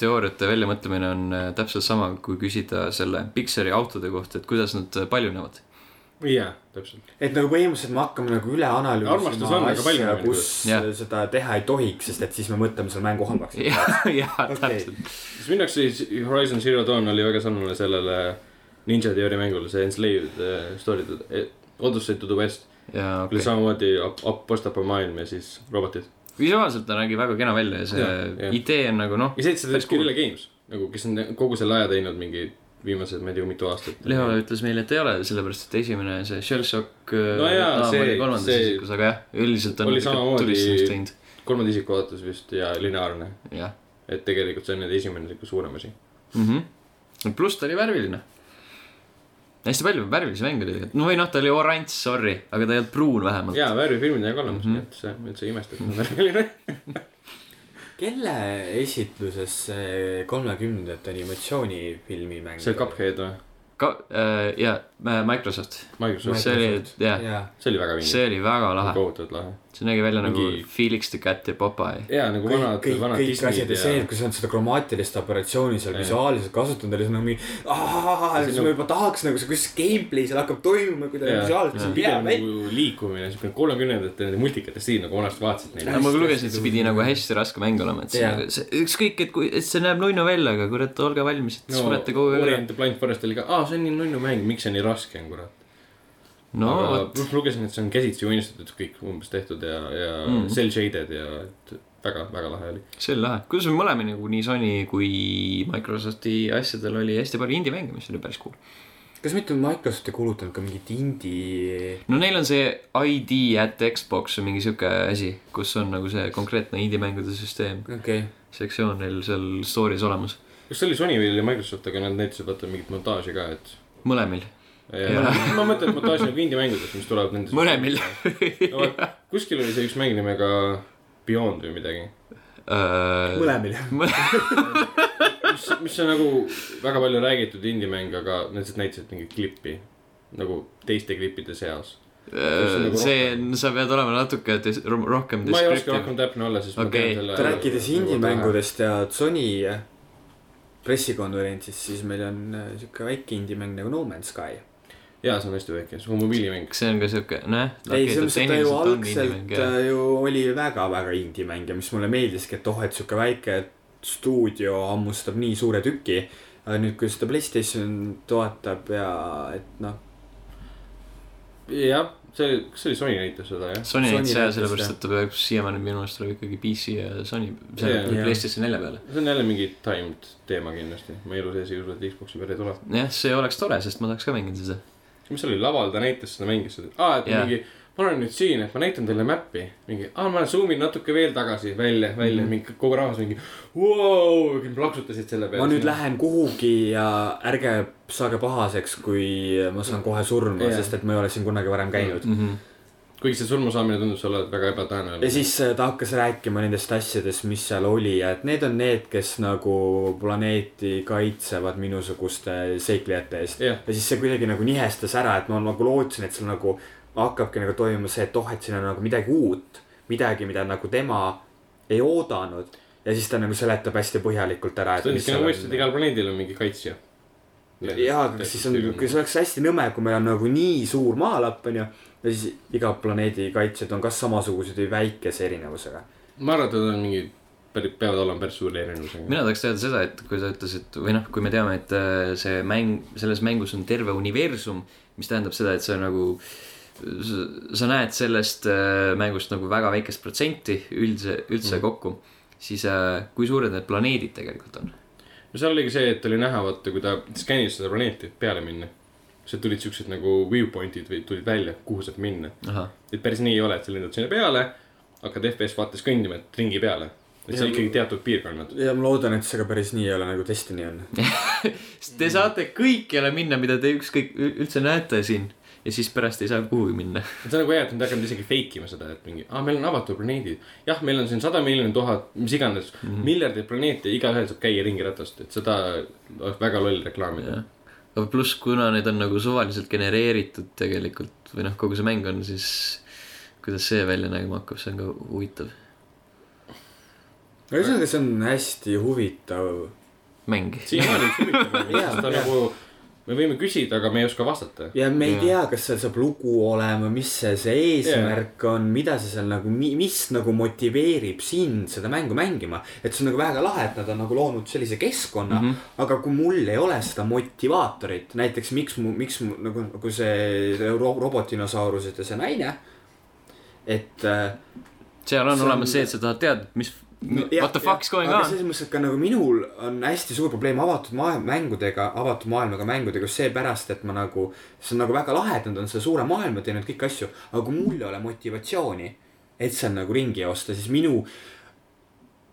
Speaker 1: teooriate väljamõtlemine on äh, täpselt sama , kui küsida selle Pixari autode kohta , et kuidas nad äh, paljunevad .
Speaker 2: jaa , täpselt .
Speaker 3: et nagu põhimõtteliselt me hakkame nagu üle
Speaker 2: Armastus on,
Speaker 3: analüüsima
Speaker 2: aga palju
Speaker 3: asja ,
Speaker 2: meil
Speaker 3: kus
Speaker 1: Jah.
Speaker 3: seda teha ei tohiks , sest et siis me mõtleme selle mängu halvaks .
Speaker 1: [LAUGHS] jaa ,
Speaker 3: okei
Speaker 1: täpselt .,
Speaker 2: siis minu jaoks oli Horizon Zero Dawn oli väga sarnane sellele Ninja Theory mängule , see Enslaved eh, story , Odyssey to the West okay. .
Speaker 1: jaa ,
Speaker 2: oli
Speaker 1: okei .
Speaker 2: samamoodi ap- ap- postapa maailm ja siis robotid .
Speaker 1: visuaalselt ta nägi väga kena välja ja see ja,
Speaker 2: Jah,
Speaker 1: ja.
Speaker 2: jah.
Speaker 1: idee on nagu noh ,
Speaker 2: ja see , et seda
Speaker 1: Päris
Speaker 2: teeb Guerilla Games nagu , kes on kogu selle aja teinud mingi viimased , ma ei tea , mitu aastat .
Speaker 1: Leo ütles meile , et ei ole , sellepärast et esimene see Shellshock äh,
Speaker 2: No jaa, see-
Speaker 1: oli kolmandas
Speaker 2: see-
Speaker 1: isikus , aga jah , üldiselt on
Speaker 2: oli
Speaker 1: ikka
Speaker 2: samamoodi-
Speaker 1: tulistamist teinud ,
Speaker 2: kolmanda isiku vaates vist ja lineaarne ,
Speaker 1: jah
Speaker 2: et tegelikult see on nüüd esimene sihuke suurem asi .
Speaker 1: mm . -hmm. pluss ta oli värviline . hästi palju värvilisi mänge oli tegelikult , no või noh , ta oli oranž , sorry , aga ta ei olnud pruun vähemalt .
Speaker 2: ja värvifilmid on ka olemas mm , -hmm. nii et see , üldse ei imesta , et see on värviline .
Speaker 3: kelle esitluses see kolmekümnendate animatsioonifilmi mäng ?
Speaker 2: see Cuphead või ?
Speaker 1: ka äh, , ja äh, Microsoft ,
Speaker 2: Microsoft ,
Speaker 1: see oli , jah ,
Speaker 3: jah .
Speaker 2: see oli väga vinge .
Speaker 1: see oli väga lahe ,
Speaker 2: kohutavalt lahe .
Speaker 1: see nägi välja nagu
Speaker 2: Mingi-
Speaker 1: Felix the Cat ja Popeye .
Speaker 2: ja nagu
Speaker 3: kõik ,
Speaker 2: vanad ,
Speaker 3: kõik ,
Speaker 2: vanad
Speaker 3: kõik asjad
Speaker 2: Disney'd
Speaker 3: ja see ,
Speaker 2: ja
Speaker 3: et . kui sa oled seda kromaatilist operatsiooni seal
Speaker 2: Jah.
Speaker 3: visuaalselt kasutanud , oli see nagu mingi ahahah , siis ma juba tahaks nagu see , kuidas gameplay seal hakkab toimuma , kuidas
Speaker 2: Jah.
Speaker 3: visuaalselt see
Speaker 2: pigem
Speaker 3: peab välja .
Speaker 2: nagu liikumine , siukene kolmekümnendate nende multikate stiil nagu vanasti vaatasid neid .
Speaker 1: ma lugesin , et see pidi nagu hästi raske mäng olema , et see
Speaker 3: Jaa.
Speaker 1: nagu , see ükskõik , et kui , et see näeb nunnu välja , aga kurat , olge valmis , et surete kogu aeg ära .
Speaker 2: Orient ja Blind Forest oli ka , aa , see on nii nunnu mäng , miks see nii raske on , kurat .
Speaker 1: no
Speaker 2: aga
Speaker 1: vot ,
Speaker 2: pluss lugesin , et see on käsitsi unistatud kõik umbes tehtud ja , ja mm. cell shaded ja et väga , väga lahe oli .
Speaker 1: see oli lahe , kuidas me mõlemini nagu nii Sony kui Microsofti asjadel oli hästi palju indie mänge , mis oli päris cool .
Speaker 3: kas mitte Microsoft ei kuulutanud ka mingit indie ?
Speaker 1: no neil on see ID at Xbox või mingi sihuke asi , kus on nagu see konkreetne indie-mängude süsteem ,
Speaker 3: okei okay. ,
Speaker 1: sektsioon neil seal store'is olemas ,
Speaker 2: kas see oli Sony või oli Microsoft , aga nad näitasid vaata mingit montaaži ka , et .
Speaker 1: mõlemil .
Speaker 2: ma mõtlen , et montaaž nagu indie mängudes , mis tulevad nendes .
Speaker 1: Mõlemil. . [LAUGHS]
Speaker 2: kuskil oli see üks mäng nimega Beyond või midagi ,
Speaker 1: Äh,
Speaker 3: mõlemil .
Speaker 2: mis , mis on nagu väga palju räägitud indie mäng , aga nad lihtsalt näitasid mingit klippi nagu teiste klippide seas .
Speaker 1: äh, see on , sa pead olema natuke dis- ro- rohkem
Speaker 2: ma ei oska
Speaker 1: descriptive .
Speaker 2: rohkem täpne olla , sest ma
Speaker 1: Okei.
Speaker 2: tean selle .
Speaker 3: rääkides indie-mängudest ja Sony pressikonverentsist , siis meil on äh, sihuke väike indie-mäng nagu No Man's Sky .
Speaker 2: jaa , see on hästi väike , see on mobiilimäng .
Speaker 1: kas see on ka sihuke , nojah .
Speaker 3: ei , selles mõttes , et ta ju nagu algselt äh, ju oli väga-väga indie-mäng ja mis mulle meeldiski , et oh , et sihuke väike stuudio hammustab nii suure tüki . aga nüüd , kui seda Playstation toetab ja et noh ,
Speaker 2: jah , see , kas see oli Sony näitas seda jah ?
Speaker 1: Sony
Speaker 3: Sony
Speaker 1: jäid sõja
Speaker 3: näitas,
Speaker 1: sellepärast ,
Speaker 3: jah.
Speaker 1: et ta peab siiamaani minu meelest tuleb ikkagi PC ja Sony ,
Speaker 2: Jaa.
Speaker 1: see nagu
Speaker 3: Jaa.
Speaker 1: PlayStation nelja peale .
Speaker 2: see on jälle mingi timed teema kindlasti , ma elu sees ei usu , et Xbox'i peale ei tule .
Speaker 1: jah , see oleks tore , sest ma tahaks ka mängida seda .
Speaker 2: mis seal oli laval , ta näitas seda mängis seda , aa , et
Speaker 1: Jaa.
Speaker 2: yeah. mingi , ma olen nüüd siin , et ma näitan teile mäppi , mingi , aa , ma zoom in natuke veel tagasi , välja , välja mm ,
Speaker 3: Mhm.
Speaker 2: -hmm. mingi kogu rahvas mingi , vau , plaksutasid selle peale .
Speaker 3: ma nüüd . lähen kuhugi ja ärge saage pahaseks , kui ma saan kohe surma
Speaker 2: Jaa.
Speaker 3: yeah. , sest et ma ei ole siin kunagi varem käinud .
Speaker 2: kuigi see surmasaamine tundub sulle väga ebatõenäoline
Speaker 3: ja . siis äh, ta hakkas rääkima nendest asjadest , mis seal oli ja et need on need , kes nagu planeeti kaitsevad minusuguste seiklejate eest
Speaker 2: Jah.
Speaker 3: ja siis see kuidagi nagu nihestas ära , et ma nagu lootsin , et seal nagu hakkabki nagu toimuma see , et oh , et siin on nagu midagi uut , midagi , mida nagu tema ei oodanud ja siis ta nagu seletab hästi põhjalikult ära .
Speaker 2: see on niisugune nagu mõistet , igal planeedil on mingi kaitsja .
Speaker 3: jaa , aga kas siis on , kas oleks hästi nõme , kui meil on nagu nii suur maalapp , onju , ja siis iga planeedi kaitsjad on kas samasugused või väikese erinevusega .
Speaker 2: ma arvan , et nad on mingi , peavad olema päris suure erinevusega .
Speaker 1: mina tahaks teada seda , et kui sa ütlesid või noh , kui me teame , et äh, see mäng , selles mängus on terve universum , mis tähendab seda , et sa nagu , sa näed sellest äh, mängust nagu väga väikest protsenti üldse , üldse mm. kokku , siis äh, kui suured need planeedid tegelikult on ?
Speaker 2: no seal oligi see , et oli näha , vaata , kui ta skännis seda planeeti , et peale minna . sealt tulid siuksed nagu viewpoint'id või tulid välja , kuhu saab minna .
Speaker 1: ahah ,
Speaker 2: et päris nii ei ole , et sa lendad sinna peale , hakkad FPS vaates kõndima , et ringi peale . et seal ikkagi teatud piirkonnad .
Speaker 3: ja ma loodan , et see ka päris nii ei ole , nagu Destiny on .
Speaker 1: [LAUGHS] te saate kõikjale minna , mida te ükskõik ü- üldse näete siin ja siis pärast ei saa kuhugi minna .
Speaker 2: see on nagu hea , et nad hakkavad isegi fake ima seda , et mingi , aa , meil on avatud planeedid . jah , meil on siin sada miljonit , tuhat , mis iganes mm -hmm. , miljardeid planeete , igaühel saab käia ringi ratast , et seda oleks väga loll reklaamida .
Speaker 1: aga pluss , kuna need on nagu suvaliselt genereeritud tegelikult või noh , kogu see mäng on , siis kuidas see välja nägema hakkab , see on ka huvitav
Speaker 3: ühesõnaga , see on hästi huvitav .
Speaker 1: mäng .
Speaker 2: siiamaani üks huvitav mäng ,
Speaker 3: Jaa,
Speaker 2: sest ta
Speaker 3: jaa.
Speaker 2: nagu , me võime küsida , aga me ei oska vastata .
Speaker 3: ja me ei tea , kas seal saab lugu olema , mis see , see eesmärk on , mida see seal nagu , mis nagu motiveerib sind seda mängu mängima . et see on nagu väga lahe , et nad on nagu loonud sellise keskkonna mm , -hmm. aga kui mul ei ole seda motivaatorit , näiteks miks mu , miks mu nagu , nagu see ro- robotdinosaurused ja see naine , et äh,
Speaker 1: seal on
Speaker 3: See on-
Speaker 1: olemas see , et sa tahad teada , mis ,
Speaker 3: Jah,
Speaker 1: what the
Speaker 3: jah.
Speaker 1: fuck's going
Speaker 3: aga
Speaker 1: on .
Speaker 3: selles mõttes , et ka nagu minul on hästi suur probleem avatud maailm , mängudega , avatud maailmaga mängudega just seepärast , et ma nagu , see on nagu väga lahe , et nad on selle suure maailma teinud kõiki asju , aga kui mul ei ole motivatsiooni , et seal nagu ringi joosta , siis minu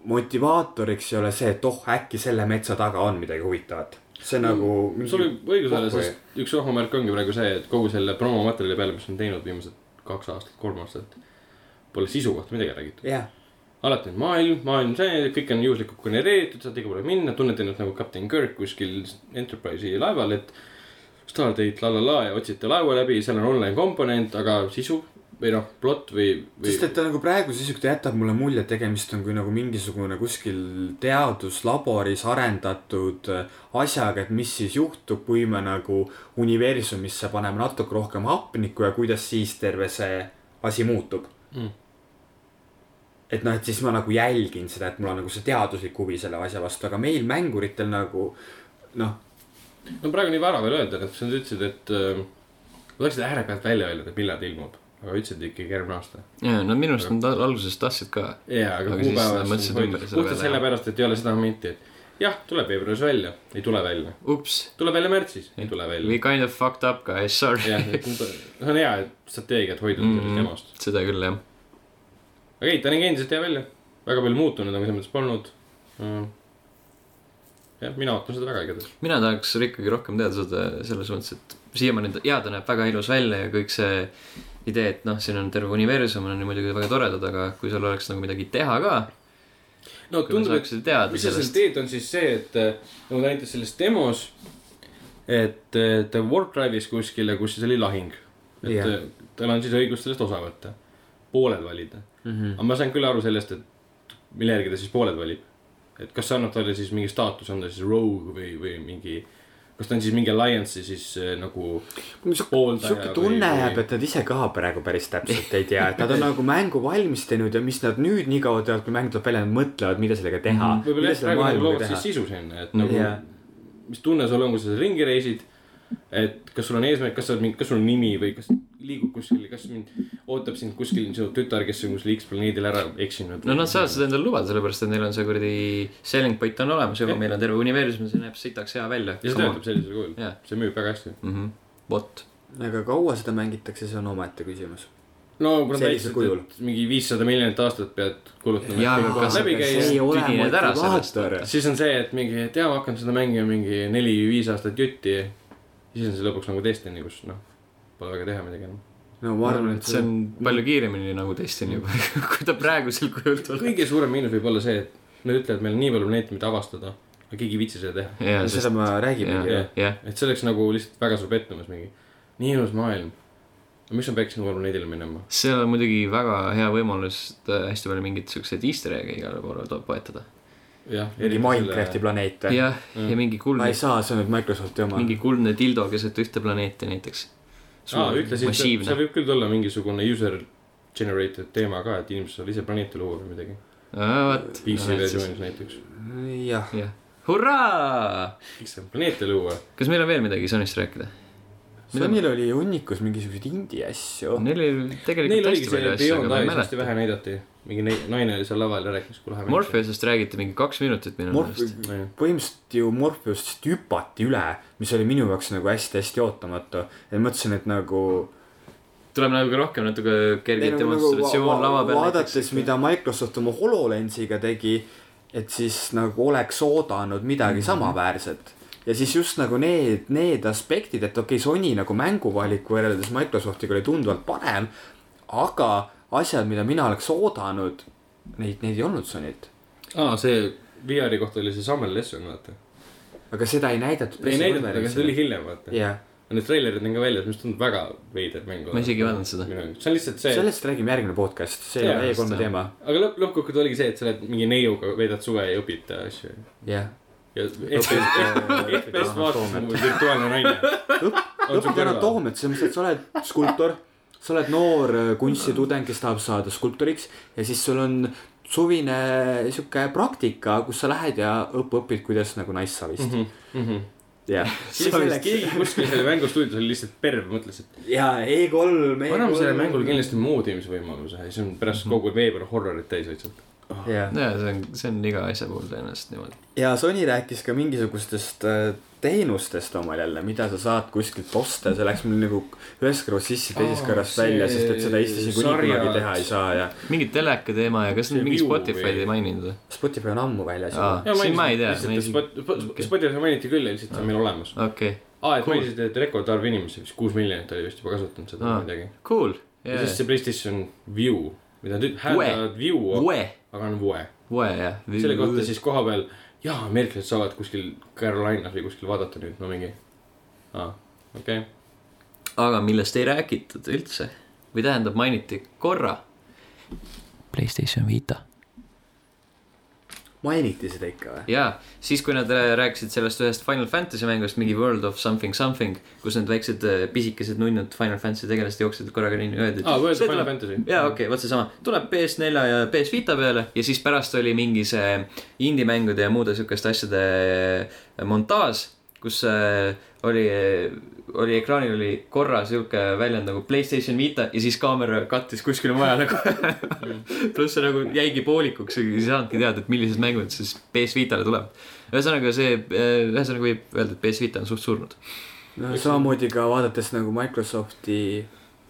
Speaker 3: motivaatoriks ei ole see , et oh , äkki selle metsa taga on midagi huvitavat . see nagu .
Speaker 2: Mm. sul võib õigus olla , sest üks ohumärk ongi praegu see , et kogu selle promomaterjali peale , mis on teinud viimased kaks aastat , kolm aastat , pole sisu kohta midagi räägitud .
Speaker 3: jah ,
Speaker 2: alati on maailm , maailm see , kõik on juhuslikult genereeritud , saad igale poole minna , tunned ennast nagu kapten Kirk kuskil Enterprise'i laeval , et Stardate la la la ja otsite laeva läbi , seal on online komponent , aga sisu või noh , plott või , või
Speaker 3: sest et ta nagu praegu sisuliselt jätab mulle mulje , et tegemist on kui nagu mingisugune kuskil teaduslaboris arendatud äh, asjaga , et mis siis juhtub , kui me nagu universumisse paneme natuke rohkem hapnikku ja kuidas siis terve see asi muutub
Speaker 2: Mm. .
Speaker 3: et noh , et siis ma nagu jälgin seda , et mul on nagu see teaduslik huvi selle asja vastu , aga meil mänguritel nagu noh ,
Speaker 2: no praegu nii vara veel öelda , et sa nüüd ütlesid , et äh, tahtsid äärepealt välja öelda , millal ta ilmub , aga ütlesid ikkagi järgmine aasta .
Speaker 1: jaa , no minu arust nad al- alguses tahtsid ka .
Speaker 2: jaa , aga
Speaker 1: Aga siis nad
Speaker 2: kuupäevast
Speaker 1: mõtlesid ümber selle
Speaker 2: puhtalt
Speaker 1: peale, jah.
Speaker 2: sellepärast , et ei ole seda momenti , et jah , tuleb veebruaris välja , ei tule välja ,
Speaker 1: ups ,
Speaker 2: tuleb välja märtsis , ei tule välja .
Speaker 1: we kind of fucked up guys , sorry .
Speaker 2: jah , see on hea strateegia , et hoiduda sellest
Speaker 1: Mhm.
Speaker 2: jamast .
Speaker 1: seda küll jah ,
Speaker 2: aga ei , ta nägi endiselt hea välja , väga palju muutunud , aga selles mõttes polnud . jah , mina ootan seda väga igatahes .
Speaker 1: mina tahaks ikkagi rohkem teada seda selles mõttes , et siiamaani ta , jaa , ta näeb väga ilus välja ja kõik see idee , et noh , siin on terve universum on muidugi väga toredad , aga kui sul oleks nagu midagi teha ka ,
Speaker 2: no
Speaker 1: kui me
Speaker 2: tundub , et
Speaker 1: saaksime teada
Speaker 2: mis sa seal
Speaker 1: sellest .
Speaker 2: teed , on siis see , et äh, nagu ta näitas selles demos , et äh, ta warp drive'is kuskile , kus siis oli lahing . et
Speaker 3: Jah.
Speaker 2: yeah. tal on siis õigus sellest osa võtta , pooled valida mm .
Speaker 1: Mhm.
Speaker 2: -hmm. aga ma sain küll aru sellest , et mille järgi ta siis pooled valib . et kas see annab talle siis mingi staatus , on ta siis rogue või , või mingi , kas ta on siis mingi alliance'i siis äh, nagu Pooldaja
Speaker 3: sihuke tunne
Speaker 2: või-
Speaker 3: jääb , et nad ise ka praegu päris täpselt ei tea , et nad
Speaker 2: [LAUGHS]
Speaker 3: on nagu mängu valmis teinud ja mis nad nüüd nii kaua teevad , kui mäng tuleb välja , nad mõtlevad , mida sellega teha mm .
Speaker 2: võib-olla jah , praegu nagu loovad siis sisu sinna , et nagu
Speaker 3: Jah.
Speaker 2: mis tunne sul on , kui sa seal ringi reisid . et kas sul on eesmärk , kas sa oled mingi , kas sul on nimi või kas liigub kuskil , kas mind ootab sind kuskil sinu tütar , kes on kuskil X planeedil ära eksinud .
Speaker 1: no nad saavad seda endale lubada , sellepärast et neil on see kuradi selling point on olemas juba , meil on terve universum , see näeb sitaks hea välja .
Speaker 2: ja see töötab sellisel kujul
Speaker 1: Jah. ,
Speaker 2: see müüb väga hästi .
Speaker 1: vot ,
Speaker 3: aga kaua seda mängitakse , see on omaette küsimus .
Speaker 2: no kuna ta
Speaker 3: Sellisel
Speaker 2: ütles , et mingi viissada miljonit aastat pead kulutama .
Speaker 1: Jaa, aga kas-
Speaker 2: läbi
Speaker 1: kas
Speaker 2: käia
Speaker 1: see- . tüdined ära sellest.
Speaker 2: siis on see , et mingi , et jaa , ma hakkan seda mängima mingi neli-viis aastat jutti . siis on see lõpuks nagu Destiny , kus noh , pole väga teha midagi enam .
Speaker 3: no ma arvan , et
Speaker 1: Mm, see on palju kiiremini nagu Destiny juba , [LAUGHS] kui ta praegusel kujul tuleb .
Speaker 2: kõige suurem miinus võib olla see , et nad ütlevad , meil on nii palju planeete , mida avastada , aga keegi ei viitsi seda teha .
Speaker 1: jaa , sest
Speaker 3: seda me räägimegi
Speaker 1: jah
Speaker 3: ju .
Speaker 2: jah. ,
Speaker 1: jah ,
Speaker 2: et see oleks nagu lihtsalt väga suur pettumus mingi , nii ilus maailm . miks ma peaksin uuele planeedile minema ?
Speaker 1: seal on muidugi väga hea võimalus et hästi palju mingeid siukseid easter egg'e igale poole to- poetada .
Speaker 2: jah ,
Speaker 3: mingi Minecrafti planeet või ?
Speaker 1: jah , ja mingi
Speaker 3: ma
Speaker 1: kuldne
Speaker 3: ei , saa , see on nüüd Microsofti oma .
Speaker 1: mingi kuldne dildo keset ühte planeeti näiteks .
Speaker 2: aa , ütlesid ,
Speaker 1: massiivne
Speaker 2: seal . võib küll tulla mingisugune user generated teema ka , et inimesed saavad ise planeete luua või midagi .
Speaker 1: vot .
Speaker 2: PC versioonis näiteks .
Speaker 3: jah ,
Speaker 1: jah , hurraa !
Speaker 2: miks saab planeete luua ?
Speaker 1: kas meil on veel midagi Sonist rääkida ?
Speaker 3: Sonil oli hunnikus mingisuguseid indie asju .
Speaker 1: Neil oli tegelikult
Speaker 2: Neil oligi
Speaker 1: hästi palju
Speaker 2: see
Speaker 1: asju ,
Speaker 2: Beyond
Speaker 1: aga ma ei
Speaker 2: Eyes hästi
Speaker 1: mäleta .
Speaker 2: vähe näidati . mingi nei- naine oli seal laval ja rääkis , kui lahe .
Speaker 1: Morpheusest räägiti mingi kaks minutit minu
Speaker 3: Morf-
Speaker 1: meelest .,
Speaker 3: põhimõtteliselt ju Morpheusest hüpati üle , mis oli minu jaoks nagu hästi-hästi ootamatu . ja mõtlesin , et nagu .
Speaker 1: tuleb nagu rohkem natuke
Speaker 3: nagu
Speaker 1: kerge
Speaker 2: nagu
Speaker 1: demonstratsioon lava peal
Speaker 3: vaadates , mida Microsoft oma HoloLensiga tegi , et siis nagu oleks oodanud midagi mm -hmm. samaväärset ja siis just nagu need , need aspektid , et okei okay, , Sony nagu mänguvalik võrreldes Microsoftiga oli tunduvalt parem , aga asjad , mida mina oleks oodanud , neid , neid ei olnud Sonylt .
Speaker 2: aa , see VR-i kohta oli see Sammel Lesson , vaata .
Speaker 3: aga seda ei näidatud .
Speaker 2: ei näidanud , aga see tuli . hiljem , vaota .
Speaker 3: jah ,
Speaker 2: Need treilerid on ka väljas , mis tundub väga veider mäng .
Speaker 1: Ma isegi ei vaadanud seda.
Speaker 2: see on lihtsalt see ,
Speaker 3: sellest räägime järgmine podcast , see
Speaker 2: Jaa,
Speaker 3: on
Speaker 1: just,
Speaker 3: E3
Speaker 1: jah.
Speaker 3: teema ,
Speaker 2: aga lõpp , lõppkokkuvõttes oligi see , et sa oled mingi neiuga , veedad suve ja õpid asju .
Speaker 3: jah .
Speaker 2: ja [LAUGHS] FPS vaatas mu virtuaalne naine . On sul
Speaker 3: õpid ära
Speaker 2: kõrval?
Speaker 3: toomet , selles mõttes , et sa oled skulptor , sa oled noor äh, kunstitudeng , kes tahab saada skulptoriks ja siis sul on suvine sihuke praktika , kus sa lähed ja õpp- , õpid , kuidas nagu naissavist .
Speaker 2: Mhm,
Speaker 3: jah .
Speaker 2: keegi kuskil selle mängustuudios oli lihtsalt perv , mõtles , et
Speaker 3: ja E3 .
Speaker 2: paneme sellele mängule . kindlasti moodimisvõimaluse ja siis on pärast kogu veebruar horrorit täis lihtsalt .
Speaker 3: jah ,
Speaker 1: jaa , see on , see on iga asja puhul tõenäoliselt niimoodi .
Speaker 3: ja Sony rääkis ka mingisugustest äh, teenustest omal jälle , mida sa saad kuskilt osta , see läks mul nagu ühest kõrvast sisse , teisest
Speaker 2: Aa,
Speaker 3: kõrvast välja ,
Speaker 2: see
Speaker 3: sest et seda Eestis niikuinii
Speaker 2: sarjad.
Speaker 3: kunagi teha ei saa ja
Speaker 1: mingi teleka teema ja kas
Speaker 2: See
Speaker 1: nad mingi
Speaker 2: View
Speaker 1: Spotify'd
Speaker 2: või-
Speaker 1: ei maininud või ?
Speaker 3: Spotify on ammu väljas
Speaker 2: Ah.
Speaker 1: Aa.
Speaker 3: juba .
Speaker 1: Siin ma ei tea, ma isegi- okei.
Speaker 2: Spotify mainiti küll ja lihtsalt see on meil olemas .
Speaker 1: okei okay. ,
Speaker 2: aa , et
Speaker 1: Cool.
Speaker 2: mainisid , et rekordarv inimesi , vist kuus miljonit oli vist juba kasutanud seda
Speaker 1: Aa.
Speaker 2: või midagi .
Speaker 1: cool
Speaker 2: ja siis
Speaker 1: yeah. .
Speaker 2: see PlayStation View , mida nad hääldavad View ,
Speaker 1: Vue ,
Speaker 2: aga on Vue .
Speaker 1: Vue jah .
Speaker 2: selle kohta siis koha peal , jaa , ameeriklased saavad kuskil Carolinas või kuskil vaadata nüüd , no mingi . aa , okei okay. .
Speaker 1: aga millest ei räägitud üldse või tähendab , mainiti korra . Playstation Vita .
Speaker 3: mainiti seda ikka või ?
Speaker 1: jaa , siis kui nad rääkisid sellest ühest Final Fantasy mängust , mingi World of something something , kus need väiksed äh, pisikesed nunnud Final Fantasy tegelased jooksid korraga nii niimoodi .
Speaker 2: aa , World of Final Fantasy .
Speaker 1: jaa , okei okay, , vot seesama , tuleb PS4 ja PS Vita peale ja siis pärast oli mingi see indie-mängude ja muude siukeste asjade montaaž , kus äh, oli , oli ekraanil oli korra sihuke väljend nagu Playstation Vita ja siis kaamera kattis kuskile mujale kohe .
Speaker 2: Mm.
Speaker 1: pluss see nagu jäigi poolikuks , ei saanudki teada , et millised mängud siis PS Vitale tuleb . ühesõnaga see , ühesõnaga võib öelda , et PS Vita on suht surnud .
Speaker 3: no samamoodi ka vaadates nagu Microsofti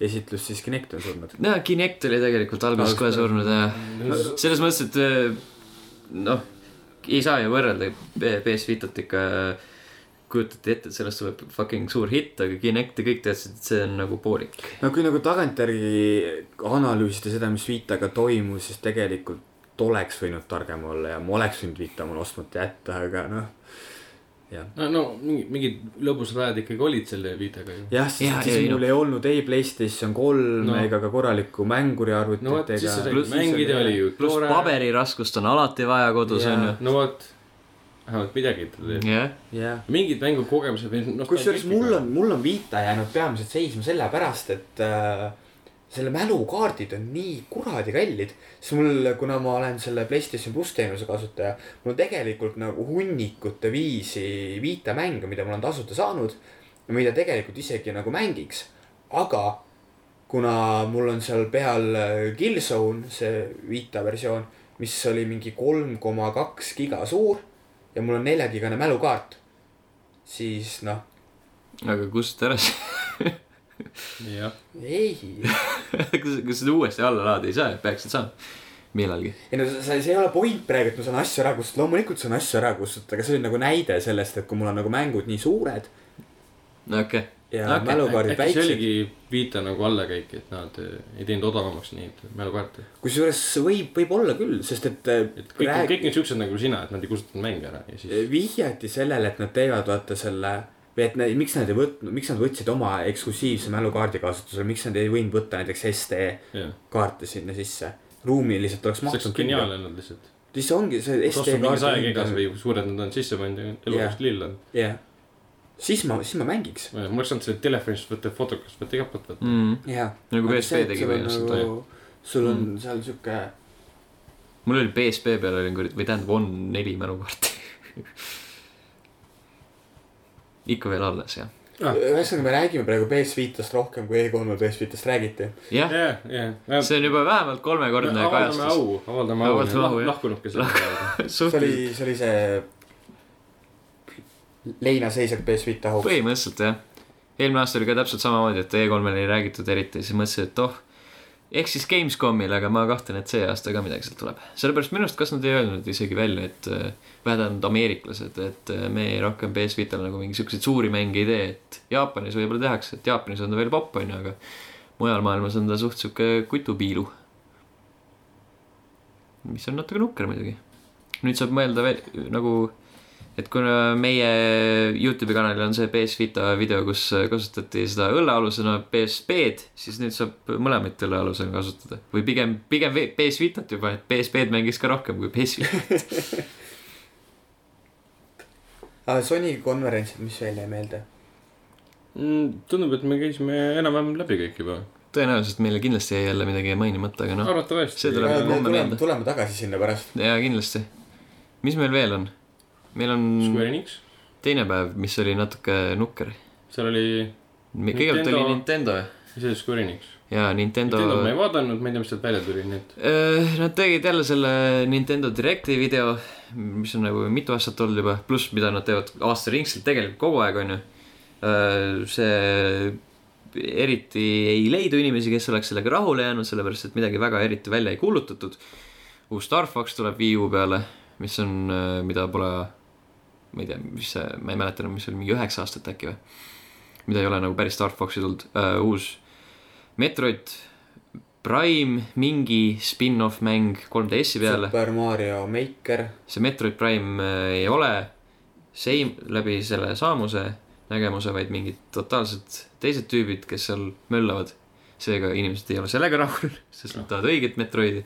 Speaker 3: esitlust , siis Kinect on surnud .
Speaker 1: no Kinect oli tegelikult alguses kohe surnud jah . selles mõttes , et eh, noh , ei saa ju võrrelda P- PS Vitat ikka äh, kujutati ette , et sellest tuleb fucking suur hitt , aga Kinecti kõik teadsid , et see on nagu poolik .
Speaker 3: no kui nagu tagantjärgi analüüsida seda , mis Vitaga toimus , siis tegelikult oleks võinud targem olla ja ma oleks võinud Vita mul ostmata jätta , aga noh , jah .
Speaker 2: no , no mingid , mingid lõbusad ajad ikkagi olid selle viitega ju .
Speaker 3: jah , sest
Speaker 1: Jah,
Speaker 3: ja, siis
Speaker 1: ei,
Speaker 3: ja, mul
Speaker 1: noh.
Speaker 3: ei olnud ei Playstation kolme
Speaker 2: No.
Speaker 3: no. ega ka korralikku mänguriarvutit
Speaker 2: no vot , siis sa
Speaker 3: ega .
Speaker 2: said mängida , oli ju
Speaker 1: pluss paberiraskust on alati vaja kodus
Speaker 3: Jaa.
Speaker 1: onju .
Speaker 2: no vot , vähemalt midagi tuli .
Speaker 1: jah ,
Speaker 3: jah ,
Speaker 2: mingid mängukogemused või noh .
Speaker 3: kusjuures mul on , mul on Vita jäänud peamiselt seisma sellepärast , et äh, selle mälukaardid on nii kuradi kallid , siis mul , kuna ma olen selle Playstation pluss teenuse kasutaja , mul on tegelikult nagu hunnikute viisi Vita mänge , mida ma olen tasuta saanud , mida tegelikult isegi nagu mängiks , aga kuna mul on seal peal äh, Killzone , see Vita versioon , mis oli mingi kolm koma kaks giga suur ja mul on neljakigane mälukaart , siis noh ,
Speaker 1: aga kust ära see , [LAUGHS]
Speaker 2: jah ,
Speaker 3: ei ,
Speaker 1: kas , kas seda uuesti alla laadida ei saa , peaksid saama millalgi .
Speaker 3: ei no see , see ei ole point praegu , et ma saan asju ära kustutada , loomulikult saan asju ära kustutada , aga see oli nagu näide sellest , et kui mul on nagu mängud nii suured
Speaker 1: no okei okay. ,
Speaker 3: ja
Speaker 1: Okei,
Speaker 3: okay, mälukaardid
Speaker 2: äkki see
Speaker 3: väiksed oligi... ,
Speaker 2: oligi viita nagu allakäik , et nad eh, ei teinud odavamaks neid mälukaarte .
Speaker 3: kusjuures võib , võib-olla küll , sest et, äh,
Speaker 2: et kõik Rääk... , kõik need siuksed nagu sina , et nad ei kustutanud mänge ära ja siis .
Speaker 3: vihjati sellele , et nad teevad vaata selle või et ne, miks nad ei võtnud , miks nad võtsid oma eksklusiivse mälukaardi kasutusele , miks nad ei võinud võtta näiteks SD
Speaker 2: jah ,
Speaker 3: kaarte sinna sisse , ruumiliselt oleks
Speaker 2: see oleks
Speaker 3: maksnud .
Speaker 2: geniaalne olnud lihtsalt .
Speaker 3: siis ongi see SD
Speaker 2: ostnud mingi saja gigas
Speaker 3: kaart .
Speaker 2: või suured nad on sisse pannud ja elu
Speaker 3: Jah.
Speaker 2: vist lill on .
Speaker 3: jah , siis ma , siis ma mängiks ,
Speaker 2: ma oleks saanud selle telefonist võtta fotokas , võtta igalt poolt võtta .
Speaker 1: mm.
Speaker 3: jah .
Speaker 1: nagu PSP tegi põhimõtteliselt nagu... .
Speaker 3: sul on mm. seal sihuke
Speaker 1: mul oli PSP peal oli kuradi , või tähendab on neli mälukaarti ikka veel alles jah ,
Speaker 2: Ah.
Speaker 3: ühesõnaga , me räägime praegu PS5-st rohkem kui E E3-e PS5-st räägiti .
Speaker 1: jah ,
Speaker 2: jah , jah .
Speaker 1: see on juba vähemalt kolmekordne
Speaker 2: avaldame
Speaker 1: kajastus .
Speaker 2: au , avaldame au ,
Speaker 1: Avaldame au, jah.
Speaker 2: lahkunudki selle peale .
Speaker 3: see oli
Speaker 1: suhteliselt ,,
Speaker 3: see oli see leinaseisak PS5-e auk .
Speaker 1: põhimõtteliselt jah . eelmine aasta oli ka täpselt samamoodi , et E3-l ei räägitud eriti , siis mõtlesin , et oh , ehk siis Gamescomil , aga ma kahtlen , et see aasta ka midagi sealt tuleb . sellepärast minu arust , kas nad ei öelnud isegi välja , et äh, või tähendab ameeriklased , et äh, me rohkem PS Vital nagu mingisuguseid suuri mänge ei tee , et Jaapanis võib-olla tehakse , et Jaapanis on ta veel popp , onju , aga mujal maailmas on ta suht sihuke kutupiilu . mis on natuke nukker muidugi . nüüd saab mõelda veel nagu et kuna meie Youtube'i kanalil on see PS Vita video , kus äh, kasutati seda õllealusena PSP-d , siis nüüd saab mõlemat õllealusena kasutada või pigem , pigem ve- PS Vitat juba , et PSP-d mängiks ka rohkem kui PS Vita .
Speaker 3: Ah, Sony konverentsid , mis veel jäi meelde ?
Speaker 2: Mm, tundub , et me käisime enam-vähem läbi kõik juba .
Speaker 1: [LAUGHS] tõenäoliselt meile kindlasti jäi jälle midagi mainimata , aga noh ,
Speaker 2: arvatavasti . Äh,
Speaker 1: see tuleb homme
Speaker 3: Äh, tuleme ,
Speaker 1: meelde.
Speaker 3: tuleme tagasi sinna pärast .
Speaker 1: jaa kindlasti . mis meil veel on ? meil on
Speaker 2: Square Enix ,
Speaker 1: teine päev , mis oli natuke nukker .
Speaker 2: seal oli ,
Speaker 1: kõigepealt oli Nintendo
Speaker 2: mis oli Square Enix ?
Speaker 1: ja Nintendo,
Speaker 2: Nintendo ma ei vaadanud , ma ei tea , mis sealt välja tuli , nii et
Speaker 1: Öö, Nad tegid jälle selle Nintendo Directi video , mis on nagu mitu aastat olnud juba , pluss mida nad teevad aastaringselt tegelikult kogu aeg , onju . see eriti ei leidu inimesi , kes oleks sellega rahule jäänud , sellepärast et midagi väga eriti välja ei kuulutatud . uus Star Fox tuleb Wii U peale , mis on , mida pole , ma ei tea , mis see , ma ei mäleta enam , mis oli mingi üheksa aastat äkki või . mida ei ole nagu päris Star Foxi tulnud , uus Metroid Prime mingi spin-off mäng 3DS-i peale ,
Speaker 3: Super Mario Maker .
Speaker 1: see Metroid Prime äh, ei ole seim- , läbi selle saamuse , nägemuse , vaid mingid totaalselt teised tüübid , kes seal möllavad . seega inimesed ei ole sellega rahul , [LAUGHS] sest nad tahavad õiget Metroidi .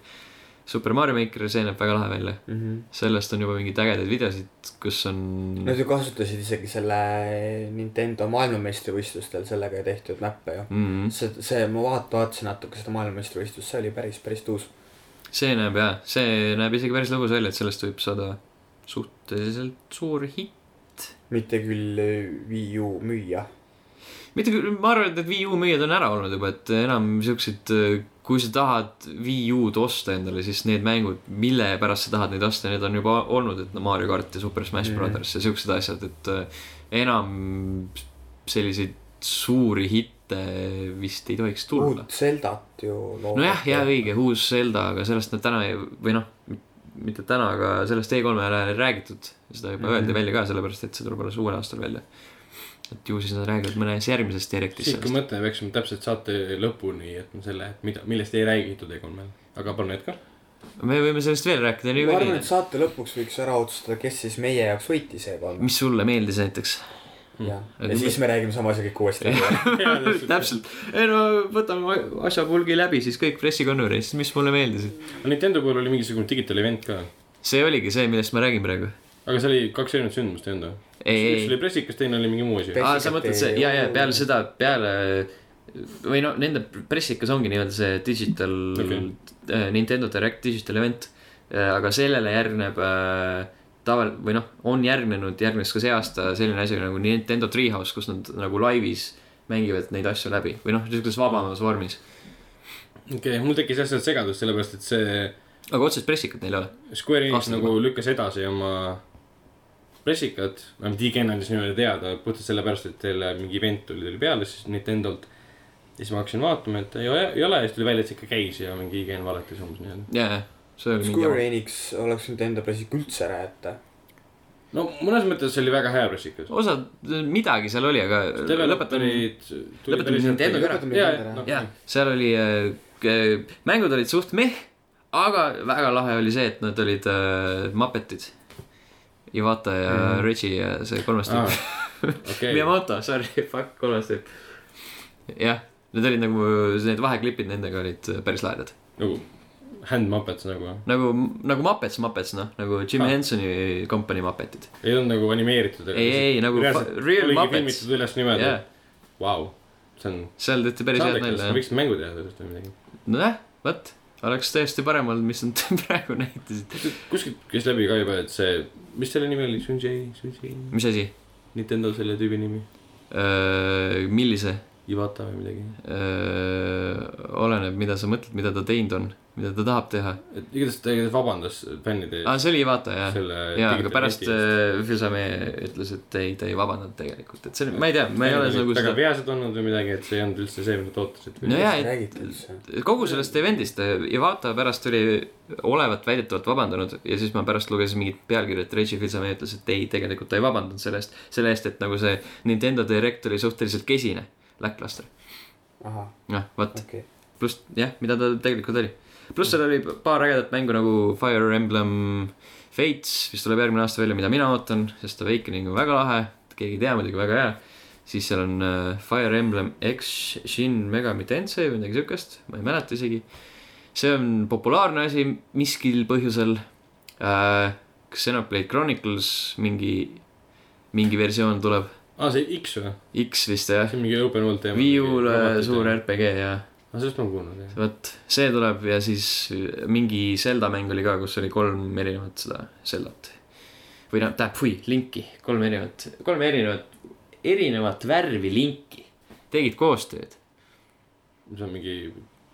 Speaker 1: Super Mario Maker , see näeb väga lahe välja .
Speaker 3: Nad
Speaker 1: sellest on juba mingeid ägedaid videosid , kus on
Speaker 3: ju kasutasid isegi selle Nintendo maailmameistrivõistlustel sellega tehtud näppe ju .
Speaker 1: mm, .
Speaker 3: see , see , ma vaat- , vaatasin natuke seda maailmameistrivõistlust , see oli päris , päris tuus .
Speaker 1: see näeb jaa , see näeb isegi päris lõbus välja , et sellest võib saada suhteliselt suur hitt .
Speaker 3: mitte küll äh, Wii U müüja .
Speaker 1: mitte küll , ma arvan , et need Wii U müüjad on ära olnud juba , et enam siuksed , kui sa tahad Wii U-d osta endale , siis need mängud , mille pärast sa tahad neid osta , need on juba olnud , et no Mario kart ja Super Smash
Speaker 3: Mhm.
Speaker 1: Brothers ja siuksed asjad , et äh, enam selliseid suuri hitte vist ei tohiks tulla .
Speaker 3: uut Zeldat ju .
Speaker 1: nojah , jaa , õige , uus Zelda , aga sellest nad täna ei, või noh , mitte täna , aga sellest E3-e ajal ei räägitud . seda juba
Speaker 3: Mhm.
Speaker 1: öeldi välja ka , sellepärast et see tuleb alles uuel aastal välja . et ju siis nad räägivad mõnes järgmises Directis
Speaker 2: sihuke
Speaker 1: sellest .
Speaker 2: mõte , me peaksime täpselt saate lõpuni jätma selle , et mida , millest ei räägitud Egon meil . aga palun Edgar .
Speaker 1: me võime sellest veel rääkida
Speaker 3: ma arvan ,
Speaker 1: niikuinii
Speaker 3: et . saate lõpuks võiks ära otsustada , kes siis meie jaoks võitis e-panna .
Speaker 1: mis sulle meeldis näiteks ?
Speaker 3: ja
Speaker 1: Mhm. Aga
Speaker 3: ja siis me räägime sama asja
Speaker 1: [LAUGHS]
Speaker 3: kõik uuesti läbi .
Speaker 1: täpselt , ei no võtame asja pulgi läbi siis kõik pressikonverentsid , mis mulle meeldisid .
Speaker 2: Nintendo puhul oli mingisugune digital event ka ,
Speaker 1: see oligi see , millest ma räägin praegu .
Speaker 2: aga see oli kaks erinevat sündmust , ei olnud või ?
Speaker 1: ei ,
Speaker 2: üks
Speaker 1: ei ,
Speaker 2: oli pressikas , teine oli mingi muu asi .
Speaker 3: Pe-
Speaker 1: aa , sa mõtled see , ja , ja peale seda , peale või no nende pressikas ongi nii-öelda see digital okay.
Speaker 2: Okei. ,
Speaker 1: Nintendo Direct digital event , aga sellele järgneb äh, taval- või noh , on järgnenud , järgnes ka see aasta selline asi nagu Nintendo Treehouse , kus nad nagu laivis mängivad neid asju läbi või noh , niisuguses vabamas vormis .
Speaker 2: okei okay, , mul tekkis jah sealt segadus , sellepärast et see
Speaker 1: aga otsest pressikat neil ei ole .
Speaker 2: Square Enix
Speaker 1: Aastaga.
Speaker 2: nagu lükkas edasi oma pressikat , vähemalt IGN andis minule teada puhtalt sellepärast , et teile mingi event tuli teile peale siis Nintendolt . ja siis ma hakkasin vaatama , et ei ole , ei ole ja siis tuli välja , et see ikka käis ja mingi IGN valetas umbes nii-öelda .
Speaker 1: jaa , jaa , see oli mingi
Speaker 3: Square Enix oleks võinud enda pressik üldse ära jätta .
Speaker 2: no mõnes mõttes see oli väga hea pressikas .
Speaker 1: osa , midagi seal oli , aga lõpetan , lõpetame Nintendo ära. jah , seal oli äh, , mängud olid suht meh , aga väga lahe oli see , et nad olid äh, Muppetid . Iwata ja mm. Reggie ja see kolmas tüüp ah, ,
Speaker 2: okei ,
Speaker 1: Miyamoto , sorry , [LAUGHS] fuck , kolmas tüüp . jah , need olid nagu , need vaheklipid nendega olid äh, päris lahedad .
Speaker 2: nagu hand muppets nagu ,
Speaker 1: nagu , nagu Muppets , Muppets , noh , nagu Jim
Speaker 2: Ah.
Speaker 1: ah. Hensoni kompanii Muppetid .
Speaker 2: ei olnud nagu animeeritud .
Speaker 1: ei , ei , nagu fa- real Muppets ,
Speaker 2: filmitud üles niimoodi
Speaker 1: jah
Speaker 2: yeah. , vau , see on .
Speaker 1: seal tehti päris head nalja , jah .
Speaker 2: võiks mängu teha sellest või midagi .
Speaker 1: nojah , vot , oleks tõesti parem olnud , mis nad [LAUGHS] praegu näitasid .
Speaker 2: kuskilt käis läbi ka juba , et see , mis selle nimi oli , Sunjay , Sunjay ,
Speaker 1: mis asi ?
Speaker 2: Nintendo selle tüübi nimi ,
Speaker 1: Öö, millise ?
Speaker 2: Iwata või midagi .
Speaker 1: oleneb , mida sa mõtled , mida ta teinud on , mida ta tahab teha .
Speaker 2: et igatahes ta igatahes vabandas fännide
Speaker 1: aa , see oli Ivata Ah, jah .
Speaker 2: selle .
Speaker 1: jaa , aga pärast äh, Fusame ütles , et ei , ta ei vabandanud tegelikult , et see oli , ma ei tea , ma ei ole nagu
Speaker 2: väga
Speaker 1: seda .
Speaker 2: vihased olnud või midagi , et see ei olnud üldse see , mida ta ootas , et .
Speaker 1: nojah , et
Speaker 3: räägite üldse .
Speaker 1: kogu sellest event'ist äh, Ivata pärast oli olevat väidetavalt vabandanud ja siis ma pärast lugesin mingit pealkirja , et Reggie Fils-Aimee ütles , et ei , tegelikult ta ei vabandanud selle eest , selle eest , et nagu see Nintendo Direct oli suhteliselt kesine läklastel .
Speaker 3: ahah ,
Speaker 1: noh , vot ,
Speaker 3: okei .
Speaker 1: pluss jah , mida ta tegelikult oli . pluss seal oli paar ägedat mängu nagu Fire Emblem Fates , mis tuleb järgmine aasta välja , mida mina ootan , sest Awakening on väga lahe , keegi ei tea muidugi , väga hea . siis seal on äh, Fire Emblem X Shin Megami Tensei või midagi siukest , ma ei mäleta isegi . see on populaarne asi miskil põhjusel äh, . Xenoblade Chronicles mingi , mingi versioon tuleb ,
Speaker 2: aa , Ah, see X või ?
Speaker 1: X vist jah ,
Speaker 2: see on mingi open world teema .
Speaker 1: Viiul äh, suur . RPG ja
Speaker 2: aa , sellest ma olen kuulnud jah .
Speaker 1: vot , see tuleb ja siis mingi Zelda mäng oli ka , kus oli kolm erinevat seda Zeldat . või noh , tähendab , fui , linki , kolm erinevat , kolm erinevat , erinevat värvi linki . tegid koostööd ?
Speaker 2: see on mingi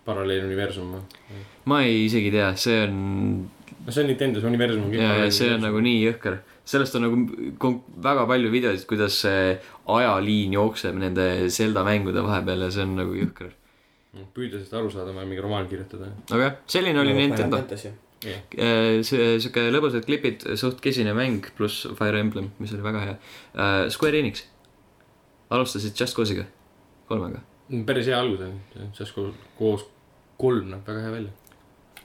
Speaker 2: paralleeluniversum või ?
Speaker 1: ma ei isegi tea , see on ,
Speaker 2: no see on Nintendo's universum .
Speaker 1: see on . nagu nii jõhker . sellest on nagu kon- väga palju videoid , kuidas see ajaliin jookseb nende Zelda mängude vahepeal ja see on nagu jõhker . nagu-
Speaker 2: püüda sellest aru saada , ma võin mingi romaan kirjutada .
Speaker 1: aga jah , selline oli Nintendo .
Speaker 2: jah ,
Speaker 1: Äh, see siuke lõbusad klipid , suht kesine mäng pluss Fire Emblem , mis oli väga hea äh, . Square Enix alustasid Just Cause'iga , kolmega .
Speaker 2: Mm, päris hea algus on , sellest koos, koos kolm näeb väga hea välja .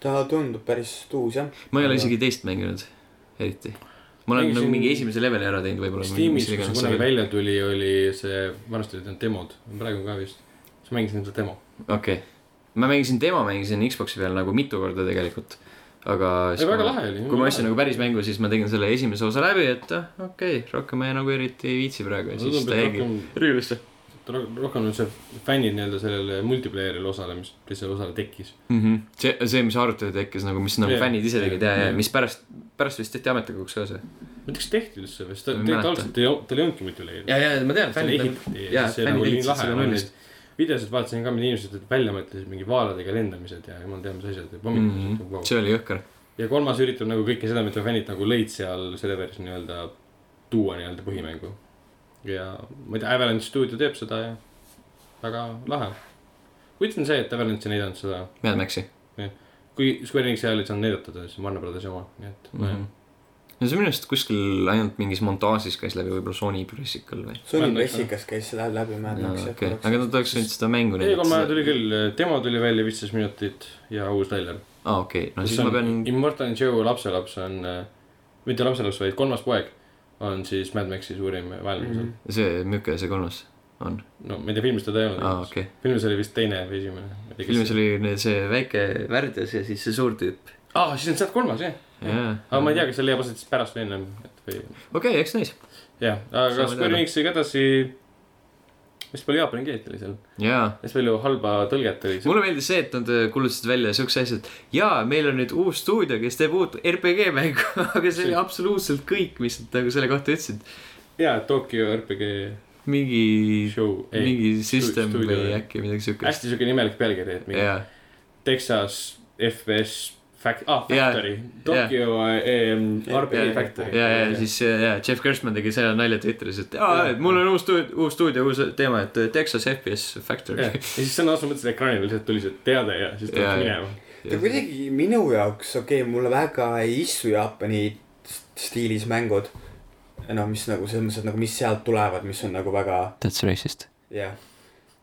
Speaker 3: ta tundub päris uus jah .
Speaker 1: ma ei ole isegi teist mänginud , eriti . ma olen
Speaker 2: Ei,
Speaker 1: nagu
Speaker 2: siin-
Speaker 1: mingi esimese leveli ära teinud võib-olla .
Speaker 2: Steamis , kui see kunagi välja tuli , oli see , vanasti olid need demod , praegu ka vist , siis mängisin seda demo .
Speaker 1: okei , ma mängisin tema , mängisin Xbox'i peal nagu mitu korda tegelikult , aga .
Speaker 2: ei , väga lahe oli .
Speaker 1: kui ma ostsin nagu päris mängu , siis ma tegin selle esimese osa läbi , et ah, okei okay, , rohkem ma nagu eriti ei viitsi praegu ja siis ta jäigi . riiulisse .
Speaker 2: rohkem on see fännid nii-öelda sellele multiplayer'ile osale , mis teisele osale tekkis .
Speaker 1: mm . -hmm. see , see , mis arutelu tekkis nagu , mis nagu
Speaker 2: Jah.
Speaker 1: yeah. fännid ise tegid ja , ja
Speaker 2: Jah.
Speaker 1: mis pärast , pärast vist tehti ametlikuks ka see .
Speaker 2: ma ei tea , kas tehti üldse või , sest ta
Speaker 1: Ma ei
Speaker 2: tegelikult
Speaker 1: mäleta.
Speaker 2: algselt ei ol- tal ei olnudki multiplayer .
Speaker 4: ja , ja ma tean ,
Speaker 2: see oli
Speaker 4: fännid ,
Speaker 2: ehitati ja
Speaker 4: jaa,
Speaker 2: siis see nagu
Speaker 4: fännid ehitasid
Speaker 2: oli nii lahe
Speaker 4: seda ,
Speaker 2: ma
Speaker 4: nullist.
Speaker 2: neid videosid vaatasin ka , mida inimesed olid välja mõtlesid , mingi vaaladega lendamised ja jumal teab mis asjad ja pommitused mm . -hmm.
Speaker 1: Mhm. see oli jõhker .
Speaker 2: ja kolmas üritab nagu kõike seda , mida fännid nagu lõid seal serveris nii-öelda tuua nii-öelda põhimängu . ja ma ei tea , Avalanche stuudio teeb seda ja väga lahe . huvitav on see , et Avalanche ei näidanud seda ,
Speaker 1: Mad Maxi .
Speaker 2: kui Square Enix ajal ei saanud näidata , ta siis on Warner Brothers oma , nii et
Speaker 1: Mhm.
Speaker 2: mm . -hmm.
Speaker 1: no see minu arust kuskil ainult mingis montaažis käis läbi , võib-olla Sony pressikal või ?
Speaker 3: Sony
Speaker 2: Mad Max,
Speaker 3: pressikas käis see läheb läbi Mad Maxi jah
Speaker 1: okei ,
Speaker 3: korraks.
Speaker 1: aga nad oleks võinud seda mängu
Speaker 2: ei , E kolm ajal tuli . küll , demo tuli välja viisteist minutit ja uus trailer .
Speaker 1: aa , Ah, okei , no
Speaker 2: mis
Speaker 1: siis
Speaker 2: on
Speaker 1: ma pean ,
Speaker 2: Immortal Joe lapselaps on , mitte lapselaps , vaid kolmas poeg on siis Mad Maxi suurim vaenlane
Speaker 3: Mhm.
Speaker 1: Mhm.
Speaker 2: mm .
Speaker 1: see müke , see kolmas on .
Speaker 2: -hmm. no ma ei tea , filmis teda ei olnud
Speaker 1: aa , Ah, okei .
Speaker 2: filmis oli vist teine või esimene .
Speaker 1: filmis oli nüüd see väike värdjas ja siis see suur tüüp .
Speaker 2: aa , Ah, siis on sealt kolmas jah .
Speaker 1: jaa .
Speaker 2: aga ma ei tea , kas see leiab aset siis pärast või ennem , et või
Speaker 1: okei , eks näis .
Speaker 2: jah ,
Speaker 1: Saame
Speaker 2: aga Square
Speaker 1: teada.
Speaker 2: Enix sai ka edasi . hästi palju jaapani keelt oli seal ,
Speaker 1: jaa
Speaker 2: hästi palju halba tõlget oli seal .
Speaker 1: mulle meeldis see , et nad äh, kuulutasid välja siukse asja , et jaa , meil on nüüd uus stuudio , kes teeb uut RPG mängu , [LAUGHS] aga see oli absoluutselt kõik , mis nad nagu selle kohta ütlesid .
Speaker 2: jaa , Tokyo RPG
Speaker 1: mingi ,
Speaker 2: show , ei ,
Speaker 1: mingi system
Speaker 2: stuudio,
Speaker 1: või
Speaker 2: jah.
Speaker 1: äkki midagi siukest .
Speaker 2: hästi siuke imelik pealkiri , et mingi
Speaker 1: jaa ,
Speaker 2: Texas FS Fact- , ah ,
Speaker 1: Jaa.
Speaker 2: Factory , Tokyo ehm, RPG
Speaker 3: Jaa.
Speaker 2: Factory .
Speaker 1: ja , ja siis äh, ja Jeff Gershman tegi selle nalja Twitteris , et aa
Speaker 2: Jaa. ,
Speaker 1: mul on uus stuudio , uus stuudio , uus teema , et äh, Texas FPS Factory
Speaker 2: ja
Speaker 1: [LAUGHS]
Speaker 2: siis sõna otseses mõttes ekraanil lihtsalt tuli see teade ja siis ta
Speaker 1: Jaa,
Speaker 2: läks
Speaker 1: jaa.
Speaker 2: minema .
Speaker 3: ta kuidagi minu jaoks , okei okay, , mulle väga ei istu Jaapani st- stiilis mängud . noh , mis nagu selles mõttes , et nagu mis sealt tulevad , mis on nagu väga
Speaker 1: That's racist .
Speaker 3: jah ,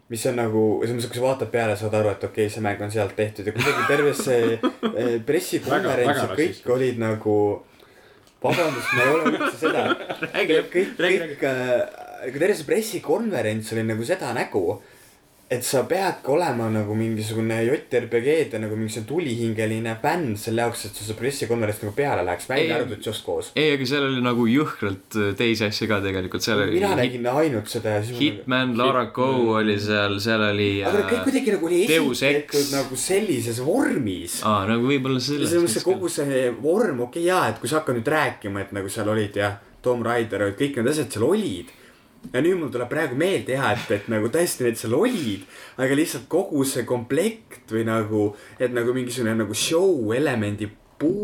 Speaker 3: mis on nagu selles mõttes , kui sa vaatad peale , saad aru , et okei okay, , see mäng on sealt tehtud ja kuidagi terve see eh,
Speaker 2: Väga-
Speaker 3: pressikonverents ja
Speaker 2: väga
Speaker 3: kõik
Speaker 2: rassistlik.
Speaker 3: olid nagu . vabandust , ma ei ole üldse
Speaker 2: [LAUGHS]
Speaker 3: seda . kõik , kõik , kõik , terve see pressikonverents oli nagu seda nägu et sa peadki olema nagu mingisugune JRPG-de nagu mingisugune tulihingeline fänn selle jaoks , et sa seda pressikonverentsi nagu peale läheks ,
Speaker 1: Ei.
Speaker 3: välja arvatud Just Cause .
Speaker 1: ei , aga seal oli nagu jõhkralt äh, teisi asju ka tegelikult , seal oli
Speaker 3: mina nägin ainult seda ja siis . nagu-
Speaker 1: Hitman , Lara Go oli seal , seal oli . äh,
Speaker 3: aga nad kõik kuidagi nagu oli
Speaker 1: Deus
Speaker 3: esitatud
Speaker 1: Ex.
Speaker 3: nagu sellises vormis .
Speaker 1: aa , nagu võib-olla selles .
Speaker 3: selles mõttes , et kogu see vorm , okei okay, jaa , et kui sa hakkad nüüd rääkima , et nagu seal olid ja Tom Raider olid , kõik need asjad seal olid . ja nüüd mul tuleb praegu meelde jaa , et , et nagu tõesti need seal olid , aga lihtsalt kogu see komplekt või nagu , et nagu mingisugune nagu show elemendi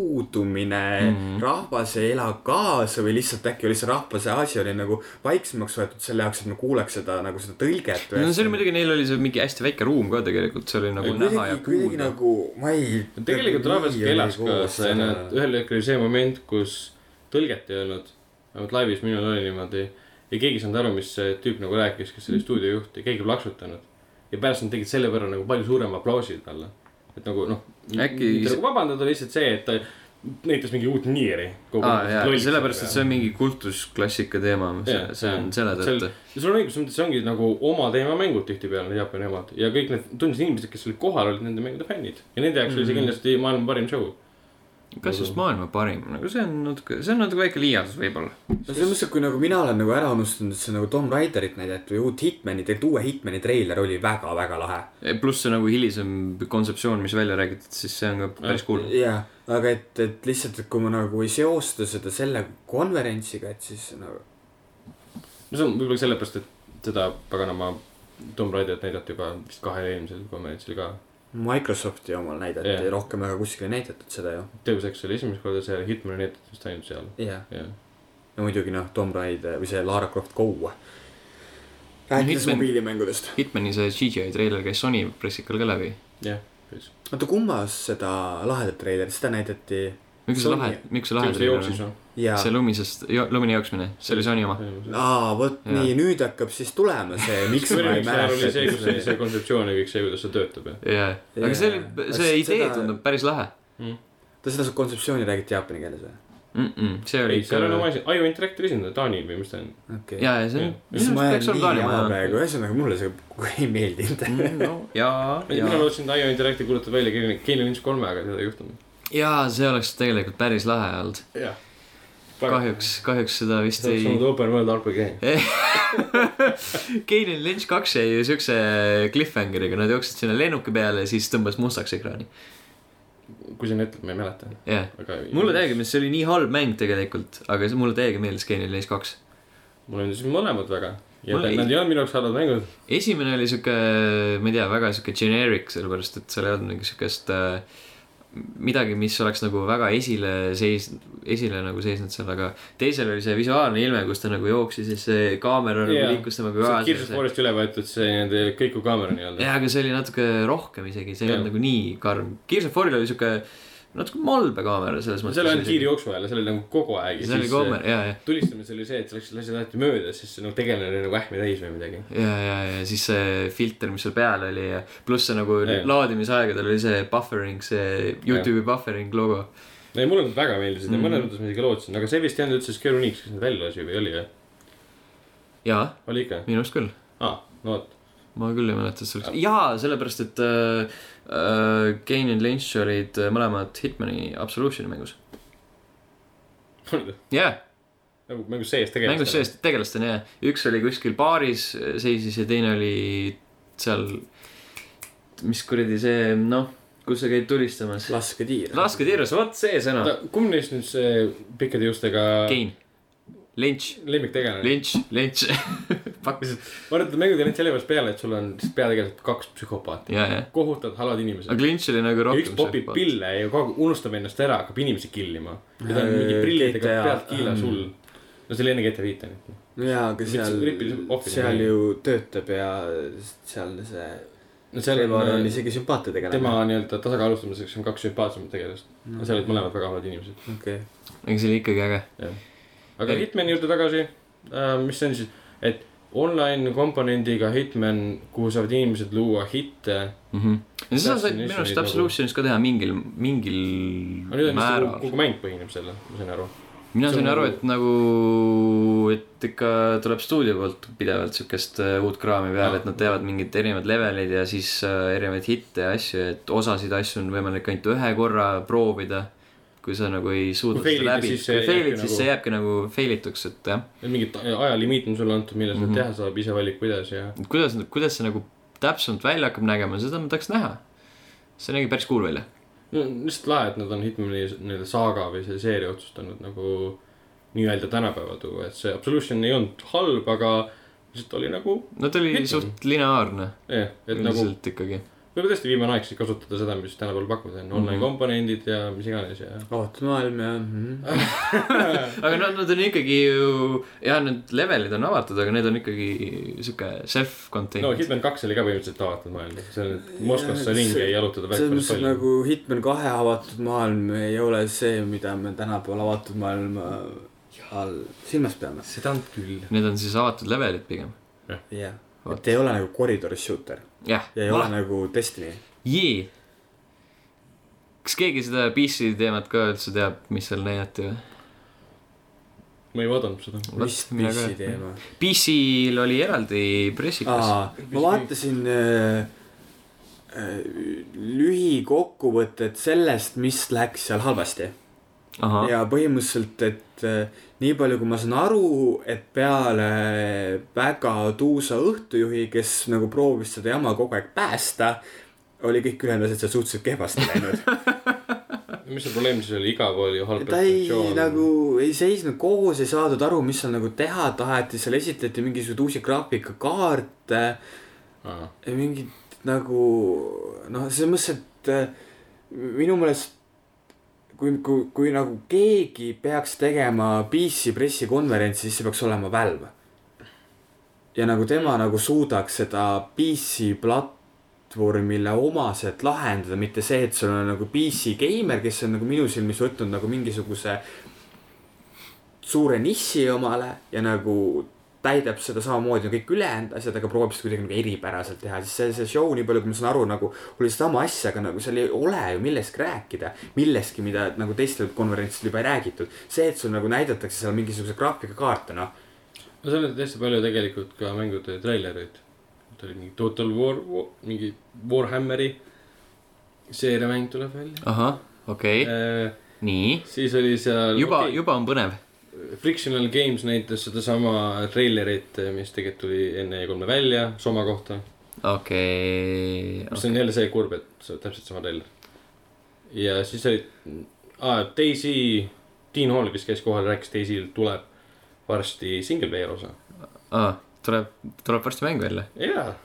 Speaker 3: puudumine mm ,
Speaker 1: Mhm.
Speaker 3: -hmm. rahvas ei ela kaasa või lihtsalt äkki oli see rahvase asi oli nagu vaiksemaks võetud selle jaoks , et me kuuleks seda nagu seda tõlget .
Speaker 1: no see oli muidugi , neil oli see mingi hästi väike ruum ka tegelikult , see oli nagu
Speaker 2: Ei,
Speaker 1: näha ja
Speaker 3: kuidagi , kuidagi
Speaker 1: kuulda .
Speaker 3: nagu ma ei .
Speaker 2: tegelikult rahvas ikka elas kaasa ja nad , ühel hetkel oli see moment , kus tõlget ei olnud , vähemalt laivis minul oli niimoodi . ja keegi ei saanud aru , mis see tüüp nagu rääkis , kes
Speaker 1: Mm.
Speaker 2: oli stuudiojuht ja keegi ei plaksutanud . ja pärast nad tegid selle võrra nagu palju suurema aplausi talle . et nagu noh ,
Speaker 1: Äkki
Speaker 2: mitte
Speaker 1: see-
Speaker 2: nagu vabandada lihtsalt see , et ta näitas mingi uut niiri .
Speaker 1: aa jaa , sellepärast , et see on mingi kultusklassika teema , see , see on selle tõttu ..
Speaker 2: sul on õigus , see ongi nagu oma teema mängud tihtipeale , need Jaapani omad ja kõik need tunnised inimesed , kes olid kohal , olid nende mängude fännid ja nende jaoks
Speaker 1: Mm.
Speaker 2: oli see kindlasti maailma parim show .
Speaker 1: kas just maailma parim , nagu see on natuke , see on natuke väike liialdus võib-olla .
Speaker 3: no selles mõttes , et kui nagu mina olen nagu ära unustanud , et see nagu Tom Raiderit näidati või uut Hitmani , tegelikult uue Hitmani treiler oli väga-väga lahe .
Speaker 1: pluss see nagu hilisem kontseptsioon , mis välja räägitud , siis see on ka päris cool .
Speaker 3: jah , aga et , et lihtsalt , et kui ma nagu ei seosta seda selle konverentsiga , et siis nagu .
Speaker 2: no see on võib-olla sellepärast , et seda paganama Tomb Raiderit näidati juba vist kahel eelmisel konverentsil ka .
Speaker 3: Microsofti omal näidati
Speaker 2: Jah.
Speaker 3: yeah. , rohkem väga kuskil ei näidatud seda ju .
Speaker 2: Deus Ex oli esimest korda seal , Hitman näidati vist ainult seal .
Speaker 3: jah ,
Speaker 2: jah ,
Speaker 3: no muidugi noh , Tom Raider või see Lara Croft Go . rääkides
Speaker 1: Hitman-
Speaker 3: mobiilimängudest .
Speaker 1: Hitmani see CGI treiler käis Sony pressikal ka läbi .
Speaker 2: jah , päris .
Speaker 3: oota , kummas seda lahedat treilerit , seda näidati
Speaker 1: miks see
Speaker 3: Sony-
Speaker 1: lahe , miks see lahe
Speaker 2: see
Speaker 1: treiler
Speaker 2: jooksis
Speaker 1: on ?
Speaker 2: noh .
Speaker 3: ja
Speaker 1: see lumisest , lumine jooksmine , see oli Sony oma .
Speaker 3: aa , vot
Speaker 1: Jaa.
Speaker 3: nii , nüüd hakkab siis tulema see ,
Speaker 2: [LAUGHS]
Speaker 3: miks Ah, ma ei
Speaker 2: oli see , kus oli
Speaker 3: mäleta .
Speaker 2: see kontseptsioon ja kõik see , kuidas see töötab ja .
Speaker 1: jaa , aga see oli ,
Speaker 3: Jaa.
Speaker 1: see
Speaker 3: Aga
Speaker 1: idee
Speaker 3: seda-
Speaker 1: tundub päris lahe .
Speaker 3: ta seda kontseptsiooni räägiti jaapani keeles või ?
Speaker 1: see oli
Speaker 2: ei , seal on oma asi , Aju Interactive esindaja , Taani või mis ta on .
Speaker 3: okei
Speaker 1: jaa , ja see on ,
Speaker 3: mis
Speaker 1: minu
Speaker 3: ma
Speaker 1: arust
Speaker 3: ajan
Speaker 1: peaks
Speaker 3: nii
Speaker 1: olema Taani
Speaker 3: jama
Speaker 1: maja .
Speaker 3: praegu , ühesõnaga mulle see ei [LAUGHS] meeldinud .
Speaker 1: Mm, no jaa ,
Speaker 2: mina
Speaker 1: jaa .
Speaker 2: lootsin , et Aju Interactive kuulutab välja Keili- Keili Lynch kolme , aga seda ei juhtunud .
Speaker 1: jaa , see oleks tegelikult päris lahe olnud .
Speaker 2: jah .
Speaker 1: kahjuks , kahjuks seda vist
Speaker 2: see oleks
Speaker 1: ei
Speaker 2: olnud . Open World RPG .
Speaker 1: Eh? Keilin Lynch kaks jäi ju siukse cliffhangeriga , nad jooksid sinna lennuki peale ja siis tõmbas mustaks ekraani .
Speaker 2: kui sa nüüd ütled , ma ei mäleta .
Speaker 1: jah .
Speaker 2: aga .
Speaker 1: mulle täiega meeldis , see oli nii halb mäng tegelikult , aga see mulle täiega meeldis Genial Days kaks .
Speaker 2: mulle meeldisid mõlemad väga . ja
Speaker 1: Mulle
Speaker 2: ta-
Speaker 1: ei-
Speaker 2: nad ei olnud minu jaoks halvad mängud .
Speaker 1: esimene oli sihuke , ma ei tea , väga sihuke generic , sellepärast et seal ei olnud mingi siukest äh, midagi , mis oleks nagu väga esile seis- , esile nagu seisnud seal , aga teisel oli see visuaalne ilme , kus ta nagu jooksis ja see kaamera
Speaker 2: Jaa.
Speaker 1: yeah. liikus temaga
Speaker 2: kirsust
Speaker 1: kaasa .
Speaker 2: voorist üle võetud Nagu see nii-öelda kõikuv kaamera nii-öelda .
Speaker 1: jaa , aga see oli natuke rohkem isegi , see ei
Speaker 2: Jaa.
Speaker 1: olnud nagu nii karm . Gears of War'il oli sihuke natuke malbe kaamera selles mõttes .
Speaker 2: seal ei olnud kiiri jooksu ajal , seal oli nagu kogu aeg .
Speaker 1: see oli kaamera , jaa , jaa .
Speaker 2: tulistamises oli see , et sa läksid , lasid alati mööda , siis see nagu tegelane oli nagu ähmi täis või midagi .
Speaker 1: ja , ja , ja siis see filter , mis seal peal oli ja pluss see nagu
Speaker 2: Ei.
Speaker 1: laadimisaegadel oli see buffering , see Youtube'i buffering logo .
Speaker 2: ei , mulle nad väga meeldisid ja
Speaker 1: Mhm.
Speaker 2: mõnes mõttes ma isegi lootsin , aga see vist ei olnud üldse Square Enix , kes need välja lasi või oli või ?
Speaker 1: jaa ,
Speaker 2: oli ikka ?
Speaker 1: minu arust küll ,
Speaker 2: aa , no vot . [LAUGHS]
Speaker 1: ma küll ei mäleta , et see oleks , jaa , sellepärast , et äh, äh, Kane ja Lynch olid äh, mõlemad Hitmani Absolutioni mängus . jah ,
Speaker 2: nagu mängus sees tegelikult .
Speaker 1: mängus sees tegelastena jah , üks oli kuskil baaris äh, seisis ja teine oli seal , mis kuradi see , noh , kus sa käid tulistamas .
Speaker 3: lasketiir .
Speaker 1: lasketiirus , vot see sõna ,
Speaker 2: kumb neist nüüd see pikkade juustega
Speaker 1: Kane , Lynch .
Speaker 2: lemmiktegelane ?
Speaker 1: Lynch , Lynch , [LAUGHS] pakkus ,
Speaker 2: ma arvan , et mängud on ainult selle pärast peale , et sul on lihtsalt peategelased kaks psühhopaati ,
Speaker 1: ja , ja ,
Speaker 2: kohutavad halvad inimesed .
Speaker 1: aga Lynch oli nagu
Speaker 2: ja
Speaker 1: rohkem .
Speaker 2: üks popib . pille ja kogu aeg unustab ennast ära , hakkab inimesi killima . ja ta on mingi
Speaker 3: Äh,
Speaker 2: prillidega
Speaker 3: GTA,
Speaker 2: pealt kiilas
Speaker 3: ähm,
Speaker 2: hull . no see oli enne GTA viite nüüd .
Speaker 3: jaa , aga
Speaker 2: Mis-
Speaker 3: seal
Speaker 2: ripil- , ohvri-
Speaker 3: seal ju töötab ja seal see
Speaker 2: no seal
Speaker 3: Trevor on
Speaker 2: on äh,
Speaker 3: isegi sümpaatne tegelane .
Speaker 2: tema nii-öelda tasakaalustamiseks on kaks sümpaatsemat tegelast . seal olid mõlemad väga halvad inimesed .
Speaker 3: okei ,
Speaker 1: aga see oli ikkagi äge .
Speaker 2: aga
Speaker 1: Ei.
Speaker 2: Hitmani juurde tagasi , mis see on siis , et online komponendiga Hitman , kuhu saavad inimesed luua hitte .
Speaker 1: Mhm. ja seda said
Speaker 2: Absolutionis
Speaker 1: minu arust
Speaker 2: olid nagu-
Speaker 1: Absolutionis ka teha mingil ,
Speaker 2: aga nüüd
Speaker 1: mingil
Speaker 2: on vist
Speaker 1: määral .
Speaker 2: kogu mäng põhineb sellel , ma sain aru .
Speaker 1: mina
Speaker 2: see on
Speaker 1: sain aru ,
Speaker 2: nagu-
Speaker 1: et nagu , et ikka tuleb stuudio poolt pidevalt siukest äh, uut kraami peale , et nad teevad mingid erinevad levelid ja siis äh, erinevaid hitte ja asju , et osasid asju on võimalik ainult ühe korra proovida . kui sa nagu ei suuda
Speaker 2: Kui fail'id,
Speaker 1: seda läbi ,
Speaker 2: siis see
Speaker 1: kui fail'id ,
Speaker 2: jääbki
Speaker 1: siis
Speaker 2: nagu-
Speaker 1: see jääbki nagu fail'ituks , et jah
Speaker 2: Ja mingid ajalimiit on sulle antud , millal seda mm -hmm. teha saab , ise valik , kuidas ja .
Speaker 1: Et kuidas , kuidas see nagu täpsemalt välja hakkab nägema , seda ma tahaks näha . see nägi päris cool välja .
Speaker 2: no lihtsalt lahe , et nad on Hitmani nii-öelda saaga või selle seeria otsustanud nagu nii-öelda tänapäeva tuua , et see Absolution ei olnud halb , aga lihtsalt oli nagu
Speaker 1: no ta oli
Speaker 2: Mhm.
Speaker 1: suht lineaarne
Speaker 2: jah , et nagu
Speaker 1: üldiselt ikkagi .
Speaker 2: võib-olla tõesti viimane aeg siis kasutada seda , mis tänapäeval pakuda on , online
Speaker 3: Mhm.
Speaker 2: komponendid ja mis iganes ja .
Speaker 3: avatud maailm ja
Speaker 2: Ah,
Speaker 3: mhm.
Speaker 1: aga nad , nad on ikkagi ju , jah , need levelid on avatud , aga need on ikkagi sihuke
Speaker 2: no
Speaker 1: self-contained no, .
Speaker 2: Hitman kaks oli ka põhimõtteliselt avatud maailm , seal nüüd Moskvasse
Speaker 3: Jah, et
Speaker 2: ringi
Speaker 3: see-
Speaker 2: ei jalutada
Speaker 3: selles
Speaker 2: väga
Speaker 3: mõttes et
Speaker 2: palju .
Speaker 3: nagu Hitman kahe avatud maailm ei ole see , mida me tänapäeval avatud maailma äh, all silmas peame .
Speaker 2: seda on küll .
Speaker 1: Need on siis avatud levelid pigem .
Speaker 3: jah ,
Speaker 1: Vot.
Speaker 3: et ei ole nagu koridori shooter
Speaker 1: jah Ah,
Speaker 3: ja ei ole nagu Destiny .
Speaker 1: jee . kas keegi seda PC teemat ka üldse teab , mis seal näidati või ?
Speaker 2: ma ei vaadanud seda .
Speaker 3: mis PC teema ?
Speaker 1: PC-l oli eraldi pressikas .
Speaker 3: aa , ma vaatasin äh, äh, lühikokkuvõtet sellest , mis läks seal halvasti .
Speaker 1: ahah ,
Speaker 3: ja põhimõtteliselt , et äh, nii palju , kui ma saan aru , et peale väga tuusa õhtujuhi , kes nagu proovis seda jama kogu aeg päästa , oli kõik ühendused seal suhteliselt kehvasti läinud .
Speaker 2: mis see probleem siis oli , igav oli halb
Speaker 3: ta ei nagu ei seisnud koos , ei saadud aru , mis seal nagu teha taheti , seal esitleti mingisuguseid uusi graafikakaarte
Speaker 2: nagu .
Speaker 3: Ja mingid nagu noh , selles mõttes , et äh, minu meelest kui , kui , kui nagu keegi peaks tegema PC pressikonverentsi , siis see peaks olema Valve . ja nagu tema nagu suudaks seda PC platvormile omaselt lahendada , mitte see , et sul on nagu PC geimer , kes on nagu minu silmis võtnud nagu mingisuguse suure niši omale ja nagu täidab seda samamoodi nagu kõik ülejäänud asjad , aga proovib seda kuidagi nagu eripäraselt teha , siis see , see show , nii palju kui ma saan aru , nagu oli sama asja , aga nagu seal ei ole ju millestki rääkida , millestki , mida nagu teistel konverentsidel juba ei räägitud . see , et sul nagu näidatakse seal mingisuguse graafikakaarte , noh ,
Speaker 2: no seal oli täiesti palju tegelikult ka mängude treilereid . ta oli mingi Total War, War , mingi Warhammeri seeriamäng tuleb välja .
Speaker 1: ahah , okei okay. , nii .
Speaker 2: siis oli seal
Speaker 1: juba okay. , juba on põnev .
Speaker 2: juba. Frictional Games näitas sedasama treilerit , mis tegelikult tuli enne E3-e välja , Soma kohta .
Speaker 1: okei Ah,
Speaker 2: mis on jälle see kurb , et see on täpselt sama treiler . ja siis oli ah, Daisy , Tiin Hall , kes käis kohal , rääkis , Daisy'l tuleb varsti single player osa .
Speaker 1: aa , ah, tuleb , tuleb varsti mäng välja . [LAUGHS]
Speaker 2: jaa .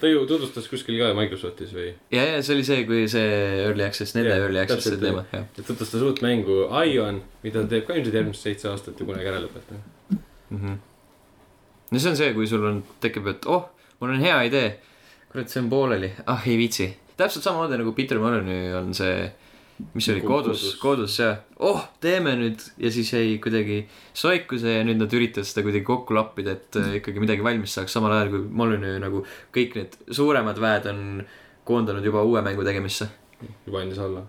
Speaker 2: ta ju tutvustas kuskil ka Microsoftis või ,
Speaker 1: ja , ja see oli see , kui see Early Access , nende
Speaker 2: Jah,
Speaker 1: Early Access'i
Speaker 2: täpselt,
Speaker 1: teema , jah .
Speaker 2: ta tutvustas uut mängu Ion , mida ta teeb ka ilmselt järgmised seitse aastat ja kunagi ära lõpetab .
Speaker 1: no see on see , kui sul on , tekib , et oh , mul on hea idee . kurat , see on pooleli , ah ei viitsi . täpselt samamoodi nagu Peter Molyneux on see , mis
Speaker 3: Nagu
Speaker 1: see oli , koodus
Speaker 2: Koodus. ,
Speaker 1: koodus ja oh , teeme nüüd ja siis jäi kuidagi soikuse ja nüüd nad üritavad seda kuidagi kokku lappida , et äh, ikkagi midagi valmis saaks , samal ajal kui Molyneux nagu kõik need suuremad väed on koondanud juba uue mängu tegemisse .
Speaker 2: juba andis alla .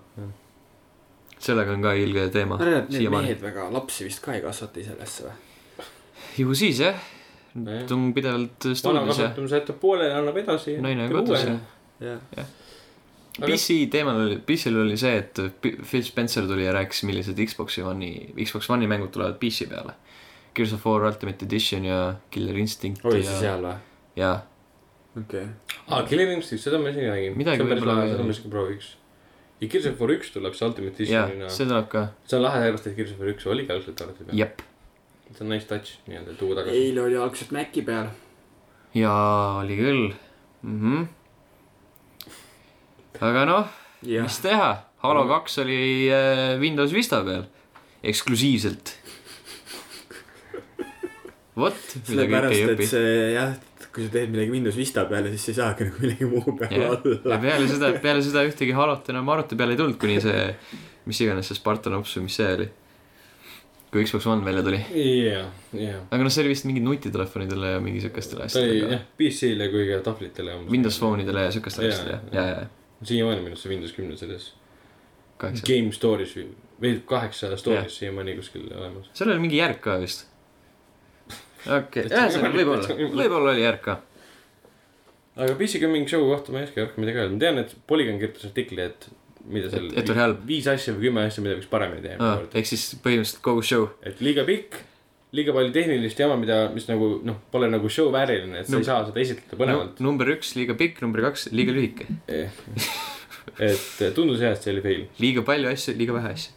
Speaker 1: sellega on ka ilge teema .
Speaker 3: Need mehed väga lapsi vist ka ei kasvata ise ülesse või ?
Speaker 1: ju siis jah ,
Speaker 2: vana
Speaker 1: tung pidevalt stuudios ja
Speaker 2: kasutamise jätab pooleli , annab edasi .
Speaker 1: naine on kodus ja .
Speaker 3: jah .
Speaker 2: Aga-
Speaker 1: PC teemal oli , PC-l oli see , et P- Phil Spencer tuli ja rääkis , millised Xbox'i One'i , Xbox One'i mängud tulevad PC peale . Gears of War Ultimate Edition ja Killer Instinct
Speaker 3: oli see
Speaker 1: ja ,
Speaker 3: seal või ?
Speaker 1: ja
Speaker 3: okei .
Speaker 2: aa , Killer Instinct , seda ma isegi nägin .
Speaker 1: Midagi
Speaker 2: see on päris
Speaker 1: võib-olla
Speaker 2: lahe ,
Speaker 1: veel.
Speaker 2: seda ma isegi prooviks . ja Gears of War üks tuleb , see Ultimate
Speaker 1: ja
Speaker 2: Editionina .
Speaker 1: see tuleb ka ,
Speaker 2: see on lahe sellepärast , et Gears of War üks oligi algselt arvuti peal .
Speaker 1: jep .
Speaker 2: see on nice touch nii-öelda tuua tagasi .
Speaker 3: eile oli alguses Maci peal .
Speaker 1: ja oli küll mm . -hmm. aga noh ,
Speaker 3: jah .
Speaker 1: mis teha , Halo kaks oli äh, Windows Vista peal ,
Speaker 3: [LAUGHS]
Speaker 1: eksklusiivselt . vot , mida kõike ei
Speaker 3: sellepärast ,
Speaker 1: õpi
Speaker 3: et . see jah , kui sa teed midagi Windows Vista peale , siis sa ei saagi nagu millegi muu peale
Speaker 1: Jah. ja
Speaker 3: olla .
Speaker 1: peale seda , peale seda ühtegi halot enam arvuti peale ei tulnud , kuni see , mis iganes see Spartan Ops või mis see oli . kui Xbox One välja tuli .
Speaker 2: jaa , jaa .
Speaker 1: aga noh , see oli vist mingi nutitelefonidele ja mingi siukestele
Speaker 2: ta oli
Speaker 1: asjadele .
Speaker 2: jah , PC-le kui ka tablitele .
Speaker 1: Windows . Phone'idele ja siukestele
Speaker 2: Jaa,
Speaker 1: asjadele ,
Speaker 2: jah.
Speaker 1: ja , ja , ja ,
Speaker 2: siiamaani minu arust see Windows kümne selles
Speaker 1: kaheksa .
Speaker 2: Game Store'is või , või kaheksa store'is siiamaani kuskil olemas .
Speaker 1: seal oli mingi järk ka vist . okei ,
Speaker 2: Täitsa
Speaker 1: ühesõnaga
Speaker 2: võimalik, täitsa
Speaker 1: võib-olla ,
Speaker 2: võimalik.
Speaker 1: võib-olla oli järk ka .
Speaker 2: aga PC Gaming Show kohta ma ei oska rohkem midagi öelda , ma tean , et Polygon kirjutas artikli , et mida seal
Speaker 1: Et- et oli halb.
Speaker 2: viis asja või kümme asja , mida võiks paremini teha ah. .
Speaker 1: ehk siis põhimõtteliselt kogu show .
Speaker 2: et liiga pikk , liiga palju tehnilist jama , mida , mis nagu noh , pole nagu show vääriline , et sa
Speaker 1: No.
Speaker 2: ei saa seda esitleda põnevalt no. .
Speaker 1: number üks liiga pikk , number kaks liiga lühike .
Speaker 2: et tundus hea , eh. et see oli fail .
Speaker 1: liiga palju asju , liiga vähe asju .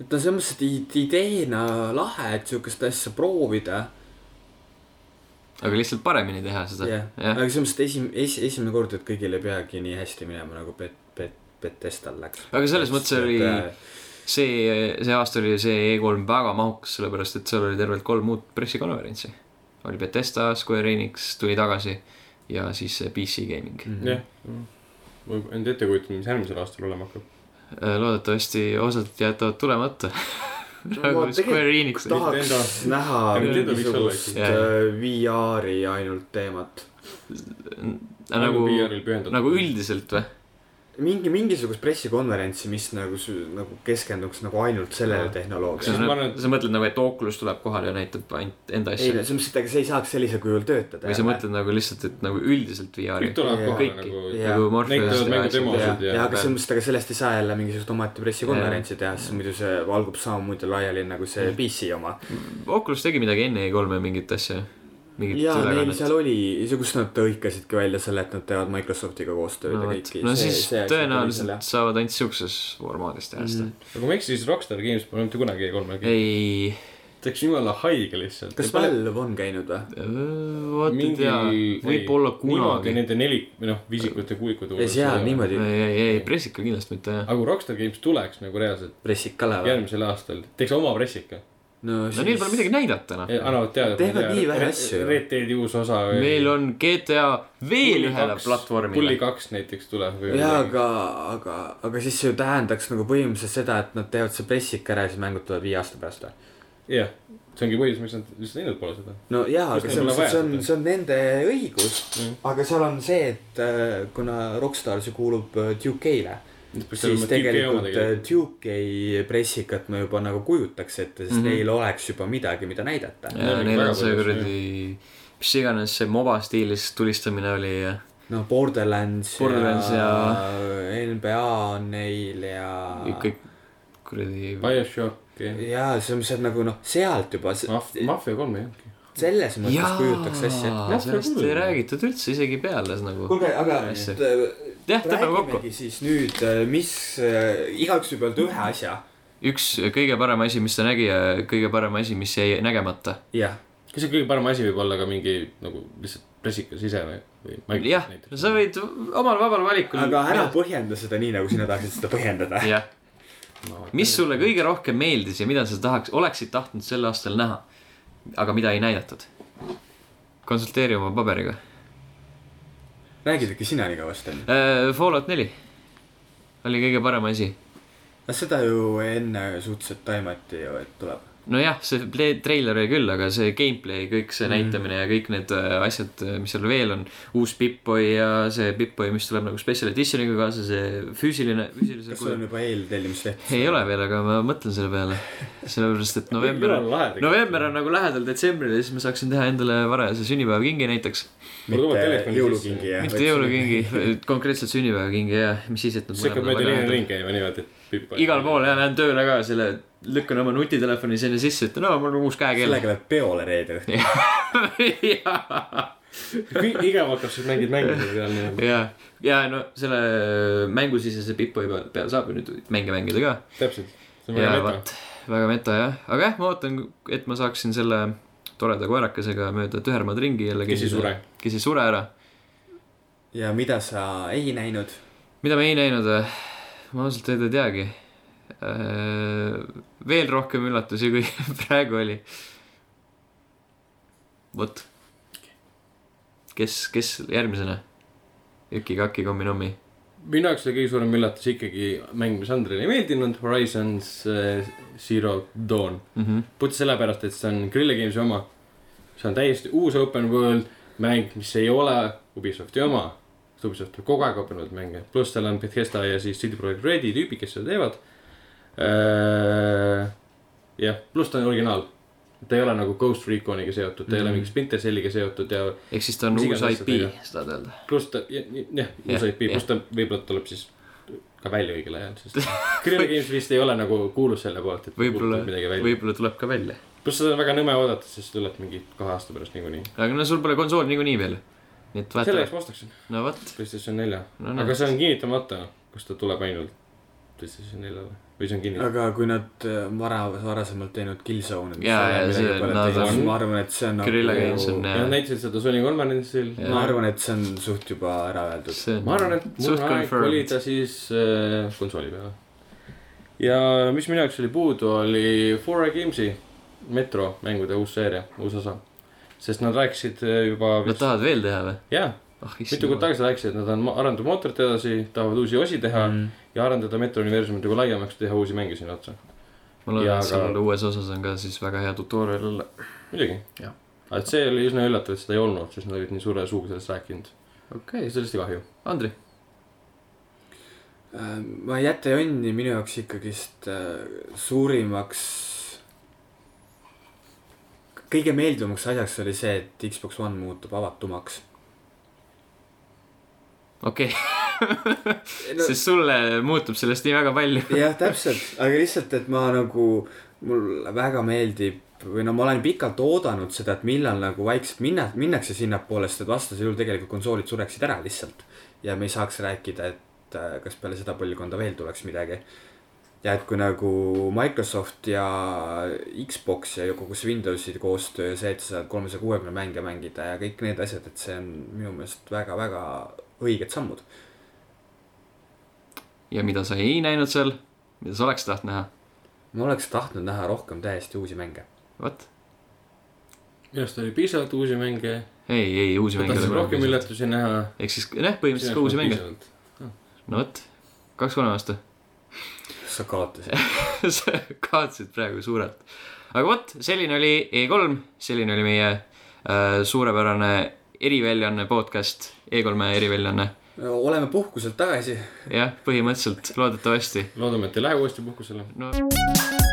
Speaker 3: et no selles mõttes , et i- ideena lahe , et sihukest asja proovida .
Speaker 1: aga lihtsalt paremini teha seda .
Speaker 3: jah ,
Speaker 1: jah ,
Speaker 3: aga selles mõttes , et esim- , es- , esimene kord , et kõigil ei peagi nii hästi minema nagu Bet- , Bet- , Betestal läks .
Speaker 1: Aga selles mõttes oli- see , see aasta oli see E3 väga mahukas , sellepärast et seal oli tervelt kolm uut pressikonverentsi . oli Betesta , Square Enix tuli tagasi ja siis see PC gaming .
Speaker 3: Mm.
Speaker 2: jah . ma end ette kujutan , mis järgmisel aastal olema hakkab .
Speaker 1: Äh, loodetavasti osad jätavad tulemata . nagu Square Enix .
Speaker 3: tahaks
Speaker 2: Nintendo-
Speaker 3: näha
Speaker 2: Nintendo võiks olla
Speaker 3: mingisugust
Speaker 1: ikkagi.
Speaker 3: äh, VR-i ainult teemat .
Speaker 1: nagu ,
Speaker 2: PR-il pühendatud .
Speaker 1: nagu . üldiselt või ?
Speaker 3: mingi , mingisugust pressikonverentsi , mis nagu , nagu keskenduks nagu ainult sellele tehnoloogiale .
Speaker 2: ma arvan, et-
Speaker 1: sa mõtled nagu , et Oculus tuleb kohale ja näitab ainult enda
Speaker 3: ei ,
Speaker 1: asja ?
Speaker 3: selles mõttes , et ega see ei saaks sellisel kujul töötada .
Speaker 1: või sa mõtled nagu lihtsalt , et nagu üldiselt VR-i
Speaker 2: kõik ? tulevad
Speaker 3: Jaa.
Speaker 2: kohale
Speaker 1: Kõiki.
Speaker 2: nagu .
Speaker 3: Jaa.
Speaker 1: nagu
Speaker 2: Neid
Speaker 1: Morpheus
Speaker 2: tulevad mängu demo-
Speaker 3: jah
Speaker 2: Omasid ja- ,
Speaker 3: aga selles mõttes , et ega sellest ei saa jälle mingisugust omaette pressikonverentsi teha , sest muidu see valgub samamoodi laiali nagu see
Speaker 1: Mm.
Speaker 3: PC oma .
Speaker 1: Oculus tegi midagi enne E3-e mingit asja . mingit
Speaker 3: ja neil
Speaker 1: ülekannet.
Speaker 3: seal oli , kus nad hõikasidki välja selle , et nad teevad Microsoftiga koostööd
Speaker 1: no,
Speaker 3: ja
Speaker 1: vot.
Speaker 3: kõiki .
Speaker 1: no siis
Speaker 3: nagu
Speaker 2: nagu
Speaker 1: tõenäoliselt saavad ainult siukses formaadis teha seda .
Speaker 2: aga kui ma ei eksi , siis Rockstar Games pole mitte kunagi E E3-l käinud .
Speaker 1: ei ,
Speaker 2: ta läks jumala haige lihtsalt .
Speaker 3: kas Valve on käinud või ?
Speaker 1: äh, vot ei tea , võib-olla kunagi .
Speaker 2: Nende neli , või noh , viisikute , kuuikute .
Speaker 3: ei , seal . niimoodi
Speaker 1: ei , ei , ei pressika kindlasti mitte jah .
Speaker 2: aga kui Rockstar Games tuleks nagu reaalselt
Speaker 3: pressikale või ?
Speaker 2: järgmisel aastal , teeks oma pressika .
Speaker 3: no
Speaker 1: no neil pole midagi näidata noh .
Speaker 2: annavad teada .
Speaker 3: Teevad nii vähe asju.
Speaker 2: Red Deadi uus osa .
Speaker 1: meil on GTA veel ühele platvormile
Speaker 2: Pulli . kaks näiteks tuleb või .
Speaker 3: jaa , aga , aga , aga siis see ju tähendaks nagu põhimõtteliselt seda , et nad teevad see pressik ära ja siis mängud tulevad viie aasta pärast või ?
Speaker 2: jah , see ongi põhjus , miks nad lihtsalt teinud pole seda .
Speaker 3: no
Speaker 2: Just
Speaker 3: jaa , aga
Speaker 2: ei
Speaker 3: see on
Speaker 2: ole , vaja
Speaker 3: see on
Speaker 2: seda. ,
Speaker 3: see on nende õigus
Speaker 2: Mm.
Speaker 3: mm. , aga seal on see , et äh, kuna Rockstar , see kuulub äh, 2K-le , siis tegelikult äh, 2K pressikat ma juba nagu kujutaks ette , sest mm
Speaker 1: Mhm.
Speaker 3: -hmm. neil oleks juba midagi , mida näidata .
Speaker 1: ja
Speaker 2: Neil on
Speaker 1: neil
Speaker 2: väga
Speaker 1: on see
Speaker 2: palju asju,
Speaker 1: kuradi , mis iganes see moba stiilis tulistamine oli ja .
Speaker 3: noh , Borderlands,
Speaker 1: Borderlands
Speaker 3: ja NBA on neil ja
Speaker 1: kõik kuradi .
Speaker 2: BioShock ,
Speaker 3: jaa , see on lihtsalt nagu noh , sealt juba se-
Speaker 1: Ah.
Speaker 2: Mafia kolm ei olnudki .
Speaker 3: selles mõttes kujutaks asja .
Speaker 2: Noh,
Speaker 1: sellest ei räägitud üldse isegi peales nagu .
Speaker 3: kuulge , aga
Speaker 1: Asja.
Speaker 3: t-
Speaker 1: jah , tõmbame kokku .
Speaker 3: räägimegi siis nüüd , mis äh, igaüks võib öelda ühe asja .
Speaker 1: üks kõige parem asi , mis ta nägi ja kõige parem asi , mis jäi nägemata .
Speaker 3: jah ,
Speaker 2: kas see kõige parem asi võib olla ka mingi nagu lihtsalt pressikas ise või , või Microsoft
Speaker 1: jah ,
Speaker 2: näiteks?
Speaker 1: sa võid omal vabal valikul .
Speaker 3: aga ära . põhjenda seda nii , nagu sina tahtsid seda põhjendada .
Speaker 1: jah ,
Speaker 2: Ma-
Speaker 1: mis sulle kõige rohkem meeldis ja mida sa tahaks , oleksid tahtnud sel aastal näha , aga mida ei näidatud ? konsulteeri oma paberiga .
Speaker 3: räägid ikka sina nii kõvasti .
Speaker 1: Äh, Fallout neli oli kõige parem asi .
Speaker 3: no seda ju enne suhteliselt taimati ju , et tuleb .
Speaker 1: nojah , see ple- treiler oli küll , aga see gameplay , kõik see mm. näitamine ja kõik need äh, asjad , mis seal veel on , uus Pip-Boy ja see Pip-Boy , mis tuleb nagu special edition'iga kaasa , see füüsiline , füüsilisel
Speaker 3: kas sul on juba eeltellimisleht ?
Speaker 1: ei ole veel , aga ma mõtlen selle peale , sellepärast et november
Speaker 2: Küll on lahe tegelikult.
Speaker 1: november on nagu lähedal detsembrile , siis ma saaksin teha endale varajase sünnipäevakingi näiteks .
Speaker 2: Mul tuleb
Speaker 3: mitte
Speaker 2: telefoni
Speaker 3: jõulukingi
Speaker 2: sisse.
Speaker 3: jah .
Speaker 1: mitte jõulukingi , konkreetselt sünnipäevakingi ja mis siis , et nad
Speaker 2: see hakkab
Speaker 1: mõlemad on väga
Speaker 2: mööda linna
Speaker 1: lähedal.
Speaker 2: ringi käima niimoodi , et pipp-
Speaker 1: igal pool ja lähen tööle ka selle , lükkan oma nutitelefoni sinna sisse , ütlen , aa , mul on uus käekell .
Speaker 3: sellega läheb peole reede õhtul .
Speaker 1: [LAUGHS]
Speaker 2: Kui- igav hakkab , siis mängid mänge seal niimoodi .
Speaker 1: ja , ja no selle mängusisese Pippo juba peal saab ju nüüd mänge mängida ka .
Speaker 2: täpselt . see on
Speaker 1: ja
Speaker 2: väga meta .
Speaker 1: vot , väga meta jah , aga jah , ma ootan , et ma saaksin selle toreda koerakesega mööda tühermaad ringi jälle .
Speaker 2: Kes ei sure. .
Speaker 1: kes ei sure ära .
Speaker 3: ja mida sa ei näinud ?
Speaker 1: mida me ei näinud või ? ma ausalt öelda ei teagi . veel rohkem üllatusi , kui [LAUGHS] praegu oli . vot . kes , kes järgmisena ? Üki-kaki kommi-nommi .
Speaker 2: minu jaoks oli kõige suurem üllatus ikkagi mäng , mis Andrele ei meeldinud , Horizons äh, Zero Dawn . puht sellepärast , et see on Guerrilla Games'i oma . see on täiesti uus open world mäng , mis ei ole Ubisofti oma . sest Ubisoft teeb kogu aeg open world mänge , pluss seal on Bethesda ja siis CD Projekt Redi tüübid , kes seda teevad . jah , pluss ta on originaal . ta ei ole nagu Ghost Reconiga seotud , ta ei ole mingi Splinter Celliga seotud ja
Speaker 1: ehk siis ta on
Speaker 2: Mis
Speaker 1: uus
Speaker 2: iganes
Speaker 1: IP
Speaker 2: asjadega. ,
Speaker 1: sa tahad öelda ?
Speaker 2: pluss ta , jah ,
Speaker 1: Jah,
Speaker 2: uus IP ,
Speaker 1: jah.
Speaker 2: pluss ta võib-olla tuleb siis ka välja õigel ajal ,
Speaker 1: [LAUGHS]
Speaker 2: sest Guerrilla Games vist ei ole nagu kuulus selle poolt , et
Speaker 1: võib-olla
Speaker 2: kuulutab midagi , välja .
Speaker 1: võib-olla tuleb ka välja .
Speaker 2: pluss seda on väga nõme oodata , sest see tuleb mingi kahe aasta pärast niikuinii .
Speaker 1: aga no sul pole konsooli niikuinii veel . nii et
Speaker 2: selle
Speaker 1: vaata ,
Speaker 2: jaoks ma ostaksin
Speaker 1: no vot .
Speaker 2: PlayStation nelja
Speaker 1: No
Speaker 2: no, , aga
Speaker 1: näed.
Speaker 2: see on kinnitamata , kas ta tuleb ainult PlayStation neljale või see on kinni- .
Speaker 3: aga kui nad äh, vara , varasemalt teinud Killzone'i .
Speaker 1: Jaa, jaa, see- nad
Speaker 2: on-
Speaker 3: ma arvan , et see on nagu-
Speaker 1: Guerrilla Games on
Speaker 2: ja nad näitasid seda Sony konverentsil .
Speaker 1: Jah.
Speaker 3: ma arvan , et see on suht juba ära öeldud .
Speaker 1: see on
Speaker 2: ma arvan , et mul
Speaker 1: suht
Speaker 2: on aeg
Speaker 1: confirmed.
Speaker 2: kolida siis äh, konsooli peale . ja mis minu jaoks oli puudu , oli 4A Games'i Metro mängude uus seeria , uus osa . sest nad rääkisid äh, juba
Speaker 1: Nad tahavad veel teha või ?
Speaker 2: jah ,
Speaker 1: ah
Speaker 2: mitu kuud
Speaker 1: issand .
Speaker 2: tagasi rääkisid , et nad on , arendavad mootorit edasi , tahavad uusi osi teha mm. ja arendada Metro universumit nagu laiemaks , teha uusi mänge sinna otsa .
Speaker 1: ma loodan ,
Speaker 2: jaa,
Speaker 1: et seal
Speaker 2: aga-
Speaker 1: uues osas on ka siis väga hea tutorial olla .
Speaker 2: muidugi .
Speaker 1: Jah.
Speaker 2: aga et see oli üsna üllatav , et seda ei olnud , sest nad olid nii suure suuga sellest rääkinud .
Speaker 1: okei okay. ,
Speaker 2: sellest ei kahju .
Speaker 1: Andri .
Speaker 3: ma ei jäta jonni minu jaoks ikkagist äh, suurimaks , kõige meeldivamaks asjaks oli see , et Xbox One muutub avatumaks .
Speaker 1: okei okay. , sest sulle muutub sellest nii väga palju .
Speaker 3: jah , täpselt , aga lihtsalt , et ma nagu , mulle väga meeldib või no ma olen pikalt oodanud seda , et millal nagu vaikselt minna , minnakse sinnapoole , sest et vastasel juhul tegelikult konsoolid sureksid ära lihtsalt . ja me ei saaks rääkida , et äh, kas peale seda põlvkonda veel tuleks midagi . ja et kui nagu Microsoft ja Xbox ja kogu see Windowsi koostöö ja see , et sa saad kolmesaja kuuekümne mänge mängida ja kõik need asjad , et see on minu meelest väga-väga õiged sammud .
Speaker 1: ja mida sa ei näinud seal , mida sa oleks tahtnud näha ,
Speaker 3: ma oleks tahtnud näha rohkem täiesti uusi mänge .
Speaker 1: vot .
Speaker 2: minu arust oli piisavalt uusi mänge ,
Speaker 1: ei , ei uusi mänge .
Speaker 2: tahtsin rohkem . üllatusi näha .
Speaker 1: ehk siis jah , põhimõtteliselt ka uusi mänge . no vot , kaks-kolm aasta .
Speaker 3: sa kaotasid .
Speaker 1: [LAUGHS] sa kaotasid praegu suurelt . aga vot , selline oli E3 , selline oli meie äh, suurepärane eriväljaanne podcast , E3-e eriväljaanne .
Speaker 3: oleme puhkuselt tagasi .
Speaker 1: jah , põhimõtteliselt loodetavasti
Speaker 2: loodame , et ei lähe uuesti puhkusele .
Speaker 1: no